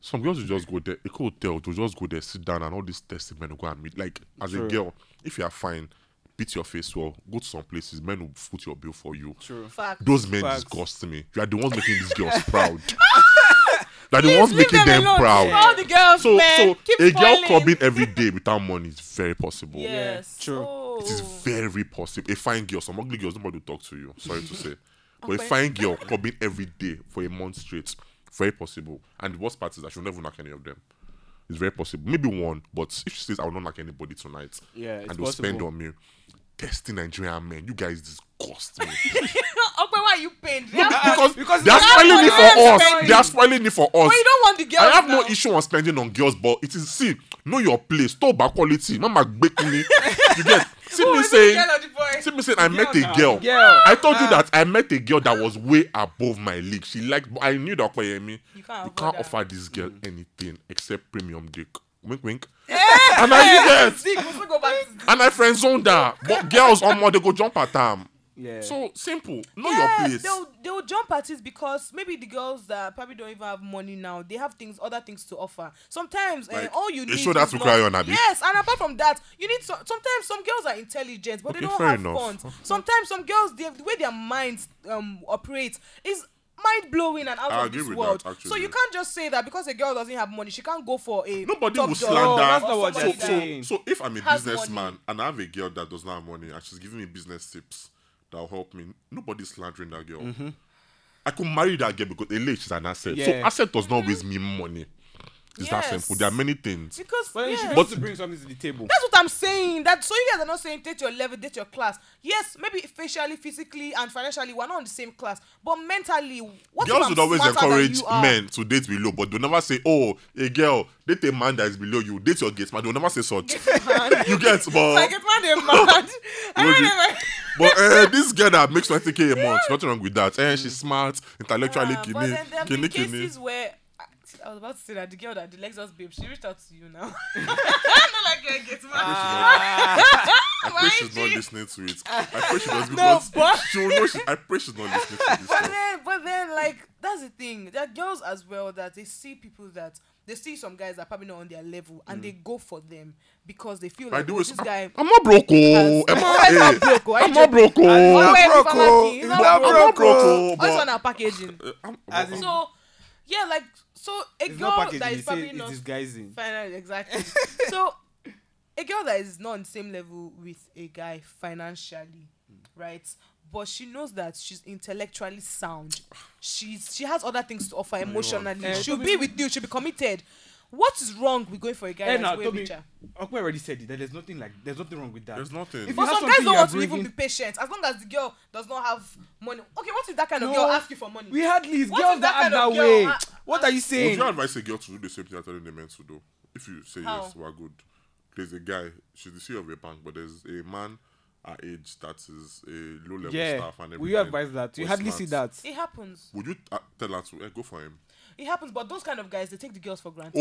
[SPEAKER 3] some girls will just go there eco hotel to just go there sit down and all these testing men will go and meet like as
[SPEAKER 2] True.
[SPEAKER 3] a girl if you are fine beat your face well go to some places men will foot your bill for you
[SPEAKER 2] True.
[SPEAKER 1] fact
[SPEAKER 3] those men
[SPEAKER 2] Facts.
[SPEAKER 3] disgust me you are the ones making these girls proud you are the
[SPEAKER 1] Please
[SPEAKER 3] ones
[SPEAKER 1] leave
[SPEAKER 3] making them,
[SPEAKER 1] alone.
[SPEAKER 3] proud
[SPEAKER 1] For all the girls,
[SPEAKER 3] so
[SPEAKER 1] man.
[SPEAKER 3] so
[SPEAKER 1] Keep
[SPEAKER 3] a girl
[SPEAKER 1] spoiling.
[SPEAKER 3] clubbing every day without money is very possible.
[SPEAKER 1] Yes.
[SPEAKER 2] True.
[SPEAKER 1] Oh.
[SPEAKER 3] It is very possible. A fine girl, some ugly girls, nobody will talk to you. Sorry to say. But
[SPEAKER 1] Okay.
[SPEAKER 3] a fine girl clubbing every day for a month straight, very possible. And the worst part is that she'll never knock any of them. It's very possible. Maybe one, but if she says I will not knock anybody tonight,
[SPEAKER 2] Yeah, it's
[SPEAKER 3] and they'll spend
[SPEAKER 2] possible.
[SPEAKER 3] on me. Testing Nigerian men, you guys disgust me.
[SPEAKER 1] Okwe, why are you pained? They have-
[SPEAKER 3] because,
[SPEAKER 2] because
[SPEAKER 3] they are
[SPEAKER 2] they
[SPEAKER 1] are
[SPEAKER 3] spoiling it for
[SPEAKER 1] not
[SPEAKER 3] us.
[SPEAKER 1] spending.
[SPEAKER 3] They are spoiling it for us.
[SPEAKER 1] But you don't want the girls.
[SPEAKER 3] I have
[SPEAKER 1] now.
[SPEAKER 3] no issue on spending on girls, but it is see, know your place, talk about quality. Mama make me. You get see
[SPEAKER 1] Who
[SPEAKER 3] me
[SPEAKER 1] is the
[SPEAKER 3] saying
[SPEAKER 1] Oh, girl Ah. or the boy?
[SPEAKER 3] see me saying I met a
[SPEAKER 2] now.
[SPEAKER 3] girl.
[SPEAKER 2] Girl.
[SPEAKER 3] I told you that I met a girl that was way above my league. She liked but I knew that Okoyemi,
[SPEAKER 1] You can't
[SPEAKER 3] you
[SPEAKER 1] afford
[SPEAKER 3] can't
[SPEAKER 1] that. Mm.
[SPEAKER 3] offer this girl anything except premium dick. Wink wink. and I you get
[SPEAKER 1] See, we still go back to-
[SPEAKER 3] and I friend zoned her. But girls on more they go jump at them.
[SPEAKER 2] Yeah.
[SPEAKER 3] So simple. Know
[SPEAKER 1] Yeah,
[SPEAKER 3] your place.
[SPEAKER 1] They'll, they'll jump at it because maybe the girls that probably don't even have money now, they have things, other things to offer. Sometimes eh,
[SPEAKER 3] Like,
[SPEAKER 1] all you
[SPEAKER 3] a
[SPEAKER 1] need
[SPEAKER 3] shoulder
[SPEAKER 1] is
[SPEAKER 3] to
[SPEAKER 1] love.
[SPEAKER 3] cry on, Abi.
[SPEAKER 1] Yes, and apart from that, you need some, sometimes some girls are intelligent, but they
[SPEAKER 3] Okay,
[SPEAKER 1] don't
[SPEAKER 3] fair
[SPEAKER 1] have
[SPEAKER 3] enough.
[SPEAKER 1] funds. Sometimes some girls, they, the way their minds um operate is mind blowing and out
[SPEAKER 3] I
[SPEAKER 1] of
[SPEAKER 3] agree
[SPEAKER 1] this
[SPEAKER 3] with
[SPEAKER 1] world.
[SPEAKER 3] that,
[SPEAKER 1] so you
[SPEAKER 3] actually.
[SPEAKER 1] can't just say that because a girl doesn't have money, she can't go for a
[SPEAKER 3] Nobody
[SPEAKER 1] top
[SPEAKER 3] will
[SPEAKER 1] job.
[SPEAKER 3] slander.
[SPEAKER 2] No, Oh, that's not what
[SPEAKER 1] Somebody
[SPEAKER 2] they're
[SPEAKER 3] so,
[SPEAKER 1] that-
[SPEAKER 2] saying.
[SPEAKER 3] so, so if I'm a
[SPEAKER 1] Has
[SPEAKER 3] businessman
[SPEAKER 1] money.
[SPEAKER 3] and I have a girl that does not have money and she's giving me business tips that will help me, nobody's slandering that girl. I could marry that girl because a lady she's an asset. So
[SPEAKER 2] Mm-hmm. Yeah.
[SPEAKER 3] asset does not always mean money. It's that
[SPEAKER 1] Yes.
[SPEAKER 3] simple. There are many things.
[SPEAKER 1] Because
[SPEAKER 2] But then she
[SPEAKER 1] yes.
[SPEAKER 2] has to bring something to the table.
[SPEAKER 1] That's what I'm saying. That so you guys are not saying date your level, date your class. Yes, maybe facially, physically, and financially, we're not on the same class. But mentally, what if
[SPEAKER 3] Girls
[SPEAKER 1] I'm
[SPEAKER 3] would always
[SPEAKER 1] smarter than
[SPEAKER 3] encourage
[SPEAKER 1] you are?
[SPEAKER 3] men to date below, but they never say, "Oh, a girl date a man that is below you. Date your gate man." They never say such. you get,
[SPEAKER 1] Like
[SPEAKER 3] but
[SPEAKER 1] it's not a mad. I
[SPEAKER 3] Would you-
[SPEAKER 1] remember.
[SPEAKER 3] but uh, this girl that makes 20k a month, nothing wrong with that. And she's smart, intellectually,
[SPEAKER 1] Ah, but
[SPEAKER 3] kini,
[SPEAKER 1] then there have
[SPEAKER 3] kini,
[SPEAKER 1] been
[SPEAKER 3] kini.
[SPEAKER 1] cases where I, I was about to say that the girl that the Lexus babe, she reached out to you now. not like you're a gate man.
[SPEAKER 3] I pray she's not listening to it. I pray she does
[SPEAKER 1] No,
[SPEAKER 3] because
[SPEAKER 1] but-
[SPEAKER 3] she will know. She, I pray she's not listening to
[SPEAKER 1] But
[SPEAKER 3] this. Stuff.
[SPEAKER 1] then, but then, like that's that's the thing. There are girls as well that they see people that they see some guys that are probably not on their level and they go for them because they feel
[SPEAKER 3] I
[SPEAKER 1] like
[SPEAKER 3] do
[SPEAKER 1] oh,
[SPEAKER 3] it.
[SPEAKER 1] this guy.
[SPEAKER 3] I'm not broke. oh.
[SPEAKER 1] has-
[SPEAKER 3] Am
[SPEAKER 1] I'm not
[SPEAKER 3] I- eh,
[SPEAKER 1] broke, oh, I
[SPEAKER 3] I'm not
[SPEAKER 1] joke.
[SPEAKER 3] broke. oh.
[SPEAKER 1] I'm not broke, oh.
[SPEAKER 2] It's
[SPEAKER 1] It's
[SPEAKER 2] not
[SPEAKER 1] not
[SPEAKER 2] broke.
[SPEAKER 3] broke,
[SPEAKER 2] oh.
[SPEAKER 3] oh. Uh,
[SPEAKER 1] Also on our packaging.
[SPEAKER 3] I'm-
[SPEAKER 2] As in-
[SPEAKER 1] So yeah, like so a
[SPEAKER 2] It's not
[SPEAKER 1] girl
[SPEAKER 2] packaging.
[SPEAKER 1] that
[SPEAKER 2] It's,
[SPEAKER 1] is probably
[SPEAKER 2] it's
[SPEAKER 1] not
[SPEAKER 2] disguising.
[SPEAKER 1] Finally, exactly. so, a girl that is not on the same level with a guy financially, right? But she knows that she's intellectually sound. She's she has other things to offer emotionally.
[SPEAKER 2] Eh,
[SPEAKER 1] she'll
[SPEAKER 2] Tobi-
[SPEAKER 1] be with you. She'll be committed. What is wrong with going for a guy
[SPEAKER 2] Eh,
[SPEAKER 1] that's
[SPEAKER 2] now,
[SPEAKER 1] way
[SPEAKER 2] Tobi,
[SPEAKER 1] richer?
[SPEAKER 2] Okwe already said it. That there's nothing like there's nothing wrong with that.
[SPEAKER 3] There's nothing.
[SPEAKER 2] If you
[SPEAKER 1] But
[SPEAKER 2] have
[SPEAKER 1] some guys
[SPEAKER 2] something
[SPEAKER 1] don't
[SPEAKER 2] you
[SPEAKER 1] want
[SPEAKER 2] are
[SPEAKER 1] to even be
[SPEAKER 2] bringing-
[SPEAKER 1] patient. As long as the girl does not have money. Okay, what if that kind of
[SPEAKER 2] No.
[SPEAKER 1] girl asks you for money?
[SPEAKER 2] We hardly it's
[SPEAKER 1] What
[SPEAKER 2] girls
[SPEAKER 1] if
[SPEAKER 2] that
[SPEAKER 1] that
[SPEAKER 2] act
[SPEAKER 1] kind
[SPEAKER 2] that
[SPEAKER 1] of girl,
[SPEAKER 2] way.
[SPEAKER 1] uh,
[SPEAKER 2] What are you
[SPEAKER 3] Would
[SPEAKER 2] saying?
[SPEAKER 3] you advise a girl to do the same thing you're telling the men to do? If you say
[SPEAKER 1] How?
[SPEAKER 3] yes, we're good. There's a guy, she's the CEO of a bank, but there's a man her age that is a low level
[SPEAKER 2] Yeah.
[SPEAKER 3] staff and everything.
[SPEAKER 2] Will you advise that? You
[SPEAKER 3] was
[SPEAKER 2] hardly
[SPEAKER 3] smart.
[SPEAKER 2] see that.
[SPEAKER 1] it happens.
[SPEAKER 3] Would you uh, tell her to eh, go for him?
[SPEAKER 1] It happens. But those kind of guys, they take the girls for granted.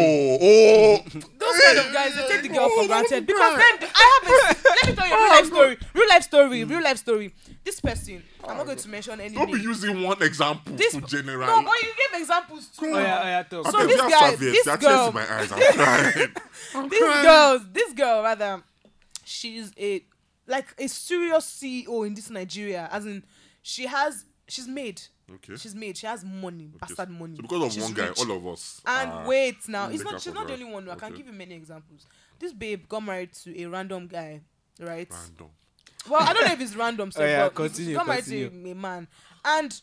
[SPEAKER 3] Oh, oh.
[SPEAKER 1] those kind of guys they take the girl for
[SPEAKER 3] Oh, that's
[SPEAKER 1] granted because
[SPEAKER 3] bad.
[SPEAKER 1] then I have a let me tell you a real
[SPEAKER 2] Oh,
[SPEAKER 1] life story real life story
[SPEAKER 2] Mm.
[SPEAKER 1] real life story this person
[SPEAKER 2] Oh,
[SPEAKER 1] I'm not going to mention any
[SPEAKER 3] Don't be
[SPEAKER 1] name
[SPEAKER 3] using one example
[SPEAKER 1] this
[SPEAKER 3] to generalize.
[SPEAKER 1] no but you gave examples too
[SPEAKER 2] Oh yeah, oh yeah, talk.
[SPEAKER 1] So this guy- this
[SPEAKER 3] that
[SPEAKER 1] girl-
[SPEAKER 3] tears in my eyes. I'm crying. I'm
[SPEAKER 1] this
[SPEAKER 3] crying.
[SPEAKER 1] girl this girl rather she's a like a serious CEO in this Nigeria as in she has she's made
[SPEAKER 3] Okay.
[SPEAKER 1] she's made she has money bastard money
[SPEAKER 3] So because of
[SPEAKER 1] She's
[SPEAKER 3] one guy,
[SPEAKER 1] rich.
[SPEAKER 3] all of us.
[SPEAKER 1] And
[SPEAKER 3] are-
[SPEAKER 1] wait now,
[SPEAKER 3] mm,
[SPEAKER 1] it's
[SPEAKER 3] take
[SPEAKER 1] not
[SPEAKER 3] that
[SPEAKER 1] she's
[SPEAKER 3] for
[SPEAKER 1] not the
[SPEAKER 3] granted.
[SPEAKER 1] only one. I can
[SPEAKER 3] Okay.
[SPEAKER 1] give you many examples. This babe got married to a random guy, right?
[SPEAKER 3] Random.
[SPEAKER 1] Well, I don't know if it's random, so
[SPEAKER 2] Oh, yeah,
[SPEAKER 1] but
[SPEAKER 2] continue,
[SPEAKER 1] she got married to
[SPEAKER 2] continue.
[SPEAKER 1] a man, and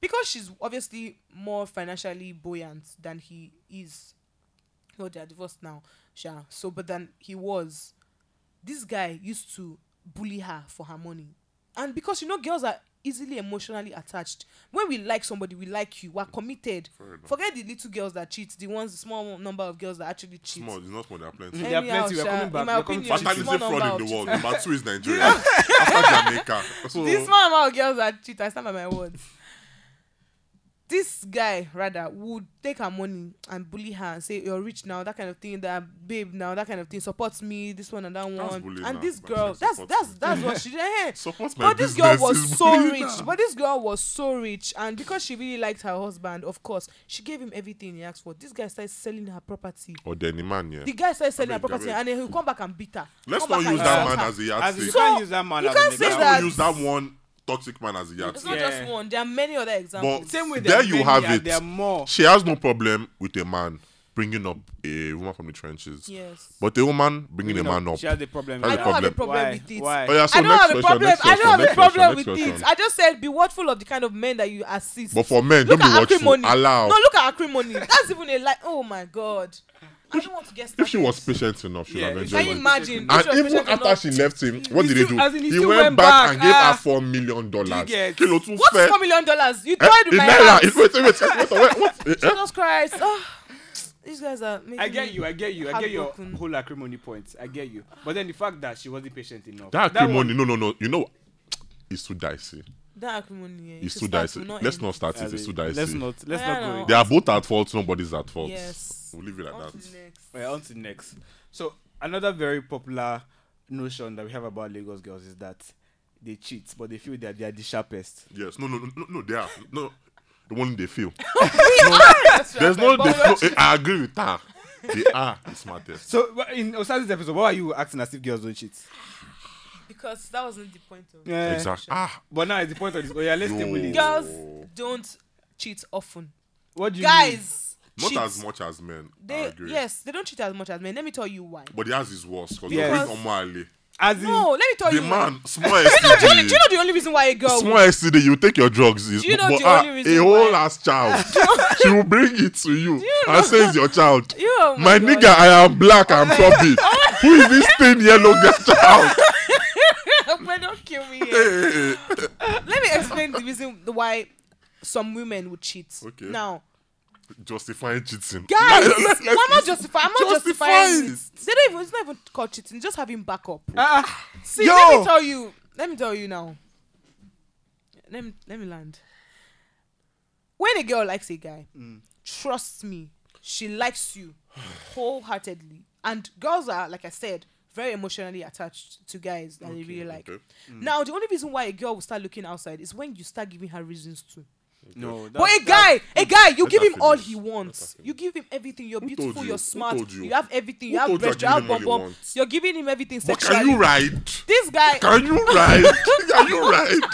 [SPEAKER 1] because she's obviously more financially buoyant than he is, well, they are divorced now, sure. So, but than he was, this guy used to bully her for her money, and because you know girls are easily emotionally attached. When we like somebody, we like you. We're committed.
[SPEAKER 3] Fair enough.
[SPEAKER 1] Forget the little girls that cheat, the ones, the small number of girls that actually cheat.
[SPEAKER 3] Small, it's not small. There are plenty.
[SPEAKER 2] There are
[SPEAKER 1] Anyhow,
[SPEAKER 2] plenty, we're
[SPEAKER 1] sha,
[SPEAKER 2] coming back,
[SPEAKER 1] In my
[SPEAKER 2] we're coming
[SPEAKER 1] opinion, small
[SPEAKER 2] back.
[SPEAKER 3] Fatalism fraud
[SPEAKER 1] number
[SPEAKER 3] in
[SPEAKER 1] of
[SPEAKER 3] the world.
[SPEAKER 1] cheaters-
[SPEAKER 3] Number two is Nigeria. After Jamaica. So,
[SPEAKER 1] this small amount of girls that cheat. I stand by my words. This guy rather would take her money and bully her and say you're rich now, that kind of thing. That babe now, that kind of thing. Supports me, this one and that one.
[SPEAKER 3] bullying
[SPEAKER 1] and
[SPEAKER 3] now,
[SPEAKER 1] this
[SPEAKER 3] but
[SPEAKER 1] girl,
[SPEAKER 3] she
[SPEAKER 1] that's
[SPEAKER 3] supports
[SPEAKER 1] that's
[SPEAKER 3] me.
[SPEAKER 1] that's what she did. Eh,
[SPEAKER 3] support my
[SPEAKER 1] But this
[SPEAKER 3] business
[SPEAKER 1] girl was
[SPEAKER 3] is
[SPEAKER 1] so
[SPEAKER 3] bullying
[SPEAKER 1] rich.
[SPEAKER 3] her.
[SPEAKER 1] But this girl was so rich, and because she really liked her husband, of course, she gave him everything he asked for. This guy started selling her property.
[SPEAKER 3] Or Denny man, yeah.
[SPEAKER 1] The guy started selling her
[SPEAKER 3] Abeg,
[SPEAKER 1] property,
[SPEAKER 3] abeg.
[SPEAKER 1] and then he'll come back and beat her.
[SPEAKER 3] Let's
[SPEAKER 1] Come back
[SPEAKER 3] not
[SPEAKER 1] and
[SPEAKER 3] use
[SPEAKER 1] insult
[SPEAKER 3] that man
[SPEAKER 1] her.
[SPEAKER 3] as a
[SPEAKER 2] As in, you
[SPEAKER 3] yardstick.
[SPEAKER 1] So,
[SPEAKER 2] can't use that man
[SPEAKER 1] you
[SPEAKER 2] as
[SPEAKER 1] can't
[SPEAKER 2] an
[SPEAKER 1] say
[SPEAKER 3] Let's
[SPEAKER 2] example.
[SPEAKER 1] that-
[SPEAKER 3] not use that one toxic man as a
[SPEAKER 1] It's not
[SPEAKER 3] yardstick.
[SPEAKER 2] Yeah.
[SPEAKER 1] just one. There are many other examples.
[SPEAKER 3] But
[SPEAKER 2] Same way there
[SPEAKER 3] there you
[SPEAKER 2] are
[SPEAKER 3] have
[SPEAKER 2] many and
[SPEAKER 3] it.
[SPEAKER 2] there are more.
[SPEAKER 3] She has no problem with a man bringing up a woman from the trenches.
[SPEAKER 1] Yes.
[SPEAKER 3] But a woman bringing a man up.
[SPEAKER 2] She has a problem.
[SPEAKER 3] That's
[SPEAKER 1] I
[SPEAKER 2] with
[SPEAKER 3] the
[SPEAKER 1] don't
[SPEAKER 2] that.
[SPEAKER 1] have a problem
[SPEAKER 3] problem.
[SPEAKER 2] Why?
[SPEAKER 1] with it.
[SPEAKER 2] Why?
[SPEAKER 3] Oh, yeah, so
[SPEAKER 1] I don't
[SPEAKER 3] next
[SPEAKER 1] have a
[SPEAKER 3] question,
[SPEAKER 1] problem.
[SPEAKER 3] next
[SPEAKER 1] I
[SPEAKER 3] question,
[SPEAKER 1] don't have a
[SPEAKER 3] next
[SPEAKER 1] problem
[SPEAKER 3] question,
[SPEAKER 1] with
[SPEAKER 3] next
[SPEAKER 1] it.
[SPEAKER 3] question.
[SPEAKER 1] I just said be watchful of the kind of men that you assist.
[SPEAKER 3] But for men,
[SPEAKER 1] look
[SPEAKER 3] don't be
[SPEAKER 1] at
[SPEAKER 3] watchful.
[SPEAKER 1] acrimony.
[SPEAKER 3] Allow.
[SPEAKER 1] No, look at acrimony. That's even a lie. Oh my god. I don't want to get started.
[SPEAKER 3] if she was patient enough, she would
[SPEAKER 2] Yeah,
[SPEAKER 3] have
[SPEAKER 2] if
[SPEAKER 3] enjoyed
[SPEAKER 1] Can
[SPEAKER 3] it.
[SPEAKER 1] you imagine? If she was
[SPEAKER 3] And even
[SPEAKER 1] patient
[SPEAKER 3] after
[SPEAKER 1] enough-
[SPEAKER 3] she left him, what
[SPEAKER 2] He
[SPEAKER 3] did he
[SPEAKER 2] still-
[SPEAKER 3] do?
[SPEAKER 2] as in, he
[SPEAKER 3] he
[SPEAKER 2] still
[SPEAKER 3] went,
[SPEAKER 2] went
[SPEAKER 3] back,
[SPEAKER 2] back,
[SPEAKER 3] and gave
[SPEAKER 2] ah.
[SPEAKER 3] her four million dollars.
[SPEAKER 2] get-
[SPEAKER 3] Kilo too
[SPEAKER 1] What is
[SPEAKER 3] fair.
[SPEAKER 1] four million dollars? You
[SPEAKER 3] Eh,
[SPEAKER 1] toyed with
[SPEAKER 3] in
[SPEAKER 1] my
[SPEAKER 3] naira.
[SPEAKER 1] hands.
[SPEAKER 3] It- Wait, wait, wait, wait, wait, what? Eh, eh?
[SPEAKER 1] Jesus Christ. Ah, these guys are making
[SPEAKER 2] I get
[SPEAKER 1] me-
[SPEAKER 2] you, I get you, I get your
[SPEAKER 1] Heartbroken.
[SPEAKER 2] whole acrimony points. I get you. But then the fact that she wasn't patient enough.
[SPEAKER 3] That acrimony,
[SPEAKER 2] one-
[SPEAKER 3] no, no, no. You know, it's too dicey.
[SPEAKER 1] That eh, acrimony. Yeah,
[SPEAKER 3] It's
[SPEAKER 1] to
[SPEAKER 3] too
[SPEAKER 1] start
[SPEAKER 3] dicey.
[SPEAKER 1] will not
[SPEAKER 3] Let's
[SPEAKER 1] end.
[SPEAKER 3] not start it.
[SPEAKER 2] As
[SPEAKER 3] It's too
[SPEAKER 2] in, Let's
[SPEAKER 3] dicey.
[SPEAKER 2] not let's
[SPEAKER 1] Yeah,
[SPEAKER 2] not go
[SPEAKER 1] no.
[SPEAKER 3] They are both at fault. Nobody's at fault.
[SPEAKER 1] Yes.
[SPEAKER 3] We'll leave it
[SPEAKER 1] On
[SPEAKER 3] at
[SPEAKER 1] to the
[SPEAKER 3] that.
[SPEAKER 1] next.
[SPEAKER 2] Well, on to the next. So another very popular notion that we have about Lagos girls is that they cheat, but they feel that they are the sharpest.
[SPEAKER 3] Yes. No, no, no, no, no. They are no. The one they feel.
[SPEAKER 1] That's
[SPEAKER 3] There's
[SPEAKER 1] right,
[SPEAKER 3] no.
[SPEAKER 1] but
[SPEAKER 3] They
[SPEAKER 1] we're-
[SPEAKER 3] feel. Eh, I agree with her. They are the smartest.
[SPEAKER 2] So wha- in Osazi's episode, why are you acting as if girls don't cheat?
[SPEAKER 1] Because that wasn't the point of it.
[SPEAKER 2] Yeah.
[SPEAKER 3] Exactly. Ah.
[SPEAKER 2] But now it's the point of this. Oh yeah, let's
[SPEAKER 3] No.
[SPEAKER 2] stay with it.
[SPEAKER 3] Girl-
[SPEAKER 1] Girls
[SPEAKER 3] Oh.
[SPEAKER 1] don't cheat often.
[SPEAKER 2] What do you mean?
[SPEAKER 1] Guys,
[SPEAKER 3] Not
[SPEAKER 1] cheat.
[SPEAKER 3] as much as men. I
[SPEAKER 1] They
[SPEAKER 3] agree.
[SPEAKER 1] yes, they don't cheat as much as men. Let me tell you why.
[SPEAKER 3] But the ass is worse because
[SPEAKER 2] Yes.
[SPEAKER 3] yes. Ali.
[SPEAKER 2] As in,
[SPEAKER 1] No, let me tell
[SPEAKER 3] The
[SPEAKER 1] you.
[SPEAKER 3] man, small
[SPEAKER 1] Do you, know, do you
[SPEAKER 3] STD.
[SPEAKER 1] know the only reason why a girl?
[SPEAKER 3] Small STD, you take your drugs. Is,
[SPEAKER 1] Do you know
[SPEAKER 3] but
[SPEAKER 1] the
[SPEAKER 3] ah,
[SPEAKER 1] only reason
[SPEAKER 3] a whole
[SPEAKER 1] why-
[SPEAKER 3] ass child. she will bring it to you
[SPEAKER 1] know-
[SPEAKER 3] and say it's your child.
[SPEAKER 1] You, oh
[SPEAKER 3] My
[SPEAKER 1] my God. Oh
[SPEAKER 3] nigga, I am black, I'm chubby. Who is this thin yellow girl child?
[SPEAKER 1] Well, don't kill me.
[SPEAKER 3] Eh,
[SPEAKER 1] here.
[SPEAKER 3] eh, eh.
[SPEAKER 1] let me explain the reason why some women would cheat.
[SPEAKER 3] Okay.
[SPEAKER 1] Now,
[SPEAKER 3] Justifying cheating.
[SPEAKER 1] guys,
[SPEAKER 3] Let- let- let's-
[SPEAKER 1] I'm not justifying. I'm not
[SPEAKER 3] Justify
[SPEAKER 1] justifying.
[SPEAKER 3] it.
[SPEAKER 1] it. They don't even. It's not even called cheating. Just having backup.
[SPEAKER 2] Ah,
[SPEAKER 1] See,
[SPEAKER 2] Yo!
[SPEAKER 1] let me tell you. Let me tell you now. Let me let me land. When a girl likes a guy,
[SPEAKER 3] Mm.
[SPEAKER 1] trust me, she likes you wholeheartedly. And girls are, like I said, very emotionally attached to guys that they really like.
[SPEAKER 3] okay. Mm.
[SPEAKER 1] Now, the only reason why a girl will start looking outside is when you start giving her reasons to.
[SPEAKER 2] No,
[SPEAKER 1] But a
[SPEAKER 2] that's-
[SPEAKER 1] guy, a guy, you
[SPEAKER 3] Let
[SPEAKER 1] give
[SPEAKER 3] her
[SPEAKER 1] him all
[SPEAKER 3] finish.
[SPEAKER 1] he
[SPEAKER 3] Let her
[SPEAKER 1] wants.
[SPEAKER 3] finish.
[SPEAKER 1] You give him everything. You're
[SPEAKER 3] Who told
[SPEAKER 1] beautiful.
[SPEAKER 3] you?
[SPEAKER 1] You? are
[SPEAKER 3] Who
[SPEAKER 1] smart.
[SPEAKER 3] told you?
[SPEAKER 1] You? have everything.
[SPEAKER 3] Who
[SPEAKER 1] You have
[SPEAKER 3] told you
[SPEAKER 1] breast. You
[SPEAKER 3] I give
[SPEAKER 1] have
[SPEAKER 3] him all
[SPEAKER 1] bum
[SPEAKER 3] he
[SPEAKER 1] bum.
[SPEAKER 3] wants?
[SPEAKER 1] You're giving him everything
[SPEAKER 3] But
[SPEAKER 1] sexually.
[SPEAKER 3] can you ride?
[SPEAKER 1] This guy.
[SPEAKER 3] Can you ride? Can you ride?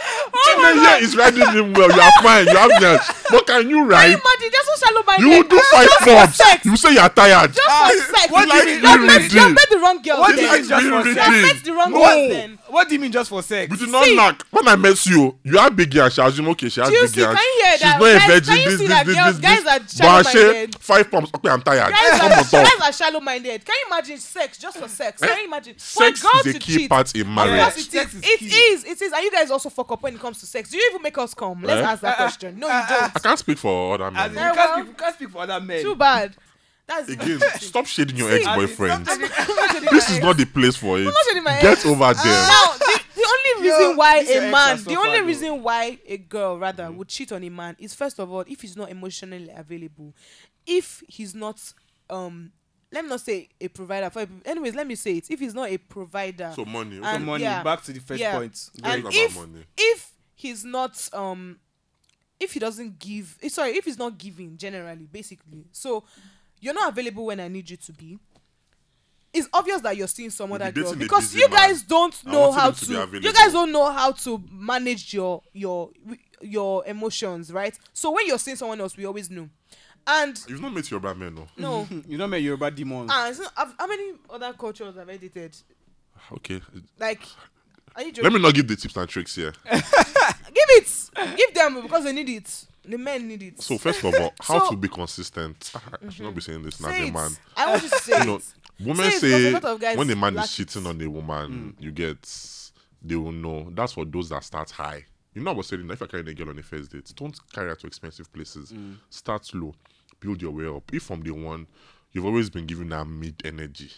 [SPEAKER 1] oh my
[SPEAKER 3] Chimeye
[SPEAKER 1] god.
[SPEAKER 3] is riding him well. You are fine. You have nerves. But can you
[SPEAKER 1] Can you
[SPEAKER 3] ride?
[SPEAKER 1] imagine? That's what shallow minded.
[SPEAKER 3] You will do five
[SPEAKER 1] Just for
[SPEAKER 3] pops.
[SPEAKER 1] sex.
[SPEAKER 3] You say you are tired.
[SPEAKER 1] Just
[SPEAKER 2] Ah,
[SPEAKER 1] for sex.
[SPEAKER 2] what do you
[SPEAKER 1] Like,
[SPEAKER 2] mean?
[SPEAKER 1] you have
[SPEAKER 2] You
[SPEAKER 1] met- you have
[SPEAKER 3] did.
[SPEAKER 1] met the wrong girl. then.
[SPEAKER 2] What do
[SPEAKER 1] You
[SPEAKER 2] you
[SPEAKER 3] This
[SPEAKER 2] mean
[SPEAKER 3] is
[SPEAKER 2] just for
[SPEAKER 1] have
[SPEAKER 3] really
[SPEAKER 2] sex?
[SPEAKER 3] ridiculous.
[SPEAKER 1] met the wrong
[SPEAKER 3] No.
[SPEAKER 1] girl. Then.
[SPEAKER 2] What do you mean just for sex?
[SPEAKER 3] We did not
[SPEAKER 1] See.
[SPEAKER 3] knock. When I met you, you had big hair. She assume, okay, she has
[SPEAKER 1] Do you
[SPEAKER 3] big
[SPEAKER 1] see?
[SPEAKER 3] hair.
[SPEAKER 1] Can you hear
[SPEAKER 3] She's
[SPEAKER 1] that?
[SPEAKER 3] not a
[SPEAKER 1] Guys-
[SPEAKER 3] virgin.
[SPEAKER 1] can you see
[SPEAKER 3] This, this,
[SPEAKER 1] that
[SPEAKER 3] this,
[SPEAKER 1] girls-
[SPEAKER 3] this,
[SPEAKER 1] guys are
[SPEAKER 3] this.
[SPEAKER 1] shallow
[SPEAKER 3] But I
[SPEAKER 1] minded.
[SPEAKER 3] say, Five pumps. Okay, I'm tired. Come on,
[SPEAKER 1] Guys are,
[SPEAKER 3] talk.
[SPEAKER 1] guys are shallow minded. Can you imagine sex just for sex? Can you imagine? For
[SPEAKER 3] Sex
[SPEAKER 1] girls
[SPEAKER 3] is a
[SPEAKER 1] to
[SPEAKER 3] key
[SPEAKER 1] cheat,
[SPEAKER 3] part in
[SPEAKER 1] Of course
[SPEAKER 3] marriage.
[SPEAKER 2] Yeah.
[SPEAKER 1] it
[SPEAKER 2] Sex
[SPEAKER 1] is.
[SPEAKER 2] is
[SPEAKER 1] It
[SPEAKER 2] key.
[SPEAKER 1] is. It is. And you guys also fuck up when it comes to sex. Do you even make us come? Let's
[SPEAKER 3] Eh?
[SPEAKER 1] ask that
[SPEAKER 2] Uh, uh,
[SPEAKER 1] question. No,
[SPEAKER 2] uh,
[SPEAKER 1] you
[SPEAKER 2] uh,
[SPEAKER 1] don't.
[SPEAKER 3] I can't speak for other
[SPEAKER 2] As in,
[SPEAKER 3] men.
[SPEAKER 1] Very well.
[SPEAKER 2] you can't speak, you can't speak for other men.
[SPEAKER 1] Too bad. That's
[SPEAKER 3] Again, stop shading your
[SPEAKER 1] See,
[SPEAKER 3] ex boyfriend.
[SPEAKER 2] as in-
[SPEAKER 3] This is not the place for it.
[SPEAKER 1] not shading my ex. Ah.
[SPEAKER 3] Get over there.
[SPEAKER 1] Now, the, the only
[SPEAKER 2] Yo,
[SPEAKER 1] reason why
[SPEAKER 2] this your
[SPEAKER 1] a
[SPEAKER 2] ex
[SPEAKER 1] man,
[SPEAKER 2] has
[SPEAKER 1] the
[SPEAKER 2] suffered,
[SPEAKER 1] only
[SPEAKER 2] though. Mm.
[SPEAKER 1] reason why a girl rather would cheat on a man is first of all if he's not emotionally available, if he's not, um, let me not say a provider. For anyways, let me say it. If he's not a provider,
[SPEAKER 3] So money.
[SPEAKER 2] So
[SPEAKER 1] And-
[SPEAKER 2] money.
[SPEAKER 1] yeah.
[SPEAKER 2] Back to the first
[SPEAKER 1] Yeah.
[SPEAKER 2] point.
[SPEAKER 1] and
[SPEAKER 3] about
[SPEAKER 1] if
[SPEAKER 3] money.
[SPEAKER 1] if he's not um if he doesn't give eh, sorry if he's not giving generally basically so you're not available when i need you to be it's obvious that you're seeing some
[SPEAKER 3] You'll be
[SPEAKER 1] other girl
[SPEAKER 3] dating a
[SPEAKER 1] because
[SPEAKER 3] busy
[SPEAKER 1] you
[SPEAKER 3] man.
[SPEAKER 1] guys don't
[SPEAKER 3] I
[SPEAKER 1] know
[SPEAKER 3] want him
[SPEAKER 1] how
[SPEAKER 3] to
[SPEAKER 1] to,
[SPEAKER 3] be available.
[SPEAKER 1] you guys don't know how to manage your your your emotions right so when you're seeing someone else we always know and
[SPEAKER 3] You've not met your bad man, no.
[SPEAKER 1] no
[SPEAKER 2] You know, man, Yoruba demons.
[SPEAKER 1] and so, I've- how many other cultures have I dated
[SPEAKER 3] Okay.
[SPEAKER 1] like are you joking?
[SPEAKER 3] Let me not give the tips and tricks here.
[SPEAKER 1] give it give them because they need it the men need it
[SPEAKER 3] So first of all, how
[SPEAKER 1] So-
[SPEAKER 3] to be consistent? Ah, I should not be saying this now,
[SPEAKER 1] say
[SPEAKER 3] a
[SPEAKER 1] it.
[SPEAKER 3] man.
[SPEAKER 1] I want you to say
[SPEAKER 3] You know,
[SPEAKER 1] it. Say
[SPEAKER 3] women
[SPEAKER 1] it, 'cause
[SPEAKER 3] say
[SPEAKER 1] a lot of guys
[SPEAKER 3] when a man is
[SPEAKER 1] lack it.
[SPEAKER 3] cheating on a woman, you get they will know. That's for those that start high. You know, I was saying that if you're carrying a girl on a first date, don't carry her to expensive places. Start low, build your way up. If from the one, you've always been giving her mid energy,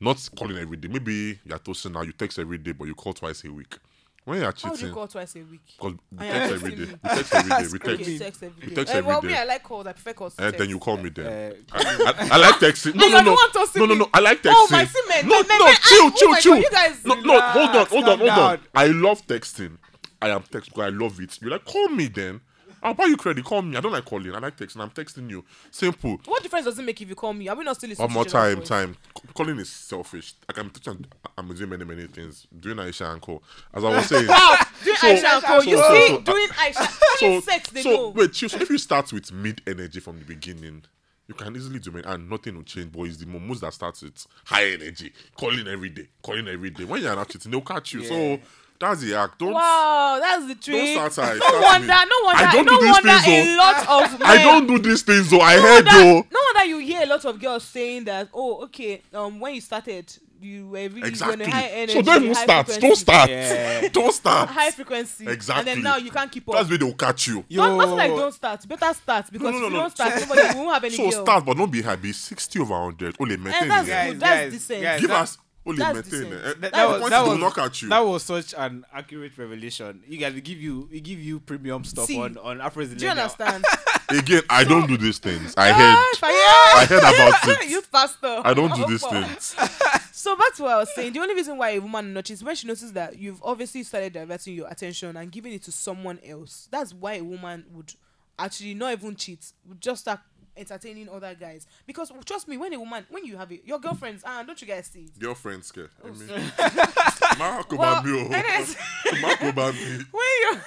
[SPEAKER 3] not calling every day. Maybe you're toasting now, you text every day, but you call twice a week. When
[SPEAKER 1] How
[SPEAKER 3] you're
[SPEAKER 1] do you
[SPEAKER 3] cheating,
[SPEAKER 1] call twice a week?
[SPEAKER 3] because we
[SPEAKER 1] I am
[SPEAKER 3] text every
[SPEAKER 1] texting
[SPEAKER 3] day,
[SPEAKER 1] you.
[SPEAKER 3] we text every day,
[SPEAKER 2] Screw
[SPEAKER 3] we text.
[SPEAKER 1] Okay, text every day.
[SPEAKER 3] text
[SPEAKER 1] Eh,
[SPEAKER 3] every
[SPEAKER 1] well,
[SPEAKER 3] day.
[SPEAKER 1] me, I like calls. I prefer calls. to
[SPEAKER 3] And
[SPEAKER 1] text.
[SPEAKER 3] then you call me then.
[SPEAKER 2] Uh,
[SPEAKER 3] I, I, I like texting. No,
[SPEAKER 1] Oh,
[SPEAKER 3] no,
[SPEAKER 1] you're the
[SPEAKER 3] no.
[SPEAKER 1] one toasting
[SPEAKER 3] No, no, no.
[SPEAKER 1] me.
[SPEAKER 3] I like texting.
[SPEAKER 1] Oh, my see, men,
[SPEAKER 3] No,
[SPEAKER 1] men, men,
[SPEAKER 3] no.
[SPEAKER 1] men,
[SPEAKER 3] chill,
[SPEAKER 1] I- oh
[SPEAKER 3] chill,
[SPEAKER 1] my
[SPEAKER 3] chill.
[SPEAKER 1] God, you guys-
[SPEAKER 3] no, no. Hold
[SPEAKER 2] Relax,
[SPEAKER 3] on, hold on,
[SPEAKER 2] calm
[SPEAKER 3] hold on.
[SPEAKER 2] down.
[SPEAKER 3] I love texting. I am text because I love it. You're like, call me then. I'll buy you credit. Call me. I don't like calling. I like texting. I'm texting you. Simple.
[SPEAKER 1] What difference does it make if you call me? Are we not still
[SPEAKER 3] One more
[SPEAKER 1] institutional
[SPEAKER 3] time,
[SPEAKER 1] boys?
[SPEAKER 3] time. C- Calling is selfish. Like I'm teaching, I'm doing many, many things. Doing Aisha and Co. As I was saying.
[SPEAKER 1] Wow, doing Aisha and call. You
[SPEAKER 3] so-
[SPEAKER 1] see,
[SPEAKER 3] so-
[SPEAKER 1] doing Aisha. Only sex they
[SPEAKER 3] so
[SPEAKER 1] know.
[SPEAKER 3] wait, chill. So if you start with mid energy from the beginning, you can easily do it, and nothing will change. But it's the moments that starts with high energy, calling every day, calling every day. When you're not cheating, they'll catch you. So that's the act. Don't.
[SPEAKER 1] Wow, that's the trick.
[SPEAKER 3] start her,
[SPEAKER 1] No
[SPEAKER 3] start me.
[SPEAKER 1] wonder, no wonder,
[SPEAKER 3] I don't
[SPEAKER 1] no
[SPEAKER 3] do these
[SPEAKER 1] wonder
[SPEAKER 3] things,
[SPEAKER 1] a lot of men.
[SPEAKER 3] I don't do these things though. I
[SPEAKER 1] No
[SPEAKER 3] heard though.
[SPEAKER 1] wonder, no wonder you hear a lot of girls saying that. Oh, okay. Um, when you started, you were really
[SPEAKER 3] Exactly.
[SPEAKER 1] on a high energy.
[SPEAKER 3] so don't even
[SPEAKER 1] high
[SPEAKER 3] start.
[SPEAKER 1] frequency.
[SPEAKER 3] Don't start.
[SPEAKER 2] Yeah.
[SPEAKER 3] don't start.
[SPEAKER 1] high frequency. And
[SPEAKER 3] Exactly.
[SPEAKER 1] then now you can't keep up.
[SPEAKER 3] That's where they'll catch you.
[SPEAKER 1] Not, not like don't start. Better start because
[SPEAKER 3] no,
[SPEAKER 1] if you
[SPEAKER 3] no.
[SPEAKER 1] don't start, nobody we won't have any
[SPEAKER 3] So
[SPEAKER 1] girl.
[SPEAKER 3] start, but don't be happy. Sixty over hundred. Only
[SPEAKER 1] And
[SPEAKER 3] maintain.
[SPEAKER 1] Eh, that's
[SPEAKER 3] it.
[SPEAKER 2] Guys,
[SPEAKER 1] good. That's
[SPEAKER 2] guys,
[SPEAKER 1] decent.
[SPEAKER 2] guys.
[SPEAKER 3] Give
[SPEAKER 2] That-
[SPEAKER 3] us. Only
[SPEAKER 1] that's
[SPEAKER 3] maintain.
[SPEAKER 1] decent.
[SPEAKER 3] eh.
[SPEAKER 1] That-
[SPEAKER 3] The
[SPEAKER 1] that was-
[SPEAKER 3] points
[SPEAKER 1] that
[SPEAKER 3] will
[SPEAKER 1] was-
[SPEAKER 3] knock at you.
[SPEAKER 2] That was such an accurate revelation. You guys, we give you, we give you premium stuff
[SPEAKER 1] See,
[SPEAKER 2] on on Afro's
[SPEAKER 1] Do you understand?
[SPEAKER 3] Again, I don't do these things. I
[SPEAKER 1] Ah,
[SPEAKER 3] heard.
[SPEAKER 1] if I-
[SPEAKER 3] I heard about it.
[SPEAKER 1] you faster.
[SPEAKER 3] I don't do
[SPEAKER 1] Oh,
[SPEAKER 3] these
[SPEAKER 1] fuck.
[SPEAKER 3] things.
[SPEAKER 1] So back to what I was saying. The only reason why a woman notches when she notices that you've obviously started diverting your attention and giving it to someone else. That's why a woman would actually not even cheat, would just start entertaining other guys. Because trust me, when a woman, when you have it, your girlfriends, ah, don't you guys see? it?
[SPEAKER 3] Girlfriend scare. I mean,
[SPEAKER 1] Oh,
[SPEAKER 3] Marco Bambi.
[SPEAKER 1] anyways-
[SPEAKER 3] Marco Bambi.
[SPEAKER 1] when you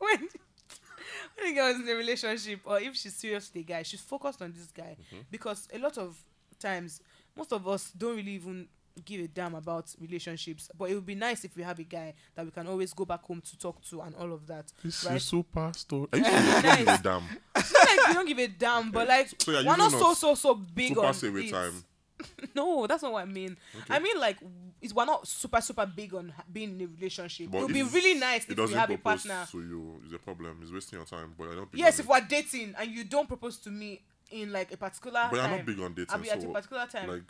[SPEAKER 1] when when a girl is in a relationship or if she's serious with a guy, she's focused on this guy
[SPEAKER 3] Mm-hmm.
[SPEAKER 1] because a lot of times most of us don't really even give a damn about relationships. But it would be nice if we have a guy that we can always go back home to talk to and all of that.
[SPEAKER 3] This
[SPEAKER 1] right?
[SPEAKER 3] is super story. Are you serious? Don't give a damn.
[SPEAKER 1] Not like we don't give a damn, but like
[SPEAKER 3] So you're
[SPEAKER 1] we're not
[SPEAKER 3] using
[SPEAKER 1] so
[SPEAKER 3] us
[SPEAKER 1] so so big
[SPEAKER 3] To
[SPEAKER 1] on
[SPEAKER 3] pass away
[SPEAKER 1] it.
[SPEAKER 3] time.
[SPEAKER 1] No, that's not what I mean. I mean like it's we're not super super big on ha- being in a relationship.
[SPEAKER 3] But
[SPEAKER 1] it would
[SPEAKER 3] if
[SPEAKER 1] be really nice
[SPEAKER 3] It
[SPEAKER 1] if we
[SPEAKER 3] doesn't
[SPEAKER 1] have a
[SPEAKER 3] propose
[SPEAKER 1] partner.
[SPEAKER 3] to you. It's a problem. It's wasting your time. But you're not big
[SPEAKER 1] yes,
[SPEAKER 3] on
[SPEAKER 1] if we're dating and you don't propose to me in like a particular
[SPEAKER 3] it. But
[SPEAKER 1] time,
[SPEAKER 3] I'm not big on dating.
[SPEAKER 1] I'll be at a
[SPEAKER 3] so,
[SPEAKER 1] particular time.
[SPEAKER 3] like,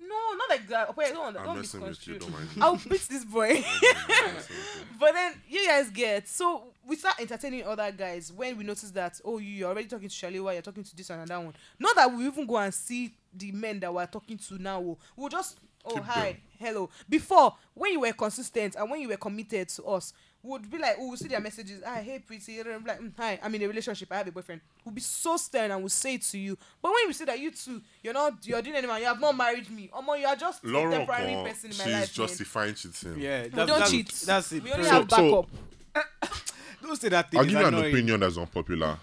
[SPEAKER 1] no, not like that. Okay, don't,
[SPEAKER 3] I'm
[SPEAKER 1] don't be
[SPEAKER 3] messing with you.
[SPEAKER 1] misconstrued.
[SPEAKER 3] Don't mind me.
[SPEAKER 1] I'll beat this boy.
[SPEAKER 3] I'm messing with you.
[SPEAKER 1] but then you guys get so we start entertaining other guys when we notice that oh you- you're already talking to Shaliwa, you're talking to this and that one. Not that we even go and see the men that we're talking to now. oh. We'll just oh
[SPEAKER 3] Keep
[SPEAKER 1] hi
[SPEAKER 3] them.
[SPEAKER 1] hello before when you were consistent and when you were committed to us we would be like we would see their messages ah hey pretty and I'm like "Mm, hi i'm in a relationship i have a boyfriend we'll be so stern and we'll say it to you but when we see that you two you're not you're doing anything you have not married me or you are just a
[SPEAKER 3] Laura
[SPEAKER 1] temporary
[SPEAKER 3] Okon,
[SPEAKER 1] person in my
[SPEAKER 3] she's
[SPEAKER 1] life man.
[SPEAKER 3] justifying cheating.
[SPEAKER 2] Yeah,
[SPEAKER 1] we
[SPEAKER 2] that's,
[SPEAKER 1] don't
[SPEAKER 2] that's,
[SPEAKER 1] cheat
[SPEAKER 2] That's it.
[SPEAKER 1] we only
[SPEAKER 2] period.
[SPEAKER 1] have
[SPEAKER 3] So- so-
[SPEAKER 1] backup
[SPEAKER 2] don't say that thing.
[SPEAKER 3] I'll
[SPEAKER 2] it's
[SPEAKER 3] give you an
[SPEAKER 2] annoying.
[SPEAKER 3] opinion that's unpopular.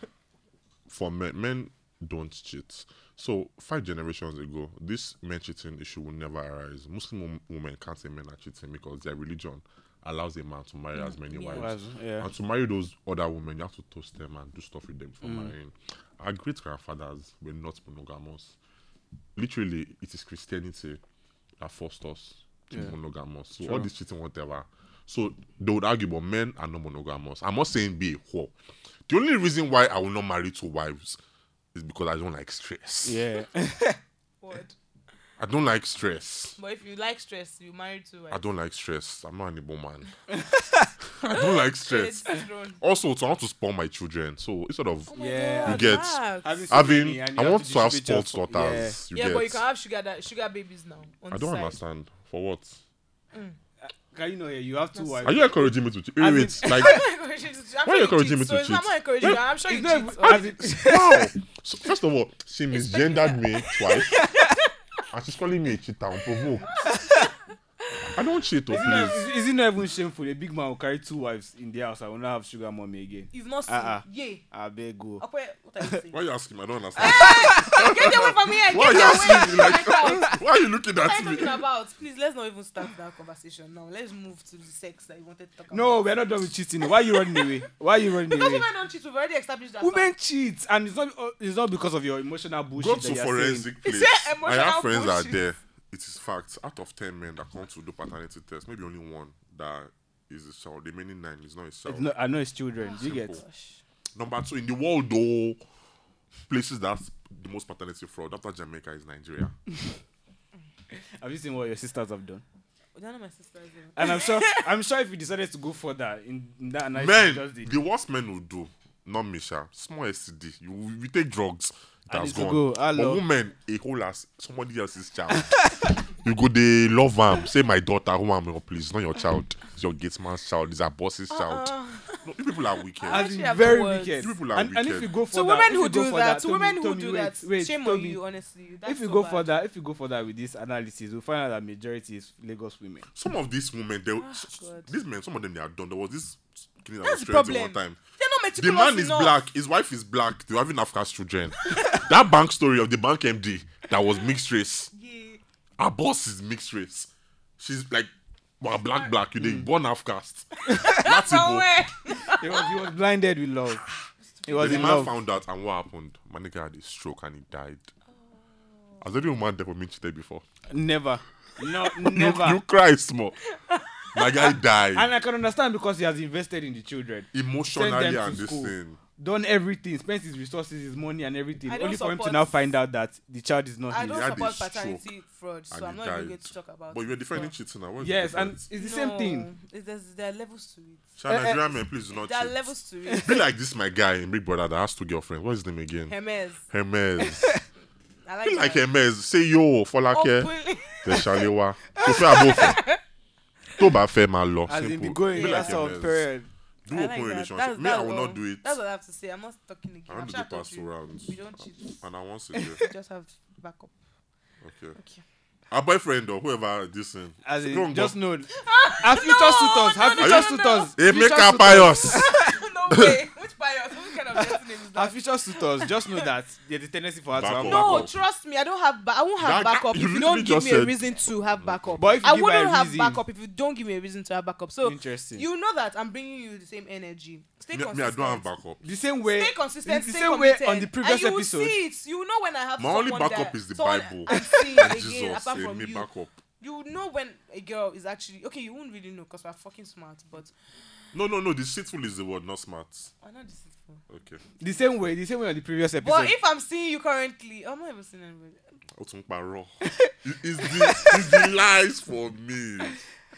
[SPEAKER 3] For men, men don't cheat. So five generations ago, this men cheating issue will never arise. Muslim wom- women can't say men are cheating because their religion allows a man to marry as many wives.
[SPEAKER 2] Wives, yeah.
[SPEAKER 3] And to marry those other women, you have to toast them and do stuff with them for marrying. Our great grandfathers were not monogamous. Literally, it is Christianity that forced us to be monogamous. So all this cheating, whatever. So they would argue, but men are not monogamous. I'm not saying be a whore. The only reason why I will not marry two wives is because I don't like stress.
[SPEAKER 2] Yeah.
[SPEAKER 1] Word.
[SPEAKER 3] I don't like stress.
[SPEAKER 1] but if you like stress you marry to
[SPEAKER 3] I don't like stress. I'm not an able man. I don't like stress. Also, so I want to spoil my children. So instead
[SPEAKER 2] Oh
[SPEAKER 3] of
[SPEAKER 1] Oh
[SPEAKER 2] Yeah.
[SPEAKER 3] You get-
[SPEAKER 2] Having,
[SPEAKER 3] having,
[SPEAKER 2] and you
[SPEAKER 3] I
[SPEAKER 2] have
[SPEAKER 3] want to have
[SPEAKER 2] distribute your
[SPEAKER 3] sports
[SPEAKER 2] fo- yeah.
[SPEAKER 3] daughters. You
[SPEAKER 1] yeah,
[SPEAKER 3] get.
[SPEAKER 1] but you can have sugar that sugar babies now. On
[SPEAKER 3] I
[SPEAKER 1] the
[SPEAKER 3] don't
[SPEAKER 1] side.
[SPEAKER 3] understand. For what?
[SPEAKER 2] Can you know? Yeah, you have two wives.
[SPEAKER 3] Are you encouraging me to cheat? Wait,
[SPEAKER 2] As
[SPEAKER 3] wait,
[SPEAKER 2] in-
[SPEAKER 3] like
[SPEAKER 1] encouraging you to- I'm
[SPEAKER 3] Why
[SPEAKER 1] sure
[SPEAKER 3] you
[SPEAKER 1] you
[SPEAKER 3] encouraging
[SPEAKER 1] cheat,
[SPEAKER 3] me to
[SPEAKER 1] so it's not- I'm
[SPEAKER 3] cheat?
[SPEAKER 1] not encouraging you. I'm sure you
[SPEAKER 2] It's
[SPEAKER 1] cheat.
[SPEAKER 2] not-
[SPEAKER 1] Oh,
[SPEAKER 2] as in-
[SPEAKER 3] wow. So, first of all, she misgendered me twice, and she's calling me a cheater, unprovoked. I don't cheat, oh
[SPEAKER 2] Is it not-
[SPEAKER 3] please.
[SPEAKER 2] is- Is it not even shameful? A big man will carry two wives in the house. I will not have sugar mommy again.
[SPEAKER 1] You've not seen.
[SPEAKER 2] Uh-uh.
[SPEAKER 1] Yeah.
[SPEAKER 2] I beg go.
[SPEAKER 1] Okay, what are you saying?
[SPEAKER 3] Why are you asking? me? I don't understand.
[SPEAKER 1] Get away from here. Get
[SPEAKER 3] Why are you
[SPEAKER 1] away.
[SPEAKER 3] asking me? Like,
[SPEAKER 1] Get out.
[SPEAKER 3] why are you looking
[SPEAKER 1] What are
[SPEAKER 3] at
[SPEAKER 1] you
[SPEAKER 3] me?
[SPEAKER 1] talking about? Please, let's not even start that conversation now. Let's move to the sex that you wanted to talk
[SPEAKER 2] No,
[SPEAKER 1] about.
[SPEAKER 2] we're not done with cheating. Why are you running away? Why are you running
[SPEAKER 1] Because
[SPEAKER 2] away?
[SPEAKER 1] women don't cheat. We've already established that.
[SPEAKER 2] Women
[SPEAKER 1] fact.
[SPEAKER 2] cheat, and it's not it's not because of your emotional bullshit.
[SPEAKER 3] Go
[SPEAKER 2] that
[SPEAKER 3] to
[SPEAKER 2] you're saying.
[SPEAKER 3] forensic place.
[SPEAKER 1] Is there
[SPEAKER 3] I have
[SPEAKER 1] emotional
[SPEAKER 3] friends that are
[SPEAKER 1] bullshit?
[SPEAKER 3] there. It is fact. Out of ten men that come to do paternity test, maybe only one that is a child. The remaining nine is not a child.
[SPEAKER 2] It's not, I know it's children. you get
[SPEAKER 1] Gosh.
[SPEAKER 3] Number two in the world, though, places that's the most paternity fraud after Jamaica is Nigeria.
[SPEAKER 2] Have you seen what your sisters have done?
[SPEAKER 1] They're not my sisters. though.
[SPEAKER 2] And I'm sure I'm sure if you decided to go further in in that analysis, you
[SPEAKER 3] men,
[SPEAKER 2] just did.
[SPEAKER 3] the worst men will do, not Misha, small STD. You, you take drugs, that's
[SPEAKER 2] need to
[SPEAKER 3] gone.
[SPEAKER 2] go,
[SPEAKER 3] but
[SPEAKER 2] hello.
[SPEAKER 3] women, a whole ass, somebody else's child. you go, they love them. Say, my daughter, who am I? Please, it's not your child. It's your gate man's child. It's our boss's
[SPEAKER 1] Ah.
[SPEAKER 3] child. No, you people are wicked.
[SPEAKER 1] Uh-uh. I
[SPEAKER 2] As
[SPEAKER 1] actually
[SPEAKER 2] in
[SPEAKER 1] have
[SPEAKER 2] very
[SPEAKER 1] the words.
[SPEAKER 2] wicked.
[SPEAKER 3] You people are
[SPEAKER 2] and, and if
[SPEAKER 3] wicked.
[SPEAKER 2] you go further,
[SPEAKER 1] To women
[SPEAKER 2] if you
[SPEAKER 1] who
[SPEAKER 2] go
[SPEAKER 1] do
[SPEAKER 2] further,
[SPEAKER 1] that, to
[SPEAKER 2] Tommy-
[SPEAKER 1] women who
[SPEAKER 2] Tommy,
[SPEAKER 1] do
[SPEAKER 2] wait,
[SPEAKER 1] that,
[SPEAKER 2] wait,
[SPEAKER 1] shame on
[SPEAKER 2] Tommy.
[SPEAKER 1] you, honestly. That's
[SPEAKER 2] If you
[SPEAKER 1] so
[SPEAKER 2] go
[SPEAKER 1] bad.
[SPEAKER 2] further, if you go further with this analysis, we'll find out that majority is Lagos women.
[SPEAKER 3] some of these women, they, s- s-
[SPEAKER 1] Ah, God.
[SPEAKER 3] these men, some of them, they are done. There was this kid that
[SPEAKER 1] That's
[SPEAKER 3] was
[SPEAKER 1] the
[SPEAKER 3] trending one
[SPEAKER 1] problem.
[SPEAKER 3] time.
[SPEAKER 1] They're not
[SPEAKER 3] The
[SPEAKER 1] meticulous
[SPEAKER 3] man is
[SPEAKER 1] enough.
[SPEAKER 3] black, his wife is black, they're having Afghan children. that bank story of the bank MD that was mixed race.
[SPEAKER 1] Yeah.
[SPEAKER 3] her boss is mixed race. She's like, well, black, black. You did born half caste. That's
[SPEAKER 1] From
[SPEAKER 3] it.
[SPEAKER 1] where?
[SPEAKER 2] He was, he was blinded with love. He was
[SPEAKER 3] The
[SPEAKER 2] in
[SPEAKER 3] man
[SPEAKER 2] love.
[SPEAKER 3] found out, and what happened? My nigga had a stroke and he died.
[SPEAKER 2] Oh.
[SPEAKER 3] Has any woman there for me cheated before?
[SPEAKER 2] Never. No,
[SPEAKER 3] You,
[SPEAKER 2] never.
[SPEAKER 3] you cry small. My guy died
[SPEAKER 2] and I can understand because he has invested in the children. send
[SPEAKER 3] emotionally
[SPEAKER 2] them to
[SPEAKER 3] and this
[SPEAKER 2] school.
[SPEAKER 3] thing.
[SPEAKER 2] Done everything, spent his resources, his money, and everything,
[SPEAKER 1] I don't
[SPEAKER 2] only for him to
[SPEAKER 1] support-
[SPEAKER 2] now find out that the child is not
[SPEAKER 1] I
[SPEAKER 2] his.
[SPEAKER 1] don't
[SPEAKER 3] had a
[SPEAKER 1] support
[SPEAKER 3] stroke
[SPEAKER 1] paternity fraud, so
[SPEAKER 3] and
[SPEAKER 1] I'm
[SPEAKER 3] he
[SPEAKER 1] not even
[SPEAKER 3] died.
[SPEAKER 1] going to talk about
[SPEAKER 3] But
[SPEAKER 1] it.
[SPEAKER 3] you're defending cheating now. What is the
[SPEAKER 2] Yes, and
[SPEAKER 3] difference?
[SPEAKER 2] it's the same thing.
[SPEAKER 1] It, there's, there are levels to it.
[SPEAKER 3] Shall
[SPEAKER 2] Eh, eh.
[SPEAKER 3] Nigerian men please do not
[SPEAKER 1] There are
[SPEAKER 3] cheat.
[SPEAKER 1] levels to it.
[SPEAKER 3] Be like this, my guy in Big Brother that has two girlfriends. What's his name again?
[SPEAKER 1] Hermes.
[SPEAKER 3] Hermes.
[SPEAKER 1] I
[SPEAKER 3] Be
[SPEAKER 1] like
[SPEAKER 3] like
[SPEAKER 1] that.
[SPEAKER 3] Hermes. Say yo,
[SPEAKER 2] Oh,
[SPEAKER 3] Folake.
[SPEAKER 1] Openly.
[SPEAKER 3] tẹ̀sánlé wa tó fẹ́ àbò fẹ́ tó bá fẹ́ máa lọ
[SPEAKER 2] As in
[SPEAKER 3] simple
[SPEAKER 2] the going,
[SPEAKER 3] Be
[SPEAKER 2] that's
[SPEAKER 3] your
[SPEAKER 2] all,
[SPEAKER 3] parents.
[SPEAKER 2] period.
[SPEAKER 3] do
[SPEAKER 1] I
[SPEAKER 3] open
[SPEAKER 1] like that.
[SPEAKER 3] relationship
[SPEAKER 1] That's-
[SPEAKER 3] me
[SPEAKER 1] that's
[SPEAKER 3] I will
[SPEAKER 1] all.
[SPEAKER 3] not do it
[SPEAKER 1] That's what I have to say. I'm not talking again.
[SPEAKER 3] I want
[SPEAKER 1] I'm
[SPEAKER 3] to
[SPEAKER 1] sure
[SPEAKER 3] do
[SPEAKER 1] I told
[SPEAKER 3] pastoral
[SPEAKER 1] you.
[SPEAKER 3] rounds
[SPEAKER 1] We don't cheat.
[SPEAKER 3] and I want to do
[SPEAKER 1] We just have backup.
[SPEAKER 3] okay
[SPEAKER 1] Okay.
[SPEAKER 3] her boyfriend or whoever this thing
[SPEAKER 2] As
[SPEAKER 3] Go on,
[SPEAKER 2] in,
[SPEAKER 3] go.
[SPEAKER 2] just know. Have future suitors. Have
[SPEAKER 1] Ah, no,
[SPEAKER 2] future
[SPEAKER 1] no, no.
[SPEAKER 2] suitors.
[SPEAKER 3] Hey, make
[SPEAKER 2] Future
[SPEAKER 3] her
[SPEAKER 2] suitors.
[SPEAKER 3] pious
[SPEAKER 1] no way. Which bias? Which kind of destiny is
[SPEAKER 2] Our
[SPEAKER 1] that?
[SPEAKER 2] future suitors just know that there's a tendency for her to
[SPEAKER 3] Back
[SPEAKER 2] have
[SPEAKER 3] up.
[SPEAKER 1] No,
[SPEAKER 3] backup.
[SPEAKER 1] trust me. I don't have. Ba- I won't have
[SPEAKER 3] That- that-
[SPEAKER 1] backup
[SPEAKER 3] you
[SPEAKER 1] if you
[SPEAKER 3] literally
[SPEAKER 1] don't give
[SPEAKER 3] just
[SPEAKER 1] me a
[SPEAKER 3] said-
[SPEAKER 1] reason to have backup.
[SPEAKER 2] But if you
[SPEAKER 1] I
[SPEAKER 2] give her
[SPEAKER 1] wouldn't
[SPEAKER 2] a
[SPEAKER 1] have
[SPEAKER 2] reason-
[SPEAKER 1] backup if you don't give me a reason to have backup. So
[SPEAKER 2] Interesting.
[SPEAKER 1] you know that I'm bringing you the same energy. Stay
[SPEAKER 3] me,
[SPEAKER 1] consistent.
[SPEAKER 3] me I don't have backup
[SPEAKER 2] the same way.
[SPEAKER 1] Stay consistent.
[SPEAKER 2] The
[SPEAKER 1] stay
[SPEAKER 2] same way
[SPEAKER 1] committed,
[SPEAKER 2] on the previous
[SPEAKER 1] and you will
[SPEAKER 2] episode.
[SPEAKER 1] see it. You will know when I have.
[SPEAKER 3] my only
[SPEAKER 1] someone
[SPEAKER 3] backup
[SPEAKER 1] that-
[SPEAKER 3] is the
[SPEAKER 1] someone
[SPEAKER 3] Bible
[SPEAKER 1] I'm seeing again,
[SPEAKER 3] Jesus
[SPEAKER 1] apart
[SPEAKER 3] eh,
[SPEAKER 1] from
[SPEAKER 3] me
[SPEAKER 1] you.
[SPEAKER 3] backup
[SPEAKER 1] You will know when a girl is actually okay. You won't really know because we're fucking smart, but
[SPEAKER 3] no no no deceitful is the word not smart
[SPEAKER 1] I'm not deceitful.
[SPEAKER 3] okay
[SPEAKER 2] The same way. The same way on the previous episode.
[SPEAKER 1] But if I'm seeing you currently, I'm not even seeing anybody.
[SPEAKER 3] o tún parọ́ It- it's the it's the lies for me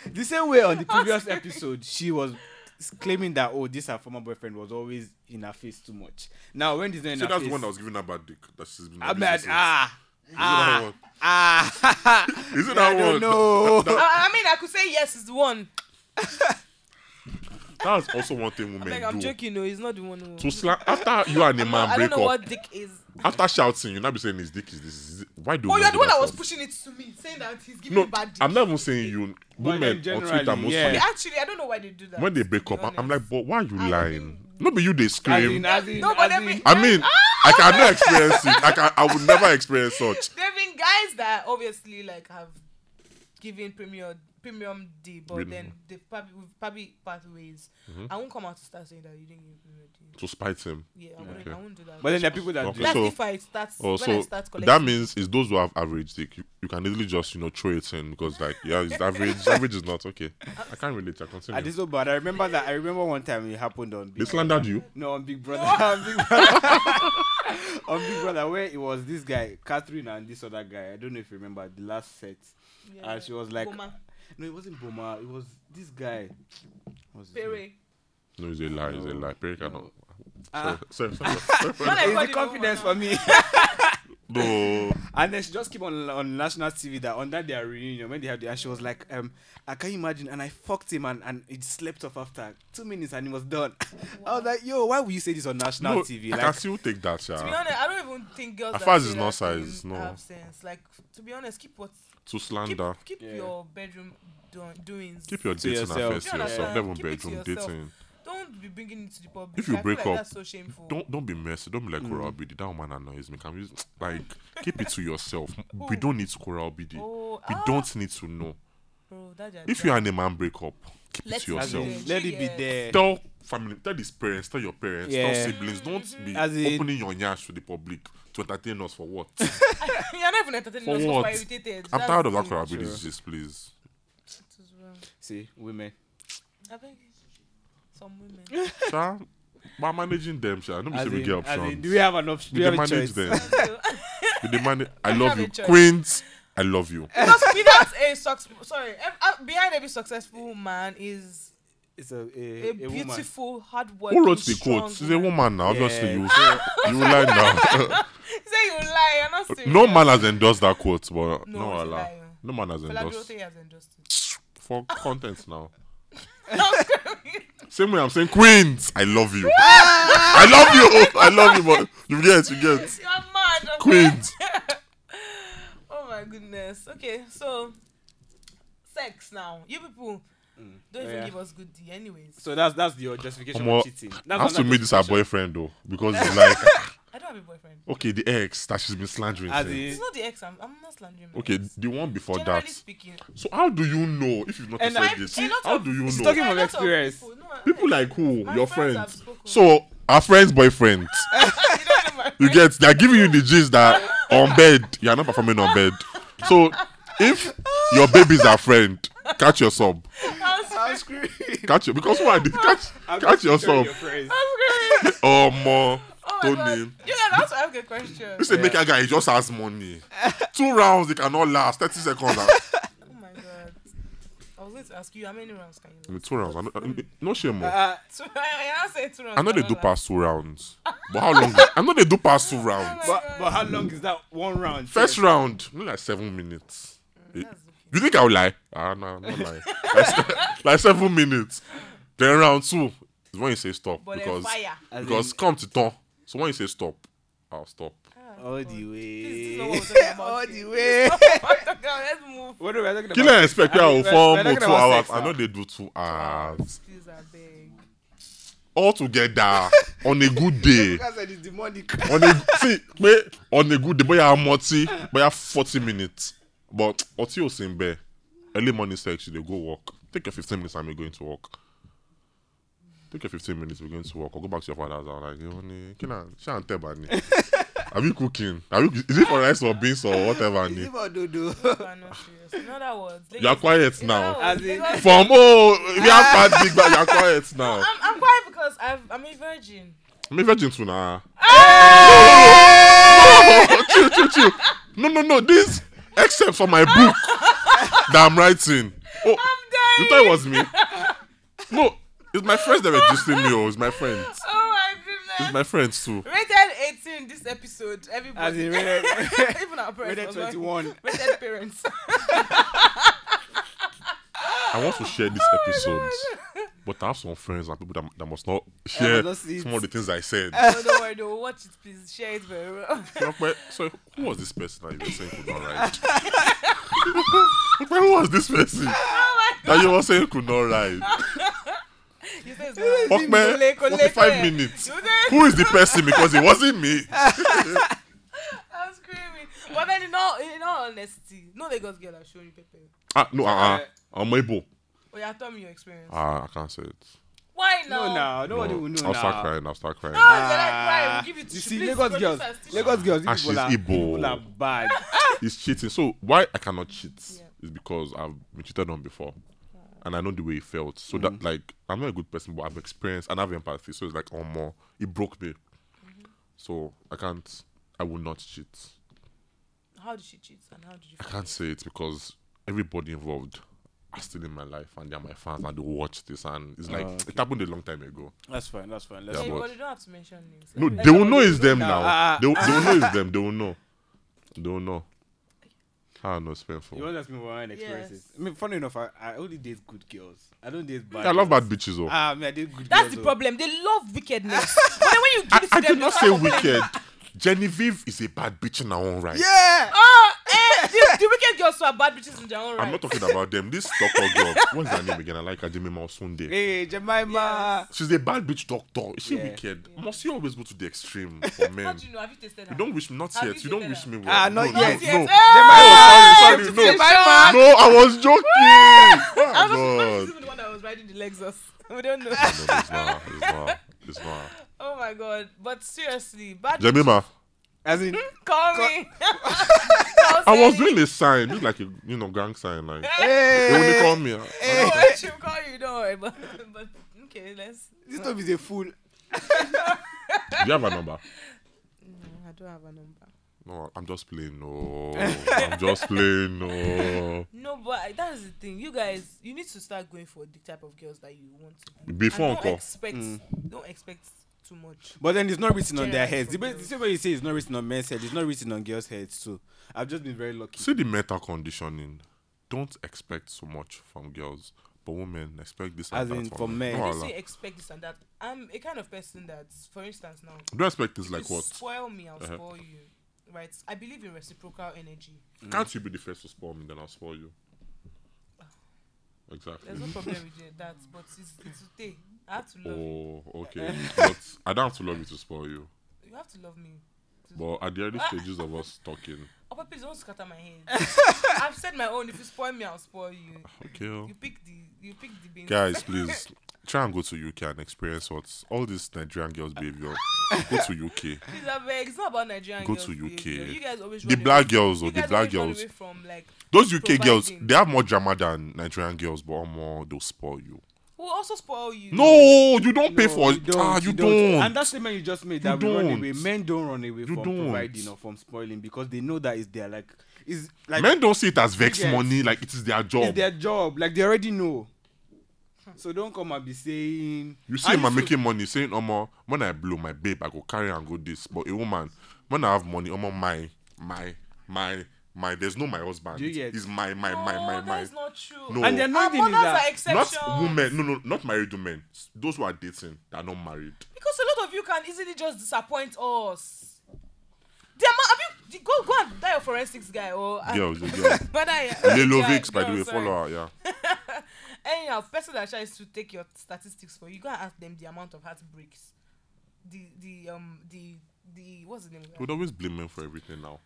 [SPEAKER 2] the same way on the previous episode, she was s- claiming that oh, this her former boyfriend was always in her face too much. Now when this not in
[SPEAKER 3] so
[SPEAKER 2] her
[SPEAKER 3] that's
[SPEAKER 2] face,
[SPEAKER 3] the one that was giving her bad dick that she's been
[SPEAKER 2] I mean,
[SPEAKER 3] abusing since.
[SPEAKER 2] ah,
[SPEAKER 3] You know that
[SPEAKER 2] ah,
[SPEAKER 3] one?
[SPEAKER 2] Ah,
[SPEAKER 3] Is it
[SPEAKER 2] I
[SPEAKER 3] that
[SPEAKER 2] don't
[SPEAKER 3] one?
[SPEAKER 2] know.
[SPEAKER 1] I, I mean, I could say yes is the one.
[SPEAKER 3] That's also one thing women
[SPEAKER 1] Like I'm
[SPEAKER 3] do.
[SPEAKER 1] joking, no, it's not the one. Who,
[SPEAKER 3] To slap after you and a man
[SPEAKER 1] I don't
[SPEAKER 3] break
[SPEAKER 1] know
[SPEAKER 3] up,
[SPEAKER 1] what dick is.
[SPEAKER 3] after shouting, you're not be saying his dick is this. Is it? Why do?
[SPEAKER 1] Oh,
[SPEAKER 3] men
[SPEAKER 1] you're
[SPEAKER 3] do
[SPEAKER 1] the one that was
[SPEAKER 3] first?
[SPEAKER 1] pushing it to me, saying that he's giving
[SPEAKER 3] No,
[SPEAKER 1] me bad dick.
[SPEAKER 3] I'm not even saying you.
[SPEAKER 2] then
[SPEAKER 3] Women on Twitter
[SPEAKER 2] generally,
[SPEAKER 3] most
[SPEAKER 2] yeah.
[SPEAKER 1] Okay,
[SPEAKER 3] times,
[SPEAKER 1] actually, I don't know why they do that.
[SPEAKER 3] when they
[SPEAKER 1] to
[SPEAKER 3] break
[SPEAKER 1] be
[SPEAKER 3] up, I'm
[SPEAKER 1] honest.
[SPEAKER 3] like, but why are you
[SPEAKER 1] I
[SPEAKER 3] lying?
[SPEAKER 1] think-
[SPEAKER 3] Not be you. They
[SPEAKER 2] As
[SPEAKER 3] scream.
[SPEAKER 2] in, as in,
[SPEAKER 1] No, but
[SPEAKER 2] as
[SPEAKER 1] let
[SPEAKER 2] in-
[SPEAKER 1] me-
[SPEAKER 3] I mean, I cannot experience it. I can. I would never experience such.
[SPEAKER 1] There have been guys that obviously like have given premium premium D, but
[SPEAKER 3] Really? Mm-hmm.
[SPEAKER 1] then they probably we've probably parted ways. I won't come out to start saying that you didn't give premium D.
[SPEAKER 3] To spite him.
[SPEAKER 1] Yeah, I wouldn't.
[SPEAKER 3] Okay.
[SPEAKER 1] I won't do that.
[SPEAKER 2] But then there are people that
[SPEAKER 3] Okay.
[SPEAKER 2] do.
[SPEAKER 1] that's
[SPEAKER 3] so-
[SPEAKER 1] if I start
[SPEAKER 3] Oh,
[SPEAKER 1] when I
[SPEAKER 3] so
[SPEAKER 1] start collecting.
[SPEAKER 3] that means it's those who have average dick. You, you can easily just you know throw it in because like yeah, it's average. average is not okay. I can't relate. I
[SPEAKER 2] And
[SPEAKER 3] continue.
[SPEAKER 2] it's so bad. I remember that. I remember one time it happened on.
[SPEAKER 3] They
[SPEAKER 2] Big
[SPEAKER 3] slandered you.
[SPEAKER 2] No, on Big Brother. on Big Brother. on Big Brother, where it was this guy, Catherine, and this other guy. I don't know if you remember the last set.
[SPEAKER 1] Yeah.
[SPEAKER 2] And she was like,
[SPEAKER 1] Boma,
[SPEAKER 2] no, it wasn't Boma. It was this guy. What was his name?
[SPEAKER 1] Pere.
[SPEAKER 3] No, it's a lie. It's a lie. Perry cannot.
[SPEAKER 2] No. Ah.
[SPEAKER 3] Sorry, sorry, sorry.
[SPEAKER 1] When I
[SPEAKER 2] It's
[SPEAKER 1] call
[SPEAKER 2] the
[SPEAKER 1] it
[SPEAKER 2] confidence
[SPEAKER 1] Boma
[SPEAKER 2] for me.
[SPEAKER 3] No.
[SPEAKER 2] and then she just keep on on national TV that on that their reunion when they had the and she was like, um, I can you imagine? And I fucked him and and it slept off after two minutes and he was done. I was like, yo, why would you say this on national
[SPEAKER 3] no
[SPEAKER 2] TV?
[SPEAKER 3] I
[SPEAKER 2] Like,
[SPEAKER 3] can still take that,
[SPEAKER 1] To be
[SPEAKER 3] yeah.
[SPEAKER 1] honest, I don't even think girls
[SPEAKER 3] As
[SPEAKER 1] that
[SPEAKER 3] far as
[SPEAKER 1] say
[SPEAKER 3] it's not
[SPEAKER 1] that thing
[SPEAKER 3] size, no.
[SPEAKER 1] have sense. Like to be honest, keep what
[SPEAKER 3] To
[SPEAKER 1] keep,
[SPEAKER 3] slander.
[SPEAKER 1] keep
[SPEAKER 2] Yeah.
[SPEAKER 1] your bedroom do- doings.
[SPEAKER 3] Keep your dating
[SPEAKER 2] yourself.
[SPEAKER 3] affairs to
[SPEAKER 1] Yeah.
[SPEAKER 3] yourself.
[SPEAKER 1] Keep
[SPEAKER 3] Never
[SPEAKER 1] it to
[SPEAKER 3] bedroom
[SPEAKER 1] yourself.
[SPEAKER 3] dating.
[SPEAKER 1] don't be bringing it to the public.
[SPEAKER 3] If you
[SPEAKER 1] I
[SPEAKER 3] break
[SPEAKER 1] feel like
[SPEAKER 3] up,
[SPEAKER 1] that's so shameful.
[SPEAKER 3] Don't don't be messy. Don't be like
[SPEAKER 1] Mm.
[SPEAKER 3] Coral BD. That woman annoys me. Can we like keep it to yourself? We don't need Coral BD.
[SPEAKER 1] Oh,
[SPEAKER 3] We
[SPEAKER 1] ah,
[SPEAKER 3] don't need to know.
[SPEAKER 1] Bro, that just-
[SPEAKER 3] If you and a man break up, keep
[SPEAKER 1] Let
[SPEAKER 3] it to
[SPEAKER 1] it be
[SPEAKER 2] as
[SPEAKER 3] yourself.
[SPEAKER 2] in, let it be there.
[SPEAKER 3] Tell family, tell his parents, tell your parents,
[SPEAKER 2] Yeah.
[SPEAKER 3] tell siblings. Don't be
[SPEAKER 2] As in-
[SPEAKER 3] opening your nyash to the public to entertain us for what?
[SPEAKER 1] you're not even entertaining
[SPEAKER 3] For
[SPEAKER 1] us,
[SPEAKER 3] what?
[SPEAKER 1] we're irritated.
[SPEAKER 3] I'm
[SPEAKER 1] That's
[SPEAKER 3] tired of that
[SPEAKER 1] it.
[SPEAKER 3] Coral BD
[SPEAKER 2] Sure.
[SPEAKER 3] shit, please.
[SPEAKER 1] It is wrong.
[SPEAKER 2] See, women.
[SPEAKER 1] I think some women.
[SPEAKER 3] Sha, by managing them, Sha, don't be
[SPEAKER 2] As
[SPEAKER 3] say we
[SPEAKER 2] in-
[SPEAKER 3] get
[SPEAKER 2] as in,
[SPEAKER 3] options.
[SPEAKER 2] do we have an option? Do
[SPEAKER 3] We
[SPEAKER 2] we have a
[SPEAKER 3] demand it
[SPEAKER 2] choice?
[SPEAKER 3] then. We demand it. I
[SPEAKER 1] We
[SPEAKER 3] love
[SPEAKER 1] have a
[SPEAKER 3] you.
[SPEAKER 1] choice.
[SPEAKER 3] Queens, I love you.
[SPEAKER 1] because without a success, sorry, ev- uh, behind every successful man is
[SPEAKER 2] It's a,
[SPEAKER 1] a,
[SPEAKER 2] a, a, woman.
[SPEAKER 1] beautiful, hardworking.
[SPEAKER 3] Who wrote the
[SPEAKER 1] strong
[SPEAKER 3] quotes? She's a woman now. Obviously,
[SPEAKER 2] Yeah.
[SPEAKER 3] you you lie now.
[SPEAKER 1] Say you lie, you're not serious.
[SPEAKER 3] no man has endorsed that quote,
[SPEAKER 1] No,
[SPEAKER 3] but no,
[SPEAKER 1] it's a
[SPEAKER 3] Allah.
[SPEAKER 1] lie.
[SPEAKER 3] No man has
[SPEAKER 1] Fela
[SPEAKER 3] endorsed
[SPEAKER 1] Durote has endorsed it.
[SPEAKER 3] for content now.
[SPEAKER 1] I'm screaming.
[SPEAKER 3] Same way I'm saying, Queens, I love you. I love you. I love you, but you get, you get.
[SPEAKER 1] You're mad. okay?
[SPEAKER 3] Queens.
[SPEAKER 1] oh my goodness. Okay, so sex now. You people don't even
[SPEAKER 2] Mm. Yeah.
[SPEAKER 1] give us good D, anyways.
[SPEAKER 2] So that's that's your justification
[SPEAKER 3] Omo,
[SPEAKER 2] for cheating.
[SPEAKER 3] I
[SPEAKER 2] That's
[SPEAKER 3] have to
[SPEAKER 2] another
[SPEAKER 3] meet this her
[SPEAKER 2] justification.
[SPEAKER 3] boyfriend though, because it's like,
[SPEAKER 1] I don't have a boyfriend.
[SPEAKER 3] okay, the ex that she's been slandering.
[SPEAKER 2] As
[SPEAKER 3] since.
[SPEAKER 2] in,
[SPEAKER 1] It's not the ex. I'm, I'm not slandering. my
[SPEAKER 3] Okay,
[SPEAKER 1] ex.
[SPEAKER 3] the one before
[SPEAKER 1] Generally
[SPEAKER 3] that.
[SPEAKER 1] speaking,
[SPEAKER 3] So how do you know if you've not
[SPEAKER 2] And
[SPEAKER 3] said
[SPEAKER 2] I-
[SPEAKER 3] this?
[SPEAKER 1] a lot
[SPEAKER 3] How
[SPEAKER 1] of-
[SPEAKER 3] do you know?
[SPEAKER 2] She's talking
[SPEAKER 1] a
[SPEAKER 2] from
[SPEAKER 1] lot of
[SPEAKER 2] experience.
[SPEAKER 1] people- no, I-
[SPEAKER 3] People like who?
[SPEAKER 1] My
[SPEAKER 3] Your
[SPEAKER 1] friends have
[SPEAKER 3] friends.
[SPEAKER 1] spoken.
[SPEAKER 3] So our friends' boyfriends.
[SPEAKER 1] you don't know my
[SPEAKER 3] you
[SPEAKER 1] friends.
[SPEAKER 3] get they're giving you the gist that on bed you are not performing on bed. So if your baby's our friend, catch your sub.
[SPEAKER 1] I'm
[SPEAKER 2] I'm
[SPEAKER 1] screaming.
[SPEAKER 2] screaming.
[SPEAKER 3] Catch your because why did catch
[SPEAKER 2] I'm
[SPEAKER 3] catch
[SPEAKER 2] just
[SPEAKER 3] your
[SPEAKER 2] picturing
[SPEAKER 3] sub.
[SPEAKER 2] friends.
[SPEAKER 1] I'm screaming.
[SPEAKER 3] Oh more
[SPEAKER 1] Oh. Oh my
[SPEAKER 3] Tony.
[SPEAKER 1] god. You guys also have a good question.
[SPEAKER 3] This is
[SPEAKER 2] Yeah.
[SPEAKER 3] a maker guy, he just has money. Two rounds, they cannot last. 30 seconds. ah.
[SPEAKER 1] Oh my god. I was going to ask you how many rounds can
[SPEAKER 3] I
[SPEAKER 1] you
[SPEAKER 3] mean, two rounds. I know, I mean, no shame. oh.
[SPEAKER 2] Uh,
[SPEAKER 1] So I, I say two rounds.
[SPEAKER 3] I know they
[SPEAKER 1] cannot
[SPEAKER 3] do
[SPEAKER 1] last.
[SPEAKER 3] pass two rounds. But how long? I know they do pass two
[SPEAKER 1] Oh
[SPEAKER 3] rounds.
[SPEAKER 2] but, but how long is that one round?
[SPEAKER 3] First round, no, like seven minutes.
[SPEAKER 1] That's okay.
[SPEAKER 3] You think I'll lie? Ah, no, I'm not lying. like, se- like seven minutes. Then round two is when you say stop
[SPEAKER 1] But
[SPEAKER 3] because
[SPEAKER 1] because fire.
[SPEAKER 2] As
[SPEAKER 3] because
[SPEAKER 2] in- Uh,
[SPEAKER 3] come to turn. So when you say stop, I'll stop.
[SPEAKER 2] All the
[SPEAKER 1] This is
[SPEAKER 2] way.
[SPEAKER 1] not what we're talking about.
[SPEAKER 2] All the
[SPEAKER 1] here.
[SPEAKER 2] way.
[SPEAKER 1] Let's move.
[SPEAKER 2] What are we talking about?
[SPEAKER 3] Killer expect
[SPEAKER 2] I mean,
[SPEAKER 3] will
[SPEAKER 2] we're-
[SPEAKER 3] form
[SPEAKER 2] we're
[SPEAKER 3] or
[SPEAKER 2] talking
[SPEAKER 3] two
[SPEAKER 2] about
[SPEAKER 3] hours.
[SPEAKER 2] sex
[SPEAKER 3] I know
[SPEAKER 2] now.
[SPEAKER 3] they do two hours
[SPEAKER 1] Please, I beg.
[SPEAKER 3] all together on a good day.
[SPEAKER 2] Because it is the money.
[SPEAKER 3] On a see, pe, on a good day, but you are multi, but you are forty minutes. But until you sing bear, early morning sex, you dey go walk. Take your fifteen minutes and we're going to walk. Take your 15 minutes, we're going to work. Or go back to your father's house. Like, you know, can I, shan tell Bani. Are we cooking? Are we, is it for rice or beans or whatever?
[SPEAKER 2] Is
[SPEAKER 3] Ni?
[SPEAKER 2] it about dodo?
[SPEAKER 1] You are not serious. In other words,
[SPEAKER 3] You are
[SPEAKER 1] Lagos-
[SPEAKER 3] quiet
[SPEAKER 1] in other
[SPEAKER 3] now.
[SPEAKER 1] words,
[SPEAKER 2] As in-
[SPEAKER 1] Lagos-
[SPEAKER 3] From, oh, we have bad big, but you are quiet now.
[SPEAKER 1] I'm, I'm quiet because I've, I'm a virgin.
[SPEAKER 3] Me virgin too now. No, chill, chill, chill. No, no, no. This except for my book that I'm writing. Oh,
[SPEAKER 1] I'm dying.
[SPEAKER 3] you thought it was me? No, it's my friends that were gisting me. Oh, it's my friends.
[SPEAKER 1] Oh my
[SPEAKER 3] It's
[SPEAKER 1] goodness.
[SPEAKER 3] my friends too.
[SPEAKER 1] Rated 18. in this episode,
[SPEAKER 2] As
[SPEAKER 1] everybody,
[SPEAKER 2] in rated,
[SPEAKER 1] even our parents,
[SPEAKER 2] rated
[SPEAKER 1] was like,
[SPEAKER 2] 21.
[SPEAKER 1] rated parents.
[SPEAKER 3] I want to share this episode, but I have some friends and people that, that must not share
[SPEAKER 2] not see it.
[SPEAKER 3] some of the things I said.
[SPEAKER 1] no, Oh, don't worry, don't watch it, please. Share it very well.
[SPEAKER 3] Rokpe, so who was this person that you were saying could not ride? Rokpe, who was this person
[SPEAKER 2] Oh
[SPEAKER 3] that you were saying could not ride?
[SPEAKER 1] You say it's very-
[SPEAKER 3] Rokpe,
[SPEAKER 1] Koleko,
[SPEAKER 3] 45
[SPEAKER 1] leke.
[SPEAKER 3] minutes.
[SPEAKER 1] You say-
[SPEAKER 3] Who is the person? Because it wasn't me.
[SPEAKER 1] I'm screaming. But then, in all, in all honesty, no Lagos girl has shown you Pepe.
[SPEAKER 3] Ah, no, uh-uh. I'm able.
[SPEAKER 1] Oh, yeah, tell me your experience.
[SPEAKER 3] Ah, I can't say it.
[SPEAKER 1] Why now?
[SPEAKER 2] No, now. Nobody will know
[SPEAKER 3] I'll
[SPEAKER 2] now.
[SPEAKER 3] start crying. I'll start crying.
[SPEAKER 1] No, you're like, why?
[SPEAKER 2] Ah,
[SPEAKER 1] We'll give it to
[SPEAKER 2] you
[SPEAKER 1] you.
[SPEAKER 2] see,
[SPEAKER 1] Please,
[SPEAKER 2] Lagos girls,
[SPEAKER 1] producers, teach
[SPEAKER 2] Lagos girls,
[SPEAKER 3] Ah,
[SPEAKER 2] these people
[SPEAKER 3] she's
[SPEAKER 2] are,
[SPEAKER 3] Igbo.
[SPEAKER 2] people are bad.
[SPEAKER 3] It's cheating. So why I cannot cheat
[SPEAKER 1] Yeah.
[SPEAKER 3] is because I've been cheated on before, and I know the way it felt. So that like I'm not a good person, but I've experienced and I have empathy. So it's like oh more, it broke me.
[SPEAKER 2] Mm-hmm.
[SPEAKER 3] So I can't. I will not cheat.
[SPEAKER 1] How did she cheat and how did you?
[SPEAKER 3] I can't say it because everybody involved are still in my life and they're my fans and they watch this and it's like
[SPEAKER 2] Oh, okay.
[SPEAKER 3] it happened a long time ago.
[SPEAKER 2] That's fine. That's fine. Let's
[SPEAKER 3] Yeah,
[SPEAKER 1] Yeah,
[SPEAKER 2] go.
[SPEAKER 1] but
[SPEAKER 3] but-
[SPEAKER 1] you don't have to mention names.
[SPEAKER 2] Eh,
[SPEAKER 3] No,
[SPEAKER 1] Like,
[SPEAKER 3] they will know it's
[SPEAKER 1] everybody-
[SPEAKER 3] them
[SPEAKER 2] now.
[SPEAKER 3] now.
[SPEAKER 2] Ah,
[SPEAKER 3] they, will- they will know it's them. They will know. They will know. I know it's painful.
[SPEAKER 2] You want to ask me about my own experiences?
[SPEAKER 1] Yes.
[SPEAKER 2] I mean, funny enough, I, I only date good girls. I don't date bad.
[SPEAKER 3] I love
[SPEAKER 2] girls.
[SPEAKER 3] bad bitches though.
[SPEAKER 2] Ah, I mean, I date good girls.
[SPEAKER 1] That's the
[SPEAKER 2] though.
[SPEAKER 1] problem. They love wickedness. but then when you give
[SPEAKER 3] I,
[SPEAKER 1] it to
[SPEAKER 3] I
[SPEAKER 1] them,
[SPEAKER 3] did
[SPEAKER 1] they can't
[SPEAKER 3] not say
[SPEAKER 1] complain.
[SPEAKER 3] wicked. Genevieve is a bad bitch in her own right.
[SPEAKER 2] Yeah.
[SPEAKER 1] Oh, eh, the, the wicked girls who are bad bitches in their own right.
[SPEAKER 3] I'm not talking about them. This doctor girl, what's her name again? I like her, Jimmy Malsunde.
[SPEAKER 2] Hey, Jemima.
[SPEAKER 3] She's a bad bitch doctor. Is she
[SPEAKER 2] Yeah.
[SPEAKER 3] wicked? Must you always go to the extreme for
[SPEAKER 1] How
[SPEAKER 3] men?
[SPEAKER 1] do you know? Have you tasted her?
[SPEAKER 3] You don't wish me, not
[SPEAKER 1] Have you
[SPEAKER 3] yet. You don't
[SPEAKER 1] seen
[SPEAKER 3] wish
[SPEAKER 1] her?
[SPEAKER 3] me well.
[SPEAKER 2] Ah,
[SPEAKER 3] no,
[SPEAKER 2] not
[SPEAKER 3] no,
[SPEAKER 2] yet.
[SPEAKER 3] No,
[SPEAKER 1] Not yet. Eh,
[SPEAKER 3] Oh, sorry, sorry, no.
[SPEAKER 2] Jemima.
[SPEAKER 3] No, I was joking. Oh,
[SPEAKER 1] I
[SPEAKER 3] my
[SPEAKER 1] was
[SPEAKER 3] God.
[SPEAKER 1] even the one that was riding the Lexus. We don't know.
[SPEAKER 3] No, it's not. It's not. It's not.
[SPEAKER 1] oh my god! But seriously, bad.
[SPEAKER 3] Jemima,
[SPEAKER 2] As in,
[SPEAKER 1] Call me.
[SPEAKER 3] I was doing a sign, just like a you know gang sign, like. Hey, when they
[SPEAKER 2] hey,
[SPEAKER 3] call me, uh, I-
[SPEAKER 1] Don't
[SPEAKER 2] hey.
[SPEAKER 1] worry, she'll call you. Don't worry. But, but okay, let's.
[SPEAKER 2] This stuff is a fool.
[SPEAKER 3] do you have a number?
[SPEAKER 1] Mm, I don't have a number.
[SPEAKER 3] No, I'm just playing. No, I'm just playing. No.
[SPEAKER 1] No, but that's the thing. You guys, you need to start going for the type of girls that you want. to be.
[SPEAKER 3] Before
[SPEAKER 1] And don't
[SPEAKER 3] encore.
[SPEAKER 1] expect, don't expect too much.
[SPEAKER 2] But then it's not written on their
[SPEAKER 1] Generally
[SPEAKER 2] heads. The,
[SPEAKER 1] for
[SPEAKER 2] ba- the
[SPEAKER 1] girls.
[SPEAKER 2] same way you say it's not written on men's heads, it's not written on girls' heads too. I've just been very lucky.
[SPEAKER 3] See the mental conditioning. Don't expect so much from girls, but women expect this and
[SPEAKER 2] As
[SPEAKER 3] that
[SPEAKER 2] in
[SPEAKER 3] from
[SPEAKER 2] for men.
[SPEAKER 3] No,
[SPEAKER 1] You
[SPEAKER 3] Allah.
[SPEAKER 1] say expect this and that. I'm a kind of person that, for instance, now
[SPEAKER 3] Don't expect this
[SPEAKER 1] you
[SPEAKER 3] like what?
[SPEAKER 1] spoil me, I'll
[SPEAKER 3] Uh-huh.
[SPEAKER 1] spoil you. Right? I believe in reciprocal energy.
[SPEAKER 3] Can't you be the first to spoil me? Then I'll spoil you. Exactly.
[SPEAKER 1] There's no problem with that, but it's, it's today. I have to love you.
[SPEAKER 3] Oh, okay. but I don't have to love you to spoil you.
[SPEAKER 1] You have to love me.
[SPEAKER 3] But at the early stages of us talking,
[SPEAKER 1] Oh, but please don't scatter my head. I've said my own. If you spoil me, I'll spoil you.
[SPEAKER 3] okay. oh.
[SPEAKER 1] You pick the, you pick the beans.
[SPEAKER 3] Guys, please try and go to UK and experience what's all this Nigerian girls' behavior. go to UK.
[SPEAKER 1] Please, I beg. It's not about Nigerian
[SPEAKER 3] Go
[SPEAKER 1] girls.
[SPEAKER 3] to UK.
[SPEAKER 1] behavior. You guys always
[SPEAKER 3] The
[SPEAKER 1] run
[SPEAKER 3] black girls
[SPEAKER 1] away.
[SPEAKER 3] or
[SPEAKER 1] You
[SPEAKER 3] the
[SPEAKER 1] guys
[SPEAKER 3] black
[SPEAKER 1] always run
[SPEAKER 3] girls.
[SPEAKER 1] away from like
[SPEAKER 3] Those UK girls,
[SPEAKER 1] providing.
[SPEAKER 3] they have more drama than Nigerian girls, but more they'll spoil you.
[SPEAKER 1] who also spoil you.
[SPEAKER 3] No, you don't pay
[SPEAKER 2] No,
[SPEAKER 3] for it. ah, you, don't.
[SPEAKER 2] And that statement you just made that
[SPEAKER 3] You
[SPEAKER 2] we run
[SPEAKER 3] don't.
[SPEAKER 2] away. Men don't run away from
[SPEAKER 3] don't.
[SPEAKER 2] providing or from spoiling because they know that it's their like is like
[SPEAKER 3] Men don't see it as vex
[SPEAKER 2] Yes.
[SPEAKER 3] money, like it is their
[SPEAKER 2] it's
[SPEAKER 3] job.
[SPEAKER 2] their job. Like they already know. So don't come and be saying
[SPEAKER 3] you see,
[SPEAKER 2] I
[SPEAKER 3] him
[SPEAKER 2] used to-
[SPEAKER 3] making money, saying, Omo, when I blow my babe, I go carry and go this. But a woman, when I have money, Omo, my, my, my, my, there's no my husband.
[SPEAKER 2] Do you get-
[SPEAKER 3] He's my, my,
[SPEAKER 1] no,
[SPEAKER 3] my, my, my.
[SPEAKER 1] that's not true.
[SPEAKER 3] No.
[SPEAKER 2] And the
[SPEAKER 1] Our
[SPEAKER 2] annoying thing
[SPEAKER 1] mothers
[SPEAKER 2] is that
[SPEAKER 1] are
[SPEAKER 3] Not
[SPEAKER 1] exceptions.
[SPEAKER 3] women, no, no, not married women. Those who are dating, that are not married.
[SPEAKER 1] Because a lot of you can easily just disappoint us. The amount, have you go go and die your forensics guy or eh, uh,
[SPEAKER 3] Girls, yeah, girls.
[SPEAKER 1] but I
[SPEAKER 3] Lelovix, by
[SPEAKER 1] girl,
[SPEAKER 3] the way,
[SPEAKER 1] sorry.
[SPEAKER 3] follow her, yeah.
[SPEAKER 1] Anyhow, person that tries to take your statistics for you, you go and ask them the amount of heartbreaks, the the um the the what's the name? Of
[SPEAKER 3] We'd
[SPEAKER 1] that?
[SPEAKER 3] always blame men for everything now.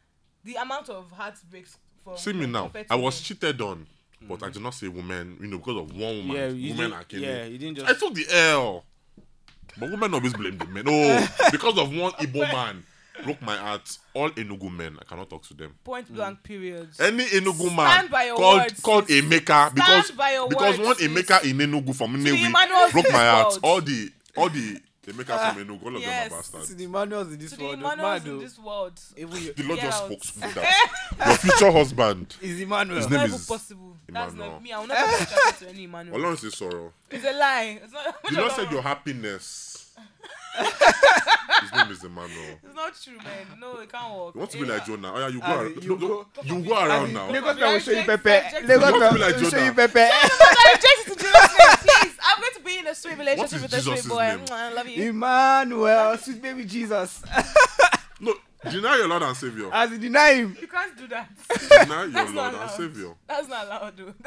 [SPEAKER 1] The amount of heartbreaks for
[SPEAKER 3] See me now.
[SPEAKER 1] compared to
[SPEAKER 3] I was
[SPEAKER 1] men.
[SPEAKER 3] cheated on, but I did not say women, you know, because of one woman.
[SPEAKER 2] Mm. Yeah, you
[SPEAKER 3] women
[SPEAKER 2] didn't-
[SPEAKER 3] are killing.
[SPEAKER 2] yeah, you didn't just-
[SPEAKER 3] I took the L. But women always blame the men. Oh, because of one Igbo man broke my heart. All Enugu men, I cannot talk to them.
[SPEAKER 1] point blank periods.
[SPEAKER 3] Any Enugu man
[SPEAKER 1] Stand by your
[SPEAKER 3] called
[SPEAKER 1] words,
[SPEAKER 3] called
[SPEAKER 1] sis.
[SPEAKER 3] Emeka because
[SPEAKER 1] by your
[SPEAKER 3] because
[SPEAKER 1] words,
[SPEAKER 3] one
[SPEAKER 1] sis.
[SPEAKER 3] Emeka in Enugu from
[SPEAKER 1] Emmanuel's
[SPEAKER 3] Inewi broke my heart.
[SPEAKER 1] world.
[SPEAKER 3] All the all the Emeka from Enugu, all of
[SPEAKER 1] Ah, Yes.
[SPEAKER 3] them are
[SPEAKER 2] to
[SPEAKER 3] bastards.
[SPEAKER 2] the manuals in this
[SPEAKER 1] to the
[SPEAKER 2] world.
[SPEAKER 1] Emmanuels in
[SPEAKER 2] Madu.
[SPEAKER 1] this world.
[SPEAKER 2] Even you-
[SPEAKER 3] The Lord
[SPEAKER 1] Get
[SPEAKER 3] just
[SPEAKER 1] out.
[SPEAKER 3] spoke to me that your future husband.
[SPEAKER 2] is Emmanuel.
[SPEAKER 3] His
[SPEAKER 1] It's
[SPEAKER 3] name-
[SPEAKER 1] not
[SPEAKER 3] is
[SPEAKER 1] even possible. That's
[SPEAKER 3] Emmanuel.
[SPEAKER 1] not me. I will not be attracted to any Emmanuel.
[SPEAKER 3] Olorun say sorrow.
[SPEAKER 1] It's a lie. It's not.
[SPEAKER 3] You not said your happiness. His name is Emmanuel.
[SPEAKER 1] It's not true, man. No, it can't work.
[SPEAKER 3] You want to be
[SPEAKER 1] Eh,
[SPEAKER 3] like Jonah? Oh yeah, you go.
[SPEAKER 2] Abi,
[SPEAKER 3] around-
[SPEAKER 2] you
[SPEAKER 3] no, no,
[SPEAKER 2] go-
[SPEAKER 3] you go around
[SPEAKER 2] Abi,
[SPEAKER 3] now.
[SPEAKER 2] Lagos man will show you
[SPEAKER 1] Reject-
[SPEAKER 2] Pepe.
[SPEAKER 1] reject-
[SPEAKER 2] Lagos
[SPEAKER 3] Don't
[SPEAKER 2] man
[SPEAKER 3] be like
[SPEAKER 2] will show you
[SPEAKER 3] Jonah.
[SPEAKER 2] Pepe.
[SPEAKER 1] I reject it in Jesus' name, please. I'm going to be in a sweet
[SPEAKER 3] What
[SPEAKER 1] relationship
[SPEAKER 3] is
[SPEAKER 1] with a sweet
[SPEAKER 3] Jesus'
[SPEAKER 1] boy.
[SPEAKER 3] name?
[SPEAKER 1] Mwah, I love you.
[SPEAKER 2] Emmanuel, sweet baby Jesus.
[SPEAKER 3] No, deny your Lord and Savior.
[SPEAKER 2] As you deny him.
[SPEAKER 1] You can't do that.
[SPEAKER 3] Deny your
[SPEAKER 1] That's not
[SPEAKER 3] Lord and
[SPEAKER 1] allowed.
[SPEAKER 3] Savior.
[SPEAKER 1] That's not allowed, dude.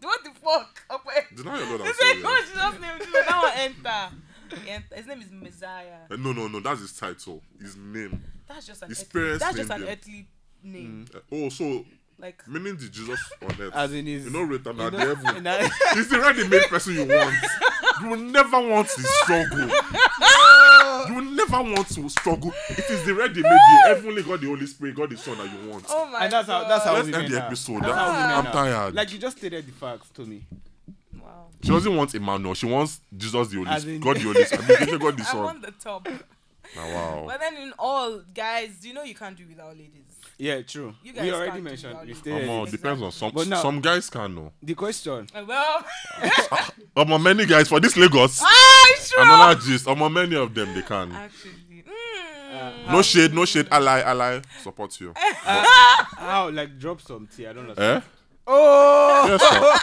[SPEAKER 1] what the fuck? Okay.
[SPEAKER 3] Deny your Lord and
[SPEAKER 1] This ain't
[SPEAKER 3] Savior.
[SPEAKER 1] no Jesus' name. This is now enter. He enter. His name is Messiah.
[SPEAKER 3] Eh, No, no, no. That's his title. His name.
[SPEAKER 1] That's just an
[SPEAKER 3] His
[SPEAKER 1] earthly,
[SPEAKER 3] parents
[SPEAKER 1] that's just an
[SPEAKER 3] named him.
[SPEAKER 1] earthly name.
[SPEAKER 2] Mm.
[SPEAKER 3] Eh, Oh, so
[SPEAKER 1] Like
[SPEAKER 3] meaning the Jesus on earth.
[SPEAKER 2] As in his.
[SPEAKER 3] you know, written
[SPEAKER 2] you
[SPEAKER 3] at the
[SPEAKER 2] know-
[SPEAKER 3] heaven.
[SPEAKER 2] in-
[SPEAKER 3] He's the right the main person you want. You will never want to struggle. You will never want to struggle. It is the right the made the heavenly God, the Holy Spirit, God the Son that you want.
[SPEAKER 1] oh my
[SPEAKER 2] And that's how-
[SPEAKER 1] god.
[SPEAKER 2] that's how-
[SPEAKER 3] Let's
[SPEAKER 2] we
[SPEAKER 3] end
[SPEAKER 2] men
[SPEAKER 3] the
[SPEAKER 2] are.
[SPEAKER 3] episode.
[SPEAKER 2] That's how we men
[SPEAKER 3] I'm
[SPEAKER 2] are.
[SPEAKER 3] tired.
[SPEAKER 2] Like you just stated the facts to me.
[SPEAKER 1] wow.
[SPEAKER 3] She doesn't want Emmanuel. She wants Jesus the Holy
[SPEAKER 2] As
[SPEAKER 3] Spirit.
[SPEAKER 2] in-
[SPEAKER 3] God the Holy Spirit. I mean, God the
[SPEAKER 1] I
[SPEAKER 3] Son.
[SPEAKER 1] want the top.
[SPEAKER 3] Now, wow.
[SPEAKER 1] But then in all, guys, you know you can't do without ladies.
[SPEAKER 2] Yeah, true.
[SPEAKER 1] You guys
[SPEAKER 2] We already
[SPEAKER 1] can't do
[SPEAKER 2] mentioned.
[SPEAKER 1] that.
[SPEAKER 2] We
[SPEAKER 3] Omo,
[SPEAKER 2] stated it.
[SPEAKER 1] Exactly.
[SPEAKER 3] depends on some.
[SPEAKER 2] But now-
[SPEAKER 3] some guys can know.
[SPEAKER 2] The question.
[SPEAKER 1] Uh, Well,
[SPEAKER 3] Omo, many guys for this Lagos.
[SPEAKER 1] ah, it's true.
[SPEAKER 3] Another gist. Omo, many of them they can.
[SPEAKER 1] Actually, mm.
[SPEAKER 3] no shade, no shade. Ally, ally, support you.
[SPEAKER 1] Eh.
[SPEAKER 2] How? Like drop some tea. I don't understand.
[SPEAKER 3] eh?
[SPEAKER 2] Oh.
[SPEAKER 3] Yes,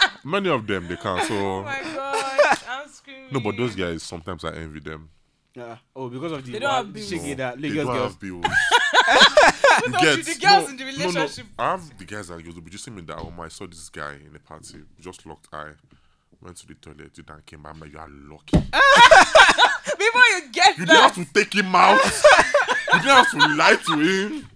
[SPEAKER 3] sir. Many of them they can.
[SPEAKER 1] oh
[SPEAKER 3] So
[SPEAKER 1] my god, I'm screaming.
[SPEAKER 3] no, but those guys sometimes I envy them.
[SPEAKER 2] Uh, oh, because of the
[SPEAKER 1] They don't have
[SPEAKER 2] the
[SPEAKER 1] bills.
[SPEAKER 2] shaggy that
[SPEAKER 3] they
[SPEAKER 2] Lagos
[SPEAKER 3] don't
[SPEAKER 2] girls.
[SPEAKER 3] have bills. You
[SPEAKER 1] of you,
[SPEAKER 3] get-
[SPEAKER 1] the girls
[SPEAKER 3] no,
[SPEAKER 1] in the
[SPEAKER 3] no, no.
[SPEAKER 1] relationship.
[SPEAKER 3] I have the guys that you'll be just me that. Oh my, I saw this guy in a party. Just locked eye. Went to the toilet. Did and came back. I'm like, you are lucky.
[SPEAKER 1] Before you get
[SPEAKER 3] You didn't
[SPEAKER 1] that,
[SPEAKER 3] have to take him out. you didn't have to lie to him.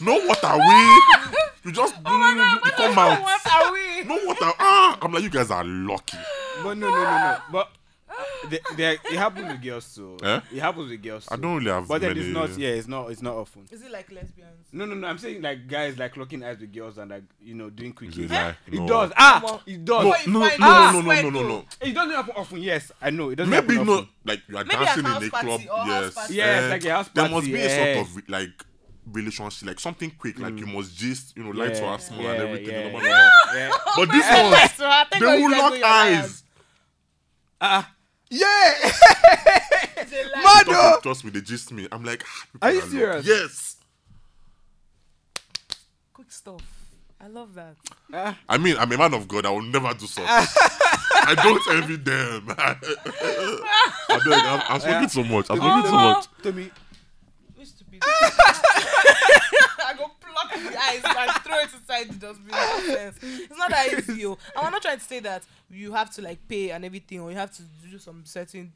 [SPEAKER 3] No water we. You just mm, you come out.
[SPEAKER 1] Oh what are we?
[SPEAKER 3] No water. Ah, I'm like you guys are lucky.
[SPEAKER 2] But no, no, no, no. But uh, they, they, it happens with girls too.
[SPEAKER 3] Eh?
[SPEAKER 2] It happens with girls. Too.
[SPEAKER 3] I don't really have
[SPEAKER 2] But then
[SPEAKER 3] many.
[SPEAKER 2] it's not. Yeah, it's not. It's not often.
[SPEAKER 1] Is it like lesbians?
[SPEAKER 2] No, no, no. I'm saying like guys like locking eyes with girls and like you know doing quickies.
[SPEAKER 3] It's a lie.
[SPEAKER 2] It
[SPEAKER 3] No.
[SPEAKER 2] does. Ah,
[SPEAKER 1] Omo.
[SPEAKER 2] it does.
[SPEAKER 3] No,
[SPEAKER 1] Before you
[SPEAKER 3] no,
[SPEAKER 1] find
[SPEAKER 3] no,
[SPEAKER 1] out,
[SPEAKER 3] no,
[SPEAKER 1] why
[SPEAKER 3] no, no, no,
[SPEAKER 1] do?
[SPEAKER 3] no.
[SPEAKER 2] It doesn't happen often. Yes, I know. It doesn't
[SPEAKER 3] Maybe
[SPEAKER 2] happen
[SPEAKER 3] no.
[SPEAKER 2] often.
[SPEAKER 3] Like you are
[SPEAKER 1] Maybe at
[SPEAKER 3] dancing in
[SPEAKER 1] house
[SPEAKER 3] a club.
[SPEAKER 1] party or house
[SPEAKER 3] Yes.
[SPEAKER 1] party.
[SPEAKER 2] Yes,
[SPEAKER 3] eh,
[SPEAKER 2] like a house
[SPEAKER 3] There must be a
[SPEAKER 2] party, eh.
[SPEAKER 3] sort of like relationship, like something quick. Like you must just you know lie to
[SPEAKER 2] Mm. Yeah,
[SPEAKER 3] her small
[SPEAKER 2] yeah,
[SPEAKER 3] and everything.
[SPEAKER 2] yeah,
[SPEAKER 3] blah, blah,
[SPEAKER 2] yeah.
[SPEAKER 3] blah.
[SPEAKER 2] Yeah.
[SPEAKER 3] But this one,
[SPEAKER 1] Yes, right. Thank
[SPEAKER 3] they
[SPEAKER 1] God you
[SPEAKER 3] will
[SPEAKER 1] guys
[SPEAKER 3] lock
[SPEAKER 1] know your
[SPEAKER 3] eyes.
[SPEAKER 2] Ah. Yeah.
[SPEAKER 1] lives. They lie.
[SPEAKER 2] Mad
[SPEAKER 3] Stop
[SPEAKER 2] oh.
[SPEAKER 3] it, trust me, they gist me. I'm like, ah, people
[SPEAKER 2] Are you
[SPEAKER 3] low.
[SPEAKER 2] serious?
[SPEAKER 3] Yes.
[SPEAKER 1] Quick stuff. I love that.
[SPEAKER 3] I mean, I'm a man of God. I will never do such. I don't envy them. I beg, I've, I've spoken
[SPEAKER 2] Yeah.
[SPEAKER 3] so much. I've
[SPEAKER 2] Oh,
[SPEAKER 3] spoken so
[SPEAKER 1] no.
[SPEAKER 3] much.
[SPEAKER 2] To me.
[SPEAKER 1] Which stupid. I go pluck the eyes and throw it inside the dustbin. Nonsense. It's not that easy, yo. And I'm not trying to say that you have to like pay and everything, or you have to do some certain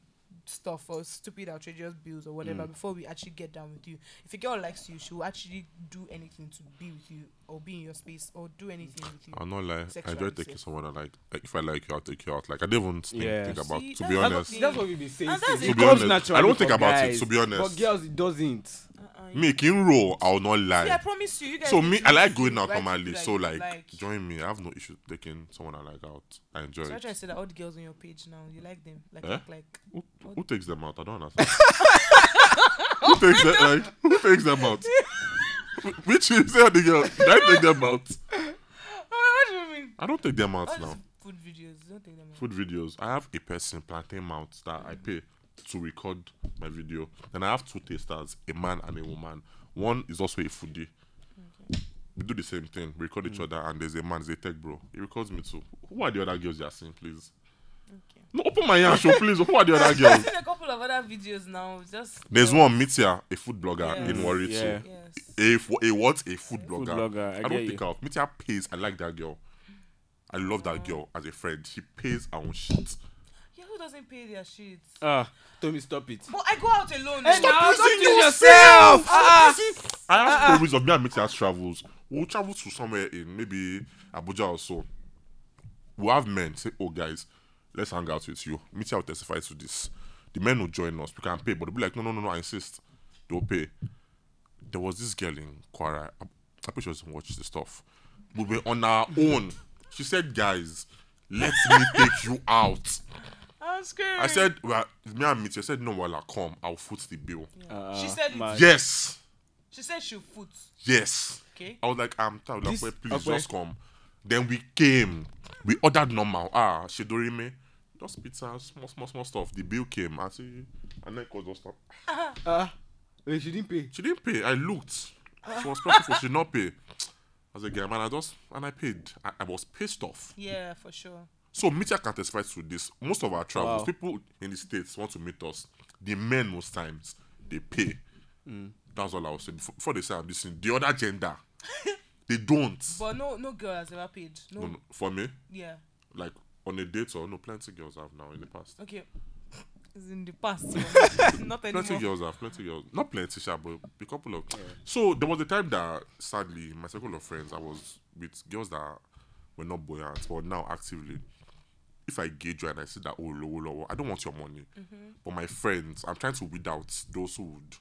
[SPEAKER 1] stuff or stupid outrageous bills or whatever
[SPEAKER 3] Mm.
[SPEAKER 1] before we actually get down with you. If a girl likes you, she will actually do anything to be with you or be in your space or do anything with you.
[SPEAKER 3] I'm not lying. I enjoy
[SPEAKER 1] Sexuality.
[SPEAKER 3] taking someone I like. Like, If I like you, I'll take you out. Like I don't even think,
[SPEAKER 2] Yeah.
[SPEAKER 3] think about.
[SPEAKER 1] See,
[SPEAKER 3] to
[SPEAKER 1] that's
[SPEAKER 3] be
[SPEAKER 1] what
[SPEAKER 3] honest,
[SPEAKER 1] me-
[SPEAKER 2] That's what we've been saying.
[SPEAKER 1] And
[SPEAKER 2] since.
[SPEAKER 1] that's
[SPEAKER 2] It
[SPEAKER 1] it.
[SPEAKER 3] To be
[SPEAKER 2] comes
[SPEAKER 3] honest,
[SPEAKER 2] naturally
[SPEAKER 3] I don't think
[SPEAKER 2] for
[SPEAKER 3] about it,
[SPEAKER 2] guys,
[SPEAKER 3] to be honest.
[SPEAKER 2] But girls, it doesn't.
[SPEAKER 1] Uh-uh.
[SPEAKER 3] making roll, I'll not lie.
[SPEAKER 1] See, I promise you, you guys.
[SPEAKER 3] so
[SPEAKER 1] need
[SPEAKER 3] me,
[SPEAKER 1] to
[SPEAKER 3] I like
[SPEAKER 1] listen
[SPEAKER 3] going out
[SPEAKER 1] right to
[SPEAKER 3] normally.
[SPEAKER 1] people
[SPEAKER 3] So
[SPEAKER 1] that you
[SPEAKER 3] like, join me. I have no issue taking someone I like out. I enjoy
[SPEAKER 1] So I
[SPEAKER 3] it.
[SPEAKER 1] try to say that all the girls on your page now, you like them, like
[SPEAKER 3] Eh?
[SPEAKER 1] like, like
[SPEAKER 3] Who, who takes them out? I don't understand. who takes them like who takes them out? Wh- Which is the girl? Did I take them out?
[SPEAKER 1] Oh, what do you mean?
[SPEAKER 3] I don't take them out
[SPEAKER 1] All
[SPEAKER 3] now.
[SPEAKER 1] these food videos, don't take them. out.
[SPEAKER 3] Food videos. I have a person plantain mount that I pay to record my video. Then I have two tasters, a man and a woman. One is also a foodie. We do the same thing. We record each other, and there's a man, there's a tech bro. He records me too. Who are the other girls you are seeing, please?
[SPEAKER 1] Okay.
[SPEAKER 3] No, open my hand, show, please. Who are the other girls?
[SPEAKER 1] I've seen a couple of other videos now, just
[SPEAKER 3] There's
[SPEAKER 1] uh,
[SPEAKER 3] one Mitya, a food blogger
[SPEAKER 1] Yes.
[SPEAKER 3] in Warri
[SPEAKER 2] Yeah.
[SPEAKER 3] too.
[SPEAKER 1] Yes.
[SPEAKER 3] A, f- a what? A food blogger.
[SPEAKER 2] blogger, I
[SPEAKER 3] I,
[SPEAKER 2] get
[SPEAKER 3] don't
[SPEAKER 2] you.
[SPEAKER 3] pick out. Mitya pays. I like that girl. I love that girl as a friend. She pays her own shit.
[SPEAKER 1] Yeah, who doesn't pay their shit?
[SPEAKER 2] Ah, Tommy, stop it.
[SPEAKER 1] But I go out alone.
[SPEAKER 2] Hey,
[SPEAKER 1] now.
[SPEAKER 2] now,
[SPEAKER 1] I
[SPEAKER 2] don't
[SPEAKER 1] don't
[SPEAKER 2] do
[SPEAKER 1] do-
[SPEAKER 2] yourself. Ah,
[SPEAKER 3] I have stories of me and Mitya's travels. We'll travel to somewhere in maybe Abuja or so. We'll have men say, Oh, guys, let's hang out with you. Mitya will testify to this. The men will join us. We can pay, but they'll be like, No, no, no, no, I insist. They'll pay. There was this girl in Kwara. I, I wish she doesn't watch the stuff. We were on our own. She said, Guys, let me take you out.
[SPEAKER 1] I'm scared.
[SPEAKER 3] I said, Well, me and Mitya said, No, well, I come. I'll foot the bill.
[SPEAKER 2] Ah,
[SPEAKER 1] She said it.
[SPEAKER 2] my-
[SPEAKER 3] Yes,
[SPEAKER 1] She said she'll foot.
[SPEAKER 3] yes.
[SPEAKER 1] Okay.
[SPEAKER 3] I was like, I'm tired. Like,
[SPEAKER 2] This-
[SPEAKER 3] "Well, please
[SPEAKER 2] okay.
[SPEAKER 3] just come. Then we came. We ordered normal. Ah, Shidorime. Just pizza, small, small, small stuff. The bill came. I see, and then it was just stop.
[SPEAKER 2] Ah, wait, she didn't pay.
[SPEAKER 3] She didn't pay. I looked. She was responsible. She did not pay. I said, "Girl, man, I just and I paid. I, I was pissed off.
[SPEAKER 1] Yeah, for sure.
[SPEAKER 3] So Mitya can testify to this. Most of our travels,
[SPEAKER 2] Wow.
[SPEAKER 3] people in the states want to meet us. The men most times they pay.
[SPEAKER 2] Mm.
[SPEAKER 3] That's all I was saying. Before, before they say I'm listening, the other gender, they don't.
[SPEAKER 1] But no, no girl has ever paid. No,
[SPEAKER 3] No, no, for me,
[SPEAKER 1] yeah.
[SPEAKER 3] like on a date or no, plenty girls have now in the past.
[SPEAKER 1] Okay, it's in the past. you know. Not
[SPEAKER 3] Plenty
[SPEAKER 1] anymore.
[SPEAKER 3] girls have plenty girls, not plenty, sha, but a couple of. So there was a time that sadly, my circle of friends, I was with girls that were not buoyant, but now actively. If I gauge you and I see that, oh, low, low, I don't want your money. But my friends, I'm trying to weed out those who would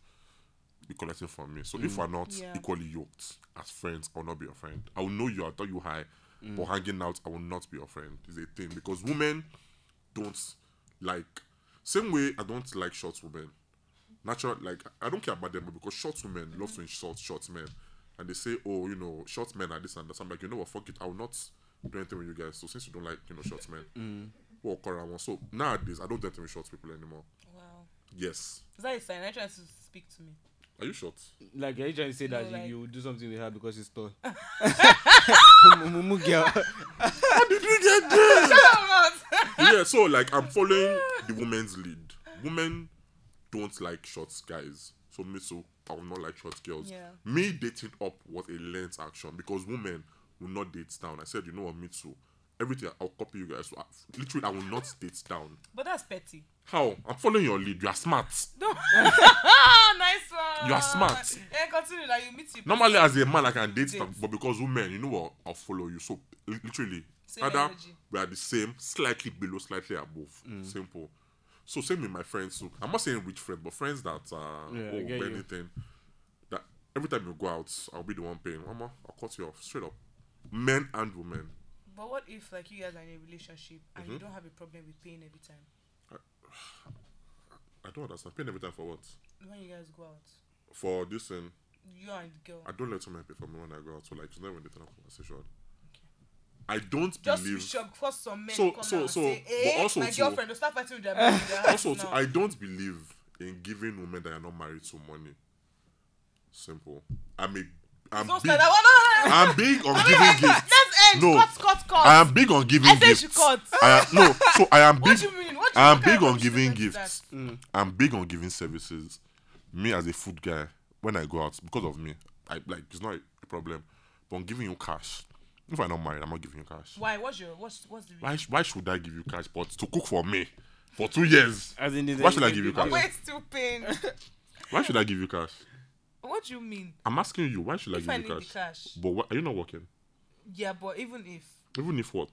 [SPEAKER 3] be collecting from me. So if we're not
[SPEAKER 1] Yeah.
[SPEAKER 3] equally yoked as friends, I'll not be your friend. I will know you, I'll tell you hi, but hanging out, I will not be your friend. Is a thing because women don't like same way I don't like short women. Natural like I don't care about them but because short women love to insult short men. And they say, Oh, you know, short men are this and that. I'm like, you know what, fuck it, I will not do anything with you guys. So since you don't like, you know, short men, walk around. So nowadays I don't do anything with short people anymore.
[SPEAKER 1] Wow,
[SPEAKER 3] Yes.
[SPEAKER 1] is that a sign? I trying to speak to me.
[SPEAKER 3] Are you short?
[SPEAKER 2] Like, are you trying to say
[SPEAKER 1] No,
[SPEAKER 2] that
[SPEAKER 1] like-
[SPEAKER 2] you, you would do something with her because she's tall? Mumu girl.
[SPEAKER 3] Did you get this?
[SPEAKER 1] Come on.
[SPEAKER 3] yeah, so like I'm following the woman's lead. Women don't like short guys. So me so I will not like short girls.
[SPEAKER 1] Yeah.
[SPEAKER 3] Me dating up was a lens action because women will not date down. I said, you know what, me too. Everything I'll copy you guys. So I, literally, I will not date down.
[SPEAKER 1] but that's petty.
[SPEAKER 3] How? I'm following your lead. You are smart.
[SPEAKER 1] No. Ah, nice one.
[SPEAKER 3] You are smart.
[SPEAKER 1] Yeah, continue. Like you meet you.
[SPEAKER 3] Normally, as a man, I can date,
[SPEAKER 1] Date.
[SPEAKER 3] but because women, you know what, I'll follow you. So li- literally,
[SPEAKER 1] Same
[SPEAKER 3] either
[SPEAKER 1] energy.
[SPEAKER 3] we are the same, slightly below, slightly above.
[SPEAKER 2] Mm.
[SPEAKER 3] Simple. So same with my friends. too. I'm not saying rich friends, but friends that uh,
[SPEAKER 2] Yeah, I
[SPEAKER 3] oh,
[SPEAKER 2] get you.
[SPEAKER 3] anything. That every time you go out, I'll be the one paying. Mama, I'll cut you off straight up. Men and women.
[SPEAKER 1] But what if like you guys are in a relationship and
[SPEAKER 3] Mm-hmm.
[SPEAKER 1] you don't have a problem with paying every time
[SPEAKER 3] I don't understand. Paying every time for what?
[SPEAKER 1] when you guys go out?
[SPEAKER 3] For this thing,
[SPEAKER 1] You and the girl.
[SPEAKER 3] I don't let women pay for me when I go out. So like, it's never even a conversation. I don't
[SPEAKER 1] Just
[SPEAKER 3] believe.
[SPEAKER 1] shock because some men
[SPEAKER 3] So-
[SPEAKER 1] come
[SPEAKER 3] so-
[SPEAKER 1] out and
[SPEAKER 3] so,
[SPEAKER 1] say,
[SPEAKER 3] but
[SPEAKER 1] "Eh,
[SPEAKER 3] also
[SPEAKER 1] my
[SPEAKER 3] too-
[SPEAKER 1] girlfriend will start fighting with their man in their house
[SPEAKER 3] also,
[SPEAKER 1] now."
[SPEAKER 3] I don't believe in giving women that are not married to money. Simple. I'm a. I'm
[SPEAKER 1] Don't
[SPEAKER 3] big,
[SPEAKER 1] start that one.
[SPEAKER 3] I'm big on
[SPEAKER 1] No,
[SPEAKER 3] giving
[SPEAKER 1] no, no.
[SPEAKER 3] gifts.
[SPEAKER 1] Let's end.
[SPEAKER 3] No.
[SPEAKER 1] Cut, cut, cut.
[SPEAKER 3] I am big on giving
[SPEAKER 1] I said
[SPEAKER 3] gifts.
[SPEAKER 1] she cut.
[SPEAKER 3] I am, no, so I am
[SPEAKER 1] What
[SPEAKER 3] big.
[SPEAKER 1] do you mean? What do you
[SPEAKER 3] I am
[SPEAKER 1] mean?
[SPEAKER 3] big on
[SPEAKER 1] What do you
[SPEAKER 3] giving
[SPEAKER 1] mean by
[SPEAKER 3] gifts. I'm big on giving services. Me as a food guy, when I go out, because of me, I like it's not a problem. But I'm giving you cash. If I'm not married, I'm not giving you cash.
[SPEAKER 1] Why? What's your what's what's the reason?
[SPEAKER 3] Why, sh- why should I give you cash? But to cook for me for two years.
[SPEAKER 2] As in, there's
[SPEAKER 3] Why should I
[SPEAKER 2] anything
[SPEAKER 3] give you
[SPEAKER 2] people
[SPEAKER 3] card?
[SPEAKER 2] do.
[SPEAKER 1] Wait, still paying.
[SPEAKER 3] Why should I give you cash?
[SPEAKER 1] what do you mean?
[SPEAKER 3] I'm asking you, why should I
[SPEAKER 1] If
[SPEAKER 3] give
[SPEAKER 1] I
[SPEAKER 3] you
[SPEAKER 1] need the
[SPEAKER 3] cash?
[SPEAKER 1] cash,
[SPEAKER 3] But why, are you not working?
[SPEAKER 1] yeah, but even if
[SPEAKER 3] Even if what?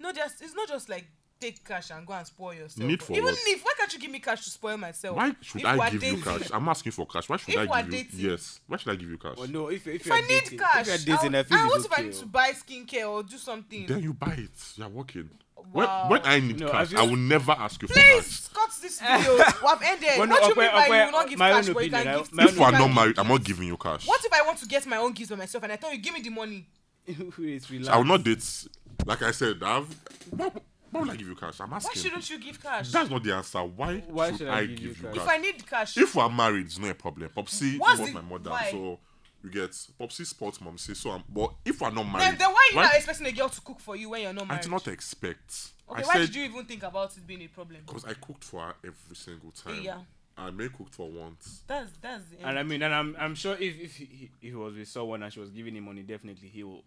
[SPEAKER 1] no, just it's not just like take cash and go and spoil yourself.
[SPEAKER 3] Need for
[SPEAKER 1] even
[SPEAKER 3] what?
[SPEAKER 1] if why can't you give me cash to spoil myself?
[SPEAKER 3] Why should
[SPEAKER 1] If we're
[SPEAKER 3] I give you
[SPEAKER 1] dating.
[SPEAKER 3] cash? I'm asking for cash. Why should
[SPEAKER 1] If
[SPEAKER 3] I
[SPEAKER 1] we're
[SPEAKER 3] give
[SPEAKER 1] dating.
[SPEAKER 3] you? Yes. Why should I give you cash?
[SPEAKER 2] Well, no, if, if
[SPEAKER 1] If I
[SPEAKER 2] you're
[SPEAKER 1] need
[SPEAKER 2] dating,
[SPEAKER 1] cash,
[SPEAKER 2] if you're dating,
[SPEAKER 1] I'll-
[SPEAKER 2] I feel
[SPEAKER 1] ah, what
[SPEAKER 2] it's
[SPEAKER 1] if I
[SPEAKER 2] okay,
[SPEAKER 1] need to
[SPEAKER 2] oh.
[SPEAKER 1] buy skincare or do something?
[SPEAKER 3] Then you buy it. You're working.
[SPEAKER 1] Wow.
[SPEAKER 3] When, when I need
[SPEAKER 2] No, I
[SPEAKER 3] cash, I,
[SPEAKER 2] feel-
[SPEAKER 3] will never ask you
[SPEAKER 1] Please cut this video. I've ended.
[SPEAKER 2] Well, no,
[SPEAKER 1] what do you
[SPEAKER 2] Okwe-
[SPEAKER 1] mean by you
[SPEAKER 2] Okwe,
[SPEAKER 1] will not give
[SPEAKER 2] my
[SPEAKER 1] cash,
[SPEAKER 2] own
[SPEAKER 1] but you
[SPEAKER 2] opinion,
[SPEAKER 1] can
[SPEAKER 2] I-
[SPEAKER 1] give?
[SPEAKER 2] my
[SPEAKER 3] for
[SPEAKER 1] you
[SPEAKER 2] own
[SPEAKER 3] cash. If we're
[SPEAKER 1] can
[SPEAKER 3] not
[SPEAKER 1] give
[SPEAKER 3] married, I'm not
[SPEAKER 1] gifts?
[SPEAKER 3] giving you cash.
[SPEAKER 1] What if I want to get my own gifts by myself and I tell you give me the money?
[SPEAKER 2] Wait, relax.
[SPEAKER 3] I will not date. Like I said, I've. Why, why would I give you cash? I'm
[SPEAKER 1] Why
[SPEAKER 3] asking.
[SPEAKER 1] shouldn't you give cash?
[SPEAKER 3] That's not the answer. Why,
[SPEAKER 2] Why should I give you cash?
[SPEAKER 1] If I need cash,
[SPEAKER 3] if we're married, it's not a problem. Popsy
[SPEAKER 1] What's
[SPEAKER 3] was
[SPEAKER 1] the-
[SPEAKER 3] my mother,
[SPEAKER 1] why?
[SPEAKER 3] so you get Popsy sports mom. See, so I'm, but if we're not married,
[SPEAKER 1] then, then why are you not expecting a girl to cook for you when you're not
[SPEAKER 3] I
[SPEAKER 1] married?
[SPEAKER 3] did not expect.
[SPEAKER 1] okay,
[SPEAKER 3] I
[SPEAKER 1] why
[SPEAKER 3] said
[SPEAKER 1] did you even think about it being a problem?
[SPEAKER 3] because I cooked for her every single time.
[SPEAKER 1] Yeah.
[SPEAKER 3] And May cooked for once.
[SPEAKER 1] That's that's the
[SPEAKER 2] And
[SPEAKER 1] end.
[SPEAKER 2] I mean, and I'm, I'm sure if if he, if he was with someone and she was giving him money, definitely he will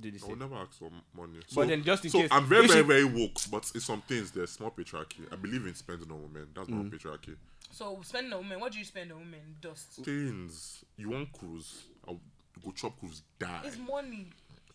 [SPEAKER 2] do the
[SPEAKER 3] I will
[SPEAKER 2] same.
[SPEAKER 3] never ask for m- money. So,
[SPEAKER 2] then just in
[SPEAKER 3] so
[SPEAKER 2] case-
[SPEAKER 3] I'm very,
[SPEAKER 2] if
[SPEAKER 3] very,
[SPEAKER 2] she-
[SPEAKER 3] very woke, but in some things there's small patriarchy. I believe in spending on women. That's
[SPEAKER 2] Mm.
[SPEAKER 3] not patriarchy.
[SPEAKER 1] so spending on women, what do you spend on women? Dust.
[SPEAKER 3] Things you want cruise, I'll go chop cruise, die.
[SPEAKER 1] It's money.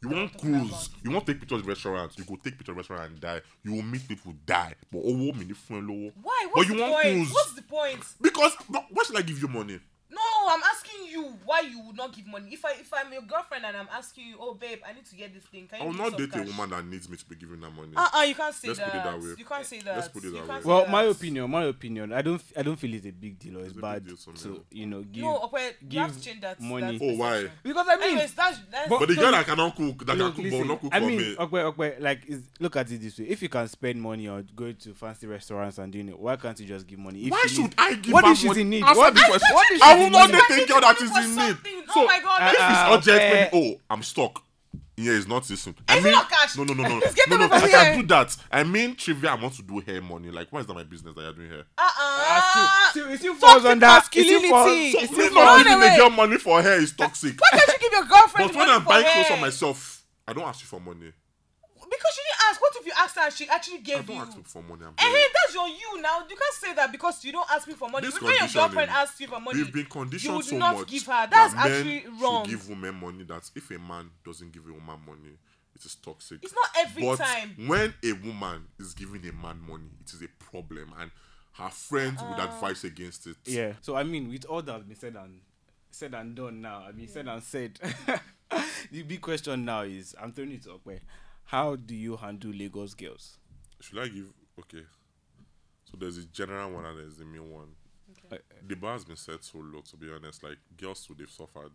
[SPEAKER 3] You
[SPEAKER 1] That's
[SPEAKER 3] want
[SPEAKER 1] what I'm talking
[SPEAKER 3] cruise,
[SPEAKER 1] about.
[SPEAKER 3] you want take pictures of restaurants, you go take pictures of restaurant and die. You will meet people die. But oh, oh, me, different low.
[SPEAKER 1] Why?
[SPEAKER 3] But
[SPEAKER 1] What's
[SPEAKER 3] you
[SPEAKER 1] the
[SPEAKER 3] want
[SPEAKER 1] point?
[SPEAKER 3] cruise
[SPEAKER 1] What's the point?
[SPEAKER 3] because but why should I give you money?
[SPEAKER 1] No, I'm asking you. you why you would not give money. If I if I'm your girlfriend and I'm asking you, oh babe, I need to get this thing. Can you
[SPEAKER 3] I will
[SPEAKER 1] give
[SPEAKER 3] not
[SPEAKER 1] some
[SPEAKER 3] date
[SPEAKER 1] cash?"
[SPEAKER 3] a woman that needs me to be giving her money.
[SPEAKER 1] Uh uh you can't say
[SPEAKER 3] Let's put
[SPEAKER 1] that.
[SPEAKER 3] it that way.
[SPEAKER 1] You can't say that.
[SPEAKER 3] Let's put it
[SPEAKER 1] You
[SPEAKER 3] that
[SPEAKER 1] can't
[SPEAKER 3] way.
[SPEAKER 1] say
[SPEAKER 2] Well,
[SPEAKER 1] that.
[SPEAKER 2] my opinion, my opinion. I don't, f- I don't feel it's a big deal or it's,
[SPEAKER 3] It's a big
[SPEAKER 2] bad
[SPEAKER 3] deal to me.
[SPEAKER 2] to, you know, give.
[SPEAKER 1] No, Okwe, you have
[SPEAKER 2] give
[SPEAKER 1] to change that.
[SPEAKER 2] money.
[SPEAKER 1] that
[SPEAKER 3] Oh, why?
[SPEAKER 1] perception.
[SPEAKER 2] because I mean,
[SPEAKER 1] Anyways, that's that's uh,
[SPEAKER 2] But-
[SPEAKER 3] but the
[SPEAKER 2] no,
[SPEAKER 3] guy
[SPEAKER 2] no.
[SPEAKER 3] that cannot cook, that
[SPEAKER 2] look,
[SPEAKER 3] can cook but will
[SPEAKER 2] listen,
[SPEAKER 3] not cook
[SPEAKER 2] I
[SPEAKER 3] for
[SPEAKER 2] mean,
[SPEAKER 3] me.
[SPEAKER 2] okay, okay. Like, is, look at it this way: if you can spend money or go to fancy restaurants and doing it, why can't you just give money? If
[SPEAKER 3] Why
[SPEAKER 2] she
[SPEAKER 3] should
[SPEAKER 2] needs-
[SPEAKER 3] I give
[SPEAKER 2] What
[SPEAKER 3] her
[SPEAKER 2] if she's
[SPEAKER 3] money?
[SPEAKER 2] in need?
[SPEAKER 3] Answer
[SPEAKER 2] What
[SPEAKER 3] the
[SPEAKER 2] if,
[SPEAKER 3] question.
[SPEAKER 2] what if she's
[SPEAKER 3] I will
[SPEAKER 2] in need? Eh.
[SPEAKER 3] not date a girl that is
[SPEAKER 1] Something
[SPEAKER 3] in
[SPEAKER 1] for
[SPEAKER 3] need.
[SPEAKER 1] something. Oh
[SPEAKER 3] So
[SPEAKER 1] my God,
[SPEAKER 3] if
[SPEAKER 1] that's-
[SPEAKER 3] it's urgent,
[SPEAKER 2] Okay.
[SPEAKER 3] maybe oh, I'm stuck. Yeah, it's not this simple. I
[SPEAKER 1] Is it
[SPEAKER 3] mean,
[SPEAKER 1] not cash?
[SPEAKER 3] no, no, no, no,
[SPEAKER 1] Let's get
[SPEAKER 3] no, no.
[SPEAKER 1] them over
[SPEAKER 3] I can
[SPEAKER 1] here.
[SPEAKER 3] do that. I mean, trivia. I want to do hair money. Like, why is that my business that you're doing hair?
[SPEAKER 1] uh
[SPEAKER 2] Ah,
[SPEAKER 1] uh
[SPEAKER 2] still- still- it still falls
[SPEAKER 1] toxic
[SPEAKER 2] under. it still falls-
[SPEAKER 1] masculinity.
[SPEAKER 2] it
[SPEAKER 3] So
[SPEAKER 2] still
[SPEAKER 1] no,
[SPEAKER 3] me
[SPEAKER 2] falls-
[SPEAKER 3] not
[SPEAKER 1] no,
[SPEAKER 3] giving
[SPEAKER 1] wait.
[SPEAKER 3] a girl money for hair is toxic.
[SPEAKER 1] Why can't you give your girlfriend
[SPEAKER 3] But when
[SPEAKER 1] money
[SPEAKER 3] I'm
[SPEAKER 1] for
[SPEAKER 3] buying
[SPEAKER 1] hair?
[SPEAKER 3] clothes for myself, I don't ask you for money.
[SPEAKER 1] Because she didn't ask. What if you asked her and she actually
[SPEAKER 3] I
[SPEAKER 1] gave
[SPEAKER 3] don't
[SPEAKER 1] you?
[SPEAKER 3] ask you for money. I'm
[SPEAKER 1] Eh,
[SPEAKER 3] very-
[SPEAKER 1] hey, that's your you now. You can't say that because you don't ask me for money.
[SPEAKER 3] This
[SPEAKER 1] when your
[SPEAKER 3] conditioning,
[SPEAKER 1] girlfriend asks you for money,
[SPEAKER 3] We've been conditioned
[SPEAKER 1] you would
[SPEAKER 3] so
[SPEAKER 1] not
[SPEAKER 3] much
[SPEAKER 1] give her.
[SPEAKER 3] that
[SPEAKER 1] That's
[SPEAKER 3] men
[SPEAKER 1] actually
[SPEAKER 3] should
[SPEAKER 1] wrong.
[SPEAKER 3] give women money. That if a man doesn't give a woman money, it is toxic.
[SPEAKER 1] It's not every
[SPEAKER 3] but
[SPEAKER 1] time.
[SPEAKER 3] when a woman is giving a man money, it is a problem, and her friends would
[SPEAKER 1] Ah.
[SPEAKER 3] advise against it.
[SPEAKER 2] Yeah. So I mean, with all that's been said and said and done now, I mean said and said. the big question now is, I'm throwing it up. eh, How do you handle Lagos girls?
[SPEAKER 3] Should I give? Okay. So there's a general one and there's the main one.
[SPEAKER 2] Like,
[SPEAKER 3] The bar has been set so low. To be honest, like girls too, they've suffered.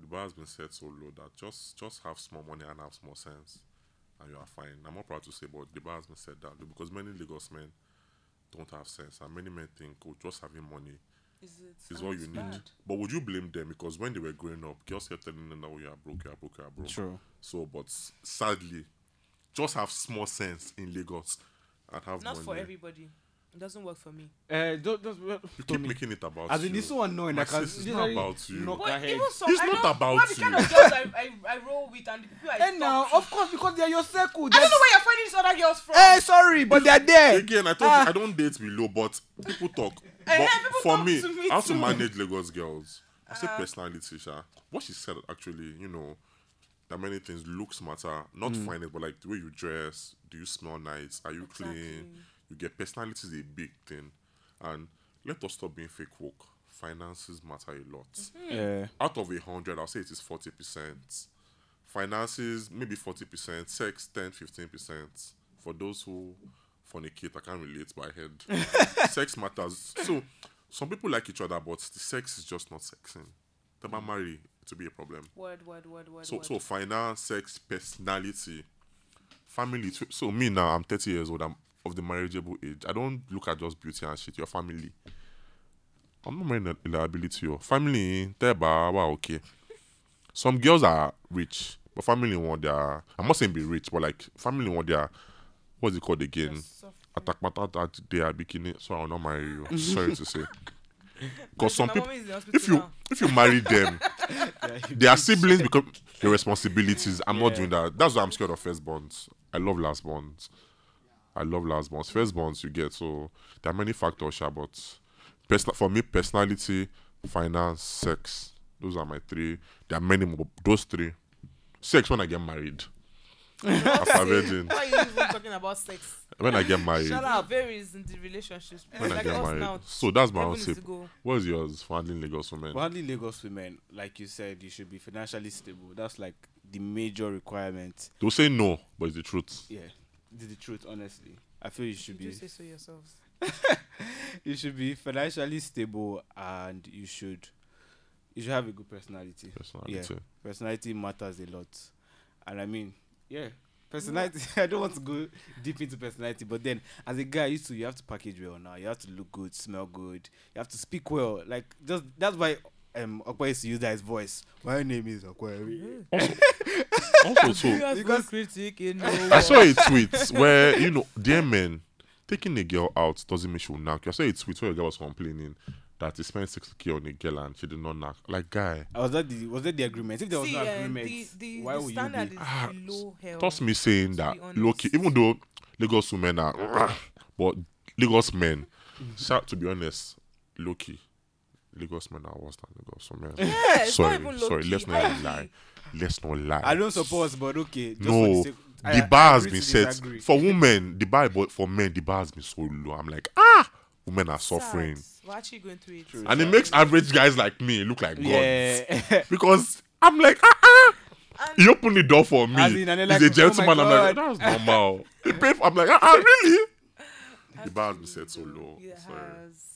[SPEAKER 3] The bar has been set so low that just just have small money and have small sense, and you are fine. I'm not proud to say, but the bar has been set that low because many Lagos men don't have sense, and many men think oh, just having money
[SPEAKER 1] Is it?
[SPEAKER 3] is all you need. But would you blame them because when they were growing up, girls kept telling them that oh, you are broke, you are broke, you are broke.
[SPEAKER 2] True.
[SPEAKER 3] So, but s- sadly, just have small sense in Lagos and have
[SPEAKER 1] Not
[SPEAKER 3] money.
[SPEAKER 1] for everybody. It doesn't work for me.
[SPEAKER 2] Uh, don't, don't, well,
[SPEAKER 3] You keep
[SPEAKER 2] Tommy.
[SPEAKER 3] making it about
[SPEAKER 2] As in
[SPEAKER 3] you.
[SPEAKER 2] this one, no, and
[SPEAKER 3] My
[SPEAKER 2] I can
[SPEAKER 3] sis, it's not
[SPEAKER 2] literally
[SPEAKER 3] about you.
[SPEAKER 2] knock
[SPEAKER 1] But
[SPEAKER 2] her head.
[SPEAKER 1] even some,
[SPEAKER 3] It's
[SPEAKER 1] I
[SPEAKER 3] not
[SPEAKER 1] know,
[SPEAKER 3] about
[SPEAKER 1] what the kind
[SPEAKER 3] you.
[SPEAKER 1] of girls I, I, I roll with and the people I
[SPEAKER 2] And
[SPEAKER 1] talk
[SPEAKER 2] now,
[SPEAKER 1] to.
[SPEAKER 2] Eh, of course, because they are your circle.
[SPEAKER 1] I don't
[SPEAKER 2] that's-
[SPEAKER 1] know where you're finding these other girls from.
[SPEAKER 2] oh, Hey, sorry, but they are there.
[SPEAKER 3] Again, I told
[SPEAKER 2] Ah.
[SPEAKER 3] you I don't date below, but people talk.
[SPEAKER 1] Eh,
[SPEAKER 3] but
[SPEAKER 1] people
[SPEAKER 3] for
[SPEAKER 1] talk
[SPEAKER 3] me,
[SPEAKER 1] to me
[SPEAKER 3] I have
[SPEAKER 1] too.
[SPEAKER 3] to
[SPEAKER 1] Ah.
[SPEAKER 3] manage Lagos girls. I say personality, Sha. What she said actually, you know, that many things looks matter. Not finance, but like the way you dress. Do you smell nice? Are you clean?
[SPEAKER 1] Hmm. Exactly.
[SPEAKER 3] You get personality is a big thing, and let us stop being fake work. Finances matter a lot
[SPEAKER 2] Yeah.
[SPEAKER 3] out of a hundred, I'll say it is forty percent. Finances, maybe forty percent, sex 10, 15 percent. For those who fornicate, I can't relate by head. sex matters. So some people like each other, but the sex is just not sexing. Tell marry, it will be a problem.
[SPEAKER 1] Word, word, word, word.
[SPEAKER 3] So
[SPEAKER 1] word.
[SPEAKER 3] so finance, sex, personality, family. too. So me now, I'm 30 years old. I'm of the marriageable age. I don't look at just beauty and shit. Your family. I'm not marrying a liability. Your family, teba, wow, okay. Some girls are rich, but family one they are. I'm not saying be rich, but like family one they are. What's it called again?
[SPEAKER 1] Just soft.
[SPEAKER 3] Attack that they are bikini. So I will not marry you. I'm sorry to say. Because some
[SPEAKER 1] My
[SPEAKER 3] people,
[SPEAKER 1] mom is in hospital
[SPEAKER 3] if you
[SPEAKER 1] now.
[SPEAKER 3] if you marry them, they are siblings because the responsibilities. I'm not
[SPEAKER 2] Yeah.
[SPEAKER 3] doing that. That's why I'm scared of first bonds. I love last bonds. I love last bonds. First bonds you get so there are many factors, sha, but personal for me personality, finance, sex. Those are my three. There are many more. but Those three. Sex when I get married. After virgin.
[SPEAKER 1] Why are you even talking about sex?
[SPEAKER 3] When I get married.
[SPEAKER 1] Shut up. Varies in the relationships.
[SPEAKER 3] When
[SPEAKER 1] like
[SPEAKER 3] I get
[SPEAKER 1] us
[SPEAKER 3] married.
[SPEAKER 1] now.
[SPEAKER 3] So that's my
[SPEAKER 1] Seven
[SPEAKER 3] own
[SPEAKER 1] is
[SPEAKER 3] tip.
[SPEAKER 1] to go.
[SPEAKER 3] What's yours for handling Lagos women?
[SPEAKER 2] But only Lagos women, like you said, you should be financially stable. That's like the major requirement.
[SPEAKER 3] They'll say no, but it's the truth.
[SPEAKER 2] Yeah, this is the truth. Honestly, I feel you should
[SPEAKER 1] Did you
[SPEAKER 2] be
[SPEAKER 1] say so yourselves?
[SPEAKER 2] you should be financially stable and you should you should have a good personality.
[SPEAKER 3] Personality.
[SPEAKER 2] Yeah, personality matters a lot, and I mean, yeah, personality.
[SPEAKER 1] Mm.
[SPEAKER 2] I don't want to go deep into personality, but then as a guy, you too, you have to package well now. You have to look good, smell good. You have to speak well. Like just that's why um Okwe used to use that his voice. My name is Okwe.
[SPEAKER 3] Also, too,
[SPEAKER 2] Because-
[SPEAKER 1] critic in
[SPEAKER 3] I saw a tweet where you know, dear men, taking a girl out doesn't mean she will knock. you. I saw a tweet where a girl was complaining that he spent six k on a girl and she did not knock. Like guy,
[SPEAKER 2] I was that the was that the agreement? If there was
[SPEAKER 1] See,
[SPEAKER 2] no
[SPEAKER 1] eh,
[SPEAKER 2] agreement,
[SPEAKER 1] the, the,
[SPEAKER 2] why
[SPEAKER 1] the
[SPEAKER 2] would you
[SPEAKER 1] standard
[SPEAKER 2] be?
[SPEAKER 3] Ah,
[SPEAKER 1] is below hell.
[SPEAKER 3] trust me saying
[SPEAKER 1] To
[SPEAKER 3] that
[SPEAKER 1] be honest.
[SPEAKER 3] low key, even though Lagos women are, but Lagos men,
[SPEAKER 1] Mm-hmm.
[SPEAKER 3] shout to be honest, low key, Lagos men are worse than Lagos women.
[SPEAKER 1] Yeah, it's
[SPEAKER 3] sorry,
[SPEAKER 1] not even
[SPEAKER 3] sorry,
[SPEAKER 1] low-key.
[SPEAKER 3] let's
[SPEAKER 1] High-key.
[SPEAKER 3] not lie, let's not lie.
[SPEAKER 2] I don't suppose, but okay. Just for
[SPEAKER 3] no,
[SPEAKER 2] the, sake, I-
[SPEAKER 3] the
[SPEAKER 2] I
[SPEAKER 3] bar has
[SPEAKER 2] agree
[SPEAKER 3] been
[SPEAKER 2] to
[SPEAKER 3] set
[SPEAKER 2] disagree.
[SPEAKER 3] for women. The bar, but for men, the bar has been so low. I'm like, ah, women are suffering.
[SPEAKER 1] Sad. We're actually going through it.
[SPEAKER 2] True.
[SPEAKER 3] And it makes average guys like me look like gods.
[SPEAKER 2] Yeah.
[SPEAKER 3] Because I'm like, ah, ah.
[SPEAKER 1] And-
[SPEAKER 3] He opened the door for me.
[SPEAKER 2] As in, and they're
[SPEAKER 3] He's
[SPEAKER 2] like,
[SPEAKER 3] a
[SPEAKER 2] "Oh my
[SPEAKER 3] gentleman. I'm like,
[SPEAKER 2] God."
[SPEAKER 3] that's normal. he paid for, I'm like, ah, ah really? The bar has been set so low.
[SPEAKER 1] It has.
[SPEAKER 3] Sorry.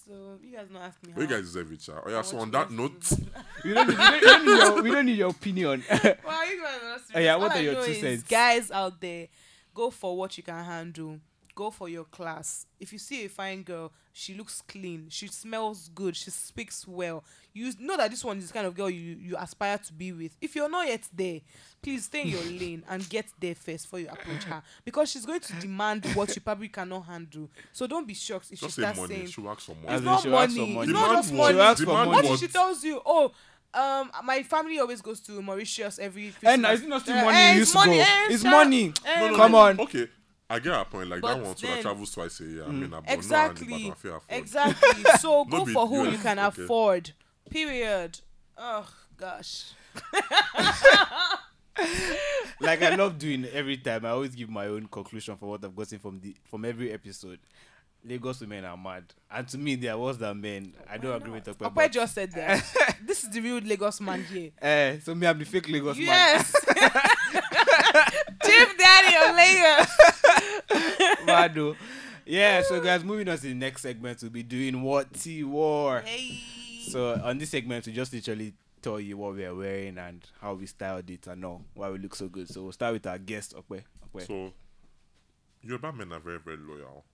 [SPEAKER 1] So you guys not ask me.
[SPEAKER 3] But you
[SPEAKER 1] how.
[SPEAKER 3] guys deserve it, child. Oh, yeah,
[SPEAKER 1] I
[SPEAKER 3] so
[SPEAKER 1] want you
[SPEAKER 3] on that
[SPEAKER 1] guys
[SPEAKER 3] note,
[SPEAKER 1] to-
[SPEAKER 2] we, don't, we, don't, we, don't need your, we don't need your opinion.
[SPEAKER 1] Why are you guys not serious?
[SPEAKER 2] Oh, yeah, what
[SPEAKER 1] All
[SPEAKER 2] are
[SPEAKER 1] I
[SPEAKER 2] your
[SPEAKER 1] know
[SPEAKER 2] two
[SPEAKER 1] is,
[SPEAKER 2] cents?
[SPEAKER 1] Guys out there, go for what you can handle. Go for your class. If you see a fine girl, she looks clean, she smells good, she speaks well. You know that this one is the kind of girl you, you aspire to be with. If you're not yet there, please stay in your lane and get there first before you approach her because she's going to demand what you probably cannot handle. So don't be shocked if
[SPEAKER 3] just
[SPEAKER 1] she
[SPEAKER 3] say
[SPEAKER 1] starts
[SPEAKER 3] money.
[SPEAKER 1] saying,
[SPEAKER 3] She works for
[SPEAKER 2] As
[SPEAKER 3] money.
[SPEAKER 1] it's not
[SPEAKER 2] in, she'll ask for
[SPEAKER 1] money. It's
[SPEAKER 2] money.
[SPEAKER 1] not
[SPEAKER 3] Demand
[SPEAKER 1] just
[SPEAKER 3] was-
[SPEAKER 1] money.
[SPEAKER 2] She'll ask for
[SPEAKER 3] Demand
[SPEAKER 1] What
[SPEAKER 2] money.
[SPEAKER 1] if she
[SPEAKER 3] What?
[SPEAKER 1] tells you, oh, um, my family always goes to Mauritius every Christmas.
[SPEAKER 2] And it's not still
[SPEAKER 1] Eh,
[SPEAKER 2] money
[SPEAKER 1] eh,
[SPEAKER 2] you
[SPEAKER 1] it's
[SPEAKER 2] used to
[SPEAKER 1] money,
[SPEAKER 2] go.
[SPEAKER 1] eh,
[SPEAKER 2] It's
[SPEAKER 1] sha-
[SPEAKER 2] money.
[SPEAKER 1] eh,
[SPEAKER 3] No, no,
[SPEAKER 2] Come
[SPEAKER 3] no.
[SPEAKER 2] on.
[SPEAKER 3] Okay, I get her point. Like
[SPEAKER 1] But
[SPEAKER 3] that one too.
[SPEAKER 1] then-
[SPEAKER 3] I travels twice a year. I mean, I
[SPEAKER 1] Exactly.
[SPEAKER 3] No,
[SPEAKER 1] Exactly. So go
[SPEAKER 3] be
[SPEAKER 1] for who
[SPEAKER 3] US,
[SPEAKER 1] you can
[SPEAKER 3] okay.
[SPEAKER 1] afford. Period. Oh gosh.
[SPEAKER 2] like I love doing every time. I always give my own conclusion for what I've gotten from the from every episode. Lagos women are mad, and to me they are worse than men. I don't agree with Okpe.
[SPEAKER 1] Okwe
[SPEAKER 2] but-
[SPEAKER 1] just said that. this is the real Lagos man here.
[SPEAKER 2] Eh, so me I'm the fake Lagos
[SPEAKER 1] Yes. Chief Daddy of Lagos.
[SPEAKER 2] man. Mad though. Yeah. So guys, moving on to the next segment, we'll be doing what T war.
[SPEAKER 1] Hey.
[SPEAKER 2] So on this segment, we just literally tell you what we are wearing and how we styled it and all why we look so good. So we'll start with our guest Okpe. Okpe.
[SPEAKER 3] So, Yoruba men are very, very loyal.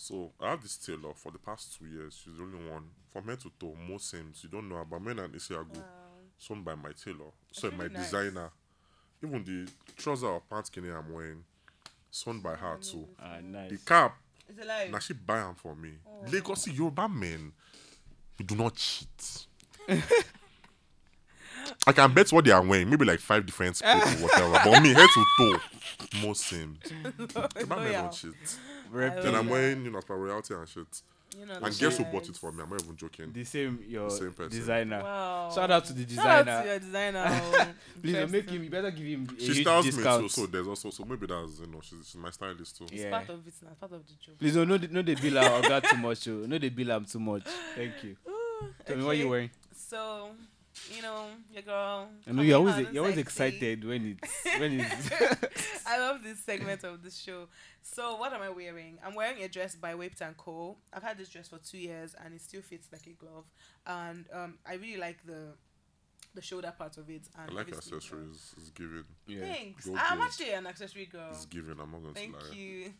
[SPEAKER 3] So, I have this tailor for the past two years. She's the only one. From head to toe, most Sims, you don't know about men and Isiago. sewn by my tailor, sewn by
[SPEAKER 1] really nice.
[SPEAKER 3] designer. Even the trouser or pants Kenny I'm wearing, sewn by her too.
[SPEAKER 2] Ah,
[SPEAKER 3] The
[SPEAKER 2] nice.
[SPEAKER 3] cap,
[SPEAKER 1] It's alive.
[SPEAKER 3] now she buy them for me.
[SPEAKER 1] Oh.
[SPEAKER 3] Lagos Yoruba men, you do not cheat. I can bet what they are wearing, maybe like five different people, whatever. But me, head to toe, most same. Yoruba men
[SPEAKER 1] Loyal.
[SPEAKER 3] don't cheat.
[SPEAKER 2] Rep-
[SPEAKER 3] Then I'm
[SPEAKER 1] Yeah.
[SPEAKER 3] wearing, you know, for royalty and shit.
[SPEAKER 1] You know,
[SPEAKER 3] And guess who bought it for me? I'm not even joking.
[SPEAKER 2] the same your
[SPEAKER 3] same person.
[SPEAKER 2] designer.
[SPEAKER 1] Wow.
[SPEAKER 2] Shout out to the
[SPEAKER 1] Shout out to
[SPEAKER 2] designer.
[SPEAKER 1] your designer. oh.
[SPEAKER 2] Please uh,
[SPEAKER 1] Interesting.
[SPEAKER 2] make him. You better give him a
[SPEAKER 3] She
[SPEAKER 2] huge
[SPEAKER 3] styles
[SPEAKER 2] discount.
[SPEAKER 3] me too, so there's also so maybe that's you know she's, she's my stylist too.
[SPEAKER 1] It's
[SPEAKER 2] Yeah.
[SPEAKER 1] part of it now. Part of the job.
[SPEAKER 2] Please don't no, no, they bill our oga too much. Oh. No, they bill am too much. Thank you.
[SPEAKER 1] Ooh,
[SPEAKER 2] Tell me what you
[SPEAKER 1] okay.
[SPEAKER 2] wearing.
[SPEAKER 1] So, you know, your girl.
[SPEAKER 2] I know
[SPEAKER 1] coming
[SPEAKER 2] you're
[SPEAKER 1] out
[SPEAKER 2] always e-,
[SPEAKER 1] and
[SPEAKER 2] you're always
[SPEAKER 1] sexy.
[SPEAKER 2] excited when it's when it's.
[SPEAKER 1] I love this segment of the show. So, what am I wearing? I'm wearing a dress by Whipped and Co. I've had this dress for two years and it still fits like a glove. And um, I really like the the shoulder part of it. And
[SPEAKER 3] I like
[SPEAKER 1] obviously-
[SPEAKER 3] accessories. It's given.
[SPEAKER 2] Yeah.
[SPEAKER 1] Thanks.
[SPEAKER 3] Go
[SPEAKER 1] I'm
[SPEAKER 3] girl.
[SPEAKER 1] actually an accessory girl.
[SPEAKER 3] It's given. I'm not going
[SPEAKER 1] Oh. Thank
[SPEAKER 3] to lie.
[SPEAKER 1] you.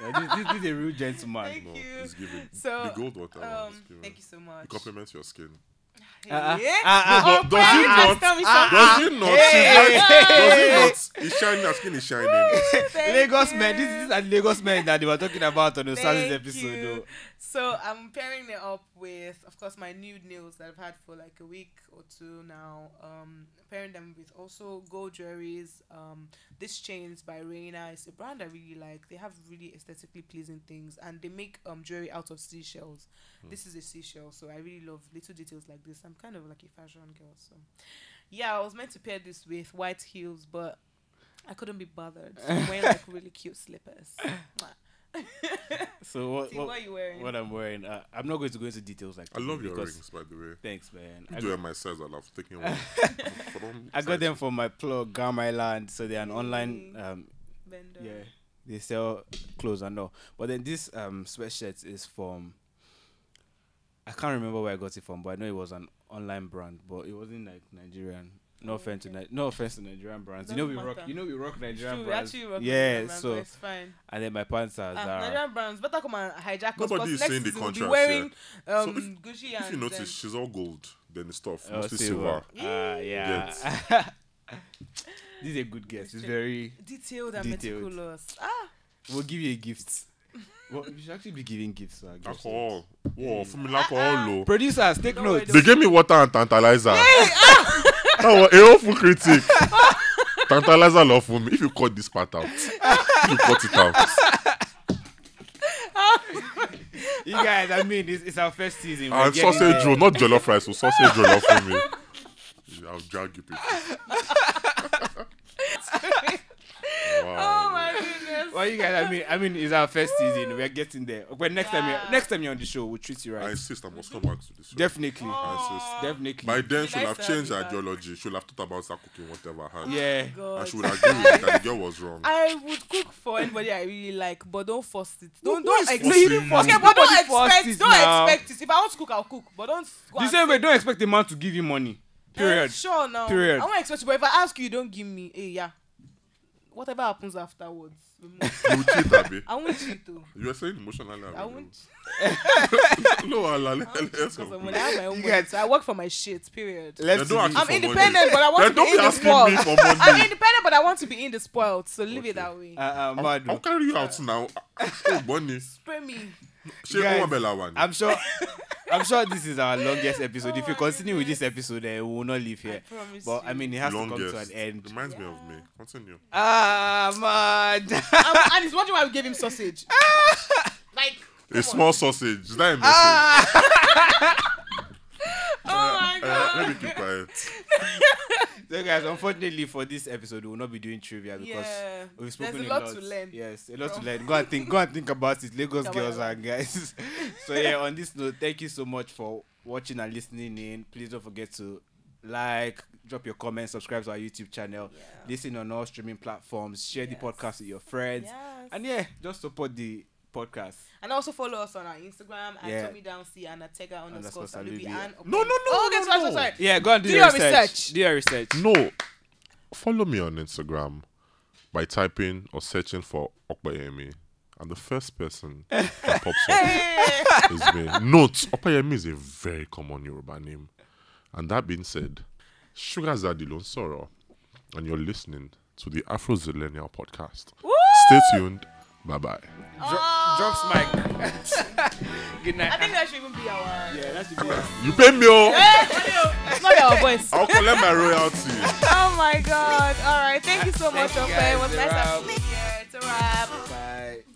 [SPEAKER 2] Yeah, this, this, this is a real gentleman.
[SPEAKER 1] Thank
[SPEAKER 3] No,
[SPEAKER 1] you.
[SPEAKER 3] it's given.
[SPEAKER 1] So,
[SPEAKER 3] the gold water one is
[SPEAKER 1] Um,
[SPEAKER 3] given.
[SPEAKER 1] thank you so much.
[SPEAKER 3] It complements your skin.
[SPEAKER 2] Uh, uh,
[SPEAKER 1] yeah.
[SPEAKER 2] uh,
[SPEAKER 3] No,
[SPEAKER 1] Oh,
[SPEAKER 3] do-
[SPEAKER 1] Brian,
[SPEAKER 3] does it
[SPEAKER 1] ask
[SPEAKER 3] not?
[SPEAKER 1] them if
[SPEAKER 2] Ah,
[SPEAKER 1] I'm-
[SPEAKER 3] Does it not?
[SPEAKER 2] Hey!
[SPEAKER 3] Does it not? It's shining. Her skin is shining.
[SPEAKER 1] Thank
[SPEAKER 2] Lagos
[SPEAKER 1] you.
[SPEAKER 2] men. This is the Lagos men that they were talking about on the Saturday's
[SPEAKER 1] Thank
[SPEAKER 2] episode. oh.
[SPEAKER 1] you.
[SPEAKER 2] though.
[SPEAKER 1] So I'm pairing it up with, of course, my new nails that I've had for like a week or two now. Um, pairing them with also gold jewelries. Um, this chains by Reina. It's a brand I really like. They have really aesthetically pleasing things, and they make um jewelry out of seashells.
[SPEAKER 2] Hmm.
[SPEAKER 1] This is a seashell, so I really love little details like this. I'm kind of like a fashion girl, so yeah, I was meant to pair this with white heels, but. I couldn't be bothered. So I'm wearing like really cute slippers. Mwah.
[SPEAKER 2] So what,
[SPEAKER 1] See,
[SPEAKER 2] what
[SPEAKER 1] what are you wearing?
[SPEAKER 2] what I'm wearing? Uh, I'm not going to go into details like.
[SPEAKER 3] I
[SPEAKER 2] that
[SPEAKER 3] love your
[SPEAKER 2] because-
[SPEAKER 3] rings, by the way.
[SPEAKER 2] Thanks, man.
[SPEAKER 3] You
[SPEAKER 2] I
[SPEAKER 3] do
[SPEAKER 2] got-
[SPEAKER 3] have my size. I love taking one. For them
[SPEAKER 2] I got them
[SPEAKER 3] size-
[SPEAKER 2] from my plug, Gam Island. So they're an
[SPEAKER 1] Mm,
[SPEAKER 2] online
[SPEAKER 1] Really?
[SPEAKER 2] um,
[SPEAKER 1] Bender.
[SPEAKER 2] yeah they sell clothes and all but then this um sweatshirt is from i can't remember where i got it from but i know it was an online brand but it wasn't like nigerian no
[SPEAKER 1] Oh,
[SPEAKER 2] offense
[SPEAKER 1] okay.
[SPEAKER 2] to Ni- no offense to nigerian brands you know we
[SPEAKER 1] Doesn't
[SPEAKER 2] rock
[SPEAKER 1] matter.
[SPEAKER 2] you know we rock nigerian
[SPEAKER 1] True, we
[SPEAKER 2] brands
[SPEAKER 1] actually rock
[SPEAKER 2] yeah
[SPEAKER 1] Nigerian brands,
[SPEAKER 2] so
[SPEAKER 1] but it's fine.
[SPEAKER 2] and then my pants are
[SPEAKER 1] Uh,
[SPEAKER 2] zara
[SPEAKER 1] Nigerian brands better come and hijack us.
[SPEAKER 3] Nobody
[SPEAKER 1] Nobody
[SPEAKER 3] is
[SPEAKER 1] next
[SPEAKER 3] saying the
[SPEAKER 1] season we'll be
[SPEAKER 3] contrast,
[SPEAKER 1] wearing
[SPEAKER 3] yeah.
[SPEAKER 1] um,
[SPEAKER 3] So if-
[SPEAKER 1] Gucci and
[SPEAKER 3] If you
[SPEAKER 1] them.
[SPEAKER 3] notice, she's all gold. Then the stuff
[SPEAKER 2] Oh,
[SPEAKER 3] mostly silver.
[SPEAKER 2] Ah, yeah this is a good guess it's very
[SPEAKER 1] um, detailed and
[SPEAKER 2] Detailed.
[SPEAKER 1] meticulous. Ah,
[SPEAKER 2] we'll give you a gift well we should actually be giving gifts to our guests.
[SPEAKER 3] Alcohol. Whoa,
[SPEAKER 2] Mm.
[SPEAKER 3] for me, alcohol
[SPEAKER 2] Uh-uh.
[SPEAKER 3] low.
[SPEAKER 2] producers take
[SPEAKER 1] Don't worry,
[SPEAKER 2] notes
[SPEAKER 3] oh. They gave me water and tantalizer.
[SPEAKER 2] ah!
[SPEAKER 3] that was a awful critic. tantalizer love for me. If you cut this part out, if you cut it out.
[SPEAKER 2] you guys i mean it's, it's our first season we're
[SPEAKER 3] And
[SPEAKER 2] getting
[SPEAKER 3] Ah, sausage
[SPEAKER 2] there.
[SPEAKER 3] roll, not jollof rice, so sausage roll love for me. I'll drag you people.
[SPEAKER 1] oh
[SPEAKER 3] Wow.
[SPEAKER 1] my goodness.
[SPEAKER 2] Why for you guys, I mean, I mean, it's our first season. We're getting there. But next time,
[SPEAKER 4] Yeah.
[SPEAKER 1] Ah.
[SPEAKER 2] you're, next time you're on the show, we'll treat you
[SPEAKER 3] I
[SPEAKER 2] right.
[SPEAKER 3] insist I must come back to this show.
[SPEAKER 1] Oh
[SPEAKER 2] Definitely,
[SPEAKER 3] I insist.
[SPEAKER 2] definitely.
[SPEAKER 3] By then,
[SPEAKER 4] Nice
[SPEAKER 3] she'll have
[SPEAKER 4] to have
[SPEAKER 3] changed
[SPEAKER 4] you
[SPEAKER 3] her
[SPEAKER 4] back.
[SPEAKER 3] ideology. She'll have thought about start cooking whatever hand.
[SPEAKER 2] yeah.
[SPEAKER 3] And
[SPEAKER 1] Oh, God.
[SPEAKER 3] she would agree with me that the girl was wrong.
[SPEAKER 1] I would cook for anybody I really like, but don't force it.
[SPEAKER 2] Who-
[SPEAKER 1] Don't
[SPEAKER 2] who is
[SPEAKER 1] don't expect.
[SPEAKER 2] forcing you?
[SPEAKER 1] Okay, but
[SPEAKER 2] Nobody
[SPEAKER 1] don't
[SPEAKER 2] forced
[SPEAKER 1] expect.
[SPEAKER 2] it
[SPEAKER 1] Don't
[SPEAKER 2] now.
[SPEAKER 1] expect it. If I want to cook, I'll cook, but don't. go
[SPEAKER 2] The
[SPEAKER 1] and-
[SPEAKER 2] same way, don't expect a man to give you money.
[SPEAKER 1] Eh,
[SPEAKER 2] Period.
[SPEAKER 1] Sure, now.
[SPEAKER 2] Period.
[SPEAKER 1] I won't expect you, but if I ask you, you don't give me. Hey, yeah. Whatever happens afterwards,
[SPEAKER 3] you would cheat, Abby.
[SPEAKER 1] I won't cheat though.
[SPEAKER 3] You were saying emotionally. Abby.
[SPEAKER 1] I won't.
[SPEAKER 3] No, Allah, let- let's
[SPEAKER 1] Because
[SPEAKER 3] go.
[SPEAKER 1] of money. I have my own
[SPEAKER 2] You
[SPEAKER 1] money.
[SPEAKER 2] guys-
[SPEAKER 1] So I work for my shit. Period.
[SPEAKER 2] Let's
[SPEAKER 3] Then
[SPEAKER 2] do
[SPEAKER 3] don't ask
[SPEAKER 1] I'm
[SPEAKER 2] this.
[SPEAKER 3] for money.
[SPEAKER 1] independent, but I want to
[SPEAKER 3] Then
[SPEAKER 1] be
[SPEAKER 3] don't be
[SPEAKER 1] in the
[SPEAKER 3] asking me
[SPEAKER 1] spoiled.
[SPEAKER 3] for
[SPEAKER 1] I'm
[SPEAKER 3] money.
[SPEAKER 1] independent, but I want to be in the spoiled. So leave it
[SPEAKER 3] Okay.
[SPEAKER 1] that way.
[SPEAKER 2] Uh, uh, Madu,
[SPEAKER 3] I'll carry you out now. Oh, money.
[SPEAKER 1] Spray me.
[SPEAKER 3] She
[SPEAKER 2] Guys,
[SPEAKER 3] won't bella one.
[SPEAKER 2] I'm sure. I'm sure this is our longest episode.
[SPEAKER 1] Oh
[SPEAKER 2] if you
[SPEAKER 1] my
[SPEAKER 2] continue with this episode, eh, we will not leave here.
[SPEAKER 1] promise
[SPEAKER 2] but I
[SPEAKER 1] you.
[SPEAKER 2] mean, it has to come
[SPEAKER 3] Longest.
[SPEAKER 2] to an end.
[SPEAKER 3] Reminds me of me. Continue.
[SPEAKER 2] Ah, man.
[SPEAKER 1] And- and he's wondering why we gave him sausage. like,
[SPEAKER 3] A small sausage. Is that a message?
[SPEAKER 1] oh my
[SPEAKER 3] Uh,
[SPEAKER 1] god.
[SPEAKER 3] let me keep quiet.
[SPEAKER 2] so, guys, unfortunately for this episode, we will not be doing trivia because
[SPEAKER 1] Yeah.
[SPEAKER 2] we've
[SPEAKER 1] There's
[SPEAKER 2] spoken
[SPEAKER 1] a lot to learn
[SPEAKER 2] Yes, a lot
[SPEAKER 1] from-
[SPEAKER 2] to learn. Go and think. Go and think about it, Lagos
[SPEAKER 1] Come
[SPEAKER 2] girls
[SPEAKER 1] on.
[SPEAKER 2] and guys. so yeah, on this note, thank you so much for watching and listening in. Please don't forget to like, drop your comments, subscribe to our YouTube channel,
[SPEAKER 1] Yeah.
[SPEAKER 2] listen on all streaming platforms, share
[SPEAKER 1] Yes.
[SPEAKER 2] the podcast with your friends,
[SPEAKER 1] Yes. Oh,
[SPEAKER 2] and yeah, just support the podcast.
[SPEAKER 1] And also follow us on our Instagram at
[SPEAKER 2] Yeah.
[SPEAKER 1] Tommy Down C and at Tega underscore
[SPEAKER 2] Underscore
[SPEAKER 1] Salubi.
[SPEAKER 2] Salubi.
[SPEAKER 1] And
[SPEAKER 3] No, no, no,
[SPEAKER 1] Oh, okay,
[SPEAKER 3] no,
[SPEAKER 1] sorry,
[SPEAKER 3] no.
[SPEAKER 1] sorry, sorry.
[SPEAKER 2] Yeah, go and do,
[SPEAKER 1] Do
[SPEAKER 2] your,
[SPEAKER 1] your
[SPEAKER 2] research.
[SPEAKER 1] research.
[SPEAKER 2] Do your research.
[SPEAKER 3] No. Follow me on Instagram by typing or searching for Okpayemi. And the first person that pops up is me. Note, Okpayemi is a very common Yoruba name. And that being said, Sugar Zaddy Lonsoro, and you're listening to the Afro Zillennial podcast. Stay tuned. Bye bye.
[SPEAKER 2] Dro- Drops mic. Good night.
[SPEAKER 1] I think that should even be our.
[SPEAKER 2] yeah, that's the best.
[SPEAKER 3] You pay me, oh!
[SPEAKER 1] It's not our voice.
[SPEAKER 3] I'll collect my royalties.
[SPEAKER 1] Oh my god. All right. Thank you so much,
[SPEAKER 2] Thank you
[SPEAKER 1] Ofe. It was
[SPEAKER 2] guys. It's a
[SPEAKER 1] nice
[SPEAKER 2] wrap.
[SPEAKER 1] having you here. It's a wrap.
[SPEAKER 2] Bye.